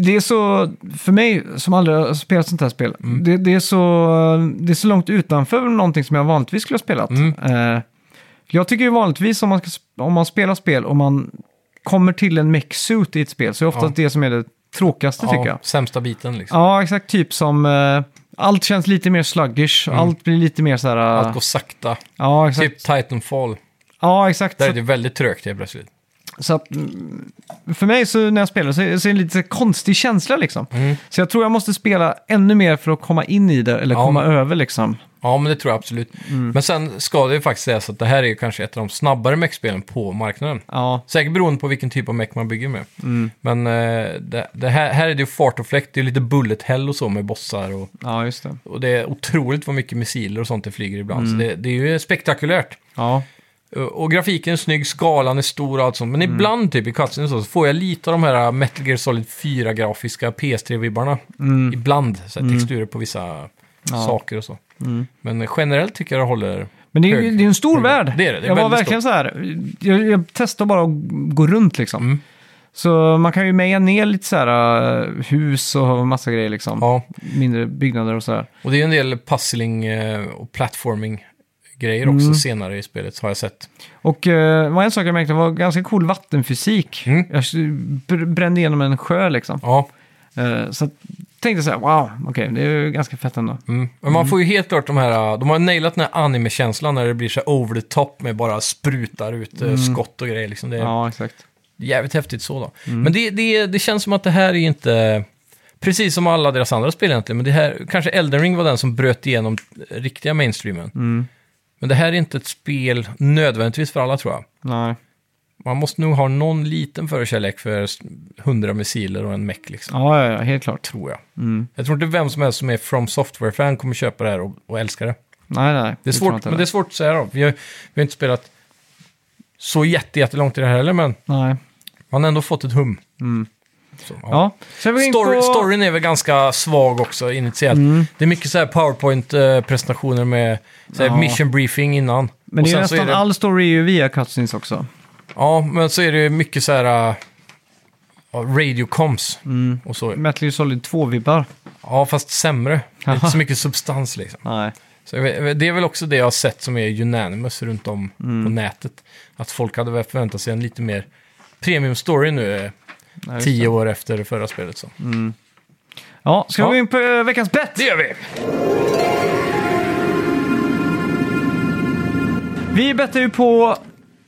Speaker 1: Det är så, för mig som aldrig har spelat sånt här spel, det, det, är så, det är så långt utanför någonting som jag vanligtvis skulle ha spelat.
Speaker 2: Mm.
Speaker 1: Eh, Jag tycker ju vanligtvis om man, ska, sp- om man spelar spel och man kommer till en mech-suit i ett spel så är det oftast det som är det tråkigaste tycker jag.
Speaker 2: Sämsta biten liksom.
Speaker 1: Ja, exakt. Typ som... eh, allt känns lite mer sluggish, allt blir lite mer så här... eh,
Speaker 2: Allt går sakta.
Speaker 1: ja, exakt.
Speaker 2: Typ Titanfall.
Speaker 1: Ja, exakt.
Speaker 2: Där
Speaker 1: Så,
Speaker 2: är det väldigt trögt helt plötsligt.
Speaker 1: så att, mm, för mig så när jag spelar så är så är det en lite konstig känsla liksom.
Speaker 2: Mm.
Speaker 1: Så jag tror jag måste spela ännu mer för att komma in i det eller
Speaker 2: Ja,
Speaker 1: komma
Speaker 2: men-
Speaker 1: över liksom.
Speaker 2: Ja, men det tror jag absolut.
Speaker 1: Mm.
Speaker 2: Men sen ska det ju faktiskt sägas att det här är ju kanske ett av de snabbare mech-spelen på marknaden.
Speaker 1: Ja, Mm.
Speaker 2: Säkert beroende på vilken typ av mech man bygger med. Men eh, det, det här, här är det ju fart och fläkt, det är lite bullet hell och så med bossar. Och,
Speaker 1: ja just det.
Speaker 2: och det är otroligt vad mycket missiler och sånt det flyger ibland.
Speaker 1: Mm.
Speaker 2: Så det, det är ju spektakulärt.
Speaker 1: Ja,
Speaker 2: Eh, Och och grafiken är snygg, skalan är stor och allt sånt. Men ibland typ i cutscenes och så, så får jag lite av de här Metal Gear Solid 4-grafiska PS3-vibbarna. Ibland, så här, texturer på vissa saker och så. Men generellt tycker jag det håller...
Speaker 1: men det är, ju-
Speaker 2: hög-
Speaker 1: det är en stor
Speaker 2: hög-
Speaker 1: värld.
Speaker 2: Det är det, det är
Speaker 1: jag var
Speaker 2: väldigt
Speaker 1: verkligen så här, jag, jag testade bara att gå runt liksom.
Speaker 2: Mm.
Speaker 1: Så man kan ju meja ner lite så här eh, hus och massa grejer liksom.
Speaker 2: Ja,
Speaker 1: Mindre byggnader och så här.
Speaker 2: och det är ju en del puzzling eh, och platforming-grejer också senare i spelet har jag sett.
Speaker 1: Och eh, var en sak jag märkte var ganska cool vattenfysik.
Speaker 2: Mm.
Speaker 1: Jag s- br- brände igenom en sjö liksom.
Speaker 2: Ja,
Speaker 1: Eh, så att- tänkte så här, wow, okej, det är ju ganska fett ändå.
Speaker 2: mm. men man får ju helt klart de här... eh, De har nailat den här anime-känslan när det blir så här over the top med bara sprutar ut eh, skott och grejer. Liksom. Det är,
Speaker 1: Ja, exakt.
Speaker 2: Jävligt häftigt så då.
Speaker 1: Mm.
Speaker 2: Men det, det, det känns som att det här är inte... Precis som alla deras andra spel egentligen, men det här... Kanske Elden Ring var den som bröt igenom riktiga mainstreamen.
Speaker 1: Mm.
Speaker 2: Men det här är inte ett spel nödvändigtvis för alla tror jag.
Speaker 1: Nej.
Speaker 2: Man måste nog ha någon liten förkärlek för s- 100 missiler och en mech liksom.
Speaker 1: Ja, ja, ja, helt klart. Mm.
Speaker 2: Tror jag. Jag tror inte vem som helst som är From Software-fan kommer köpa det här och, och älska det.
Speaker 1: Nej, nej.
Speaker 2: Det är
Speaker 1: tror jag
Speaker 2: svårt,
Speaker 1: inte
Speaker 2: men det är svårt att säga då. Vi har, vi har inte spelat så jätte, jättelångt i det här heller, men
Speaker 1: Nej.
Speaker 2: man har ändå fått ett hum. Så, ja.
Speaker 1: Mm. Ja. Ska vi gå in
Speaker 2: Story,
Speaker 1: på... Mm.
Speaker 2: Storyn är väl ganska svag också initiellt. Det är mycket så här PowerPoint-presentationer med så här
Speaker 1: Ja.
Speaker 2: mission briefing innan.
Speaker 1: Men det är
Speaker 2: sen
Speaker 1: nästan
Speaker 2: så det,
Speaker 1: all story är ju via cutscenes också.
Speaker 2: Ja, men så är det ju mycket så här... äh, ja, radiocoms
Speaker 1: Mm.
Speaker 2: och så.
Speaker 1: Metal Gear Solid 2-vibbar.
Speaker 2: Ja, fast sämre. Det är inte
Speaker 1: Aha.
Speaker 2: så mycket substans liksom.
Speaker 1: Nej.
Speaker 2: Så jag vet- det är väl också det jag har sett som är unanimous runt om
Speaker 1: Mm.
Speaker 2: på nätet. Att folk hade väl förväntat sig en lite mer premium story nu, eh,
Speaker 1: nej just
Speaker 2: tio
Speaker 1: det. Mm.
Speaker 2: år efter det förra spelet. Så.
Speaker 1: Ja, ska
Speaker 2: Ja.
Speaker 1: vi gå in på eh, veckans bett?
Speaker 2: Det gör vi!
Speaker 1: Vi bettar ju på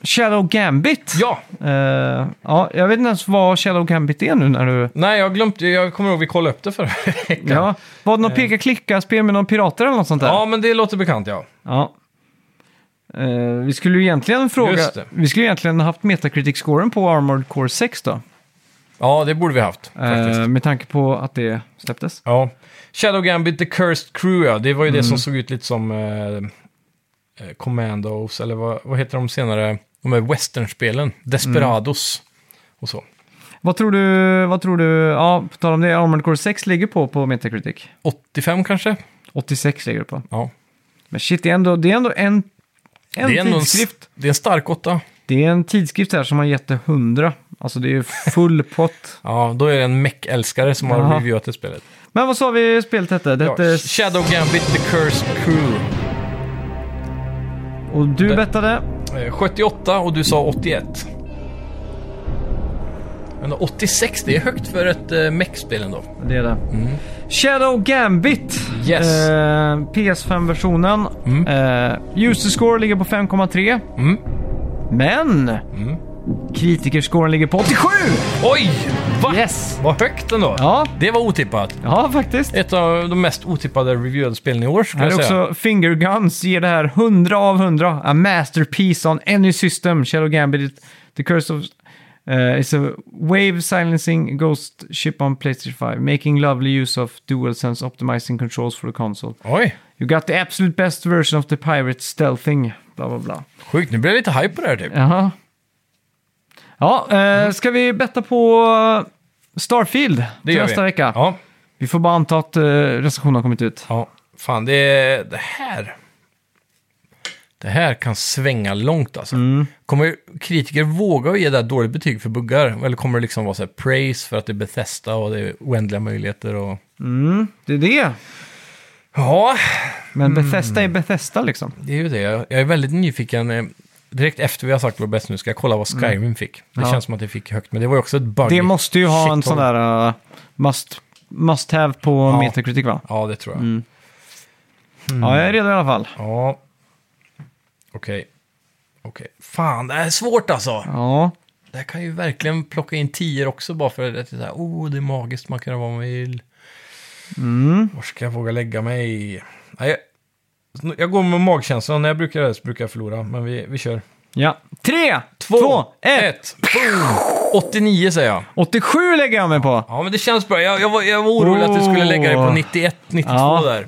Speaker 1: Shadow Gambit.
Speaker 2: Ja!
Speaker 1: Eh, ja, jag vet inte ens vad Shadow Gambit är nu när du...
Speaker 2: Nej, jag glömde, jag kommer ihåg vi kollade upp det förra veckan.
Speaker 1: Ja. Var det något peka-klicka-spel med någon pirater eller något sånt där?
Speaker 2: Eh. Ja, men det låter bekant, ja.
Speaker 1: Ja. Eh, vi skulle ju egentligen fråga...
Speaker 2: Just det.
Speaker 1: Vi skulle ju egentligen ha haft Metacritic-scoren på Armored Core 6 då.
Speaker 2: Ja, det borde vi haft, faktiskt.
Speaker 1: Eh, med tanke på att det släpptes.
Speaker 2: Ja. Shadow Gambit, The Cursed Crew, ja. Det var ju
Speaker 1: Mm.
Speaker 2: det som såg ut lite som eh, eh, Commandos, eller vad, vad heter de senare? De här westernspelen, Desperados
Speaker 1: Mm.
Speaker 2: och så.
Speaker 1: Vad tror du, vad tror du, ja på tal om det, Armored Core 6 ligger på på Metacritic.
Speaker 2: 85 kanske?
Speaker 1: 86 ligger det på.
Speaker 2: Ja.
Speaker 1: Men shit, det är ändå, det är ändå en, en
Speaker 2: det är ändå en,
Speaker 1: tidskrift.
Speaker 2: s- det är en stark åtta.
Speaker 1: Det är en tidskrift här som har gett det 100. Alltså det är ju full pott.
Speaker 2: Ja, då är det en mech-älskare som har
Speaker 1: Jaha.
Speaker 2: reviewat det spelet.
Speaker 1: Men vad sa vi spelet hette? Det
Speaker 2: Ja,
Speaker 1: hette...
Speaker 2: Shadow Gambit, The Cursed Crew.
Speaker 1: Och du
Speaker 2: det-
Speaker 1: bettade?
Speaker 2: Eh, 78 och du sa 81. Men 86, det är högt för ett eh, mech-spel ändå.
Speaker 1: Det är det. Shadow Gambit.
Speaker 2: Mm. Yes.
Speaker 1: Eh, PS5-versionen. Eh, user score ligger på 5,3.
Speaker 2: Mm.
Speaker 1: Men kritikerscoren ligger på 87!
Speaker 2: Oj! Va?
Speaker 1: Yes!
Speaker 2: Vad högt ändå.
Speaker 1: Ja.
Speaker 2: Det var otippat.
Speaker 1: Ja, faktiskt.
Speaker 2: Ett av de mest otippade reviewade spelen i år, skulle
Speaker 1: Här
Speaker 2: jag
Speaker 1: är
Speaker 2: säga.
Speaker 1: också Finger Guns ger det här 100 av 100. A masterpiece on any system. Shadow Gambit, The Curse of... Uh, is a wave silencing ghost ship on PlayStation 5, making lovely use of DualSense optimizing controls for the console.
Speaker 2: Oj,
Speaker 1: You got the absolute best version of the pirate stealthing. Bla, bla, bla.
Speaker 2: sjukt. Nu blev jag lite hype på det här typ.
Speaker 1: Jaha. Ja, eh, ska vi betta på eh, Starfield
Speaker 2: Mm. Det
Speaker 1: till
Speaker 2: gör
Speaker 1: nästa
Speaker 2: vi.
Speaker 1: vecka?
Speaker 2: Ja.
Speaker 1: Vi får bara anta att eh, recensionen har kommit ut.
Speaker 2: ja. Fan, det, är- det här... Det här kan svänga långt alltså.
Speaker 1: Mm.
Speaker 2: Kommer kritiker våga ge det här dåligt betyg för buggar? Eller kommer det liksom vara så här praise för att det är Bethesda och det är oändliga möjligheter och...
Speaker 1: Det är det.
Speaker 2: Ja, Mm.
Speaker 1: Men Bethesda är Bethesda liksom.
Speaker 2: det är ju det. Jag är väldigt nyfiken. eh, direkt efter vi har sagt vår bäst nu ska jag kolla vad Skyrim fick. Det
Speaker 1: Mm. Ja.
Speaker 2: känns som att det fick högt, men det var ju också ett buggy.
Speaker 1: Det måste ju ha en
Speaker 2: shithole.
Speaker 1: sån där uh, must, must have på
Speaker 2: Ja. Mm.
Speaker 1: Metacritic va?
Speaker 2: Ja, det tror jag.
Speaker 1: Mm. Ja, jag är redo i alla fall.
Speaker 2: Ja. Okej. Okej. Fan, det här är svårt alltså.
Speaker 1: Ja,
Speaker 2: Det här kan ju verkligen plocka in tior också bara för att det är så här, oh, det är magiskt, man kan göra vad man vill.
Speaker 1: mm.
Speaker 2: Var ska jag våga lägga mig? Nej, jag- jag går med magkänslan. När jag brukar göra det så brukar jag förlora, men vi, vi kör.
Speaker 1: ja. Tre, två,
Speaker 2: Två,
Speaker 1: ett.
Speaker 2: ett. Boom! 89 säger jag.
Speaker 1: 87 lägger jag mig på.
Speaker 2: Ja, men det känns bra. Jag, jag, var, jag var orolig att du skulle lägga dig på
Speaker 1: Åh.
Speaker 2: 91, 92
Speaker 1: Ja.
Speaker 2: där.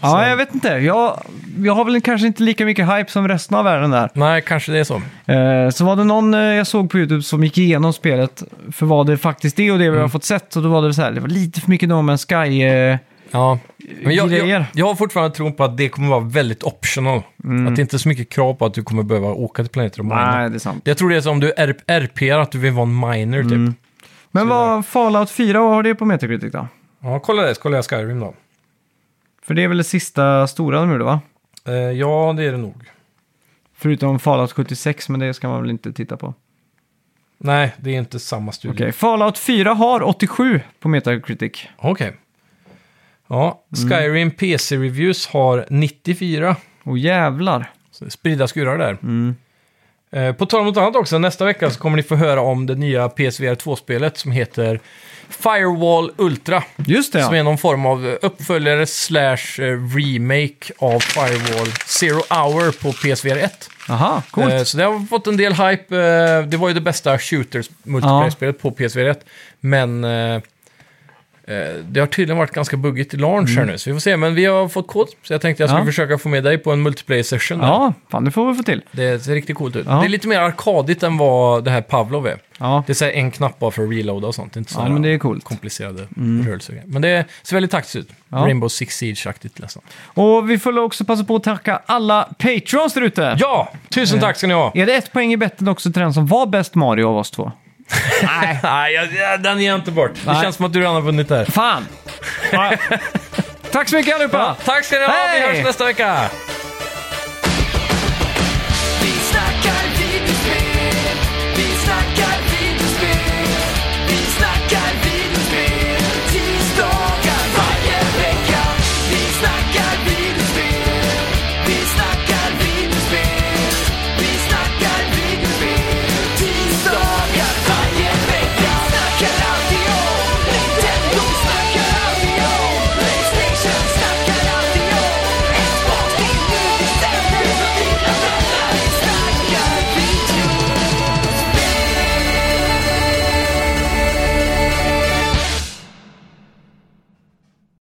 Speaker 1: Ja, jag vet inte. Jag, jag har väl kanske inte lika mycket hype som resten av världen där.
Speaker 2: Nej, kanske det är så.
Speaker 1: Eh, så var det någon eh, jag såg på YouTube som gick igenom spelet för vad det faktiskt är och det vi
Speaker 2: Mm.
Speaker 1: har fått sett. Och då var det så här, det var lite för mycket No Man's Sky. Eh,
Speaker 2: Ja. Men jag, jag,
Speaker 1: Grejer.
Speaker 2: jag har fortfarande tron på att det kommer vara väldigt optional. Att det inte är så mycket krav på att du kommer behöva åka till planeter och mina.
Speaker 1: Mm. nej, det är sant.
Speaker 2: Jag tror det är som om du är RP, att du vill vara en miner typ.
Speaker 1: Mm. Men vad Fallout 4, vad har det på Metacritic då?
Speaker 2: Ja, kolla det. så Kollar jag Skyrim då.
Speaker 1: För det är väl det sista stora nu då, va?
Speaker 2: Eh, ja, det är det nog.
Speaker 1: Förutom Fallout 76, men det ska man väl inte titta på.
Speaker 2: Nej, det är inte samma studie.
Speaker 1: Okej, Fallout 4 har 87 på Metacritic.
Speaker 2: Okej. Ja, Skyrim PC Reviews har 94.
Speaker 1: Och jävlar.
Speaker 2: Så Spridda skurar där.
Speaker 1: Mm.
Speaker 2: Eh, på tal om något annat också, nästa vecka så kommer ni få höra om det nya PSVR 2-spelet som heter Firewall Ultra.
Speaker 1: Just det,
Speaker 2: Som
Speaker 1: ja.
Speaker 2: är någon form av eh, uppföljare slash eh, remake av Firewall Zero Hour på PSVR 1.
Speaker 1: Aha, coolt.
Speaker 2: Eh, Så det har fått en del hype. Eh, Det var ju det bästa shooters multiplayer-spelet på PSVR 1. Men eh, eh, det har tydligen varit ganska buggigt i launch här nu, så vi får se. Men vi har fått kod, så jag tänkte jag skulle
Speaker 1: Mm. Ja.
Speaker 2: försöka få med dig på en multiplayer-session. där.
Speaker 1: ja, fan det får vi få till.
Speaker 2: Det ser riktigt coolt ut.
Speaker 1: Ja.
Speaker 2: Det är lite mer arkadigt än vad det här Pavlov är.
Speaker 1: Ja,
Speaker 2: Det är så här en knapp bara för att reloada och sånt. Det är inte så
Speaker 1: ja
Speaker 2: här
Speaker 1: men det är coolt. Mm.
Speaker 2: komplicerade rörelser. och grejer. Men det ser väldigt taktiskt ut.
Speaker 1: Ja.
Speaker 2: Rainbow Six Siege-aktigt liksom. nästan.
Speaker 1: Och vi får också passa på att tacka alla patrons där ute.
Speaker 2: Ja!
Speaker 1: Eh.
Speaker 2: Tusen tack ska ni ha!
Speaker 1: Är det ett poäng i betten också till den som var bäst Mario av oss två? Nej,
Speaker 2: Nej, jag- jag- den ger jag inte bort. Det
Speaker 1: Nej.
Speaker 2: känns som att du redan har vunnit där.
Speaker 1: fan! Ja. Tack så mycket allihopa!
Speaker 2: Tack ska ni ha, vi
Speaker 1: Hej!
Speaker 2: hörs nästa vecka!
Speaker 3: Vi snackar videospel, vi snackar videospel, vi snackar videospel tisdagar varje vecka. Vi snackar videospel, vi snackar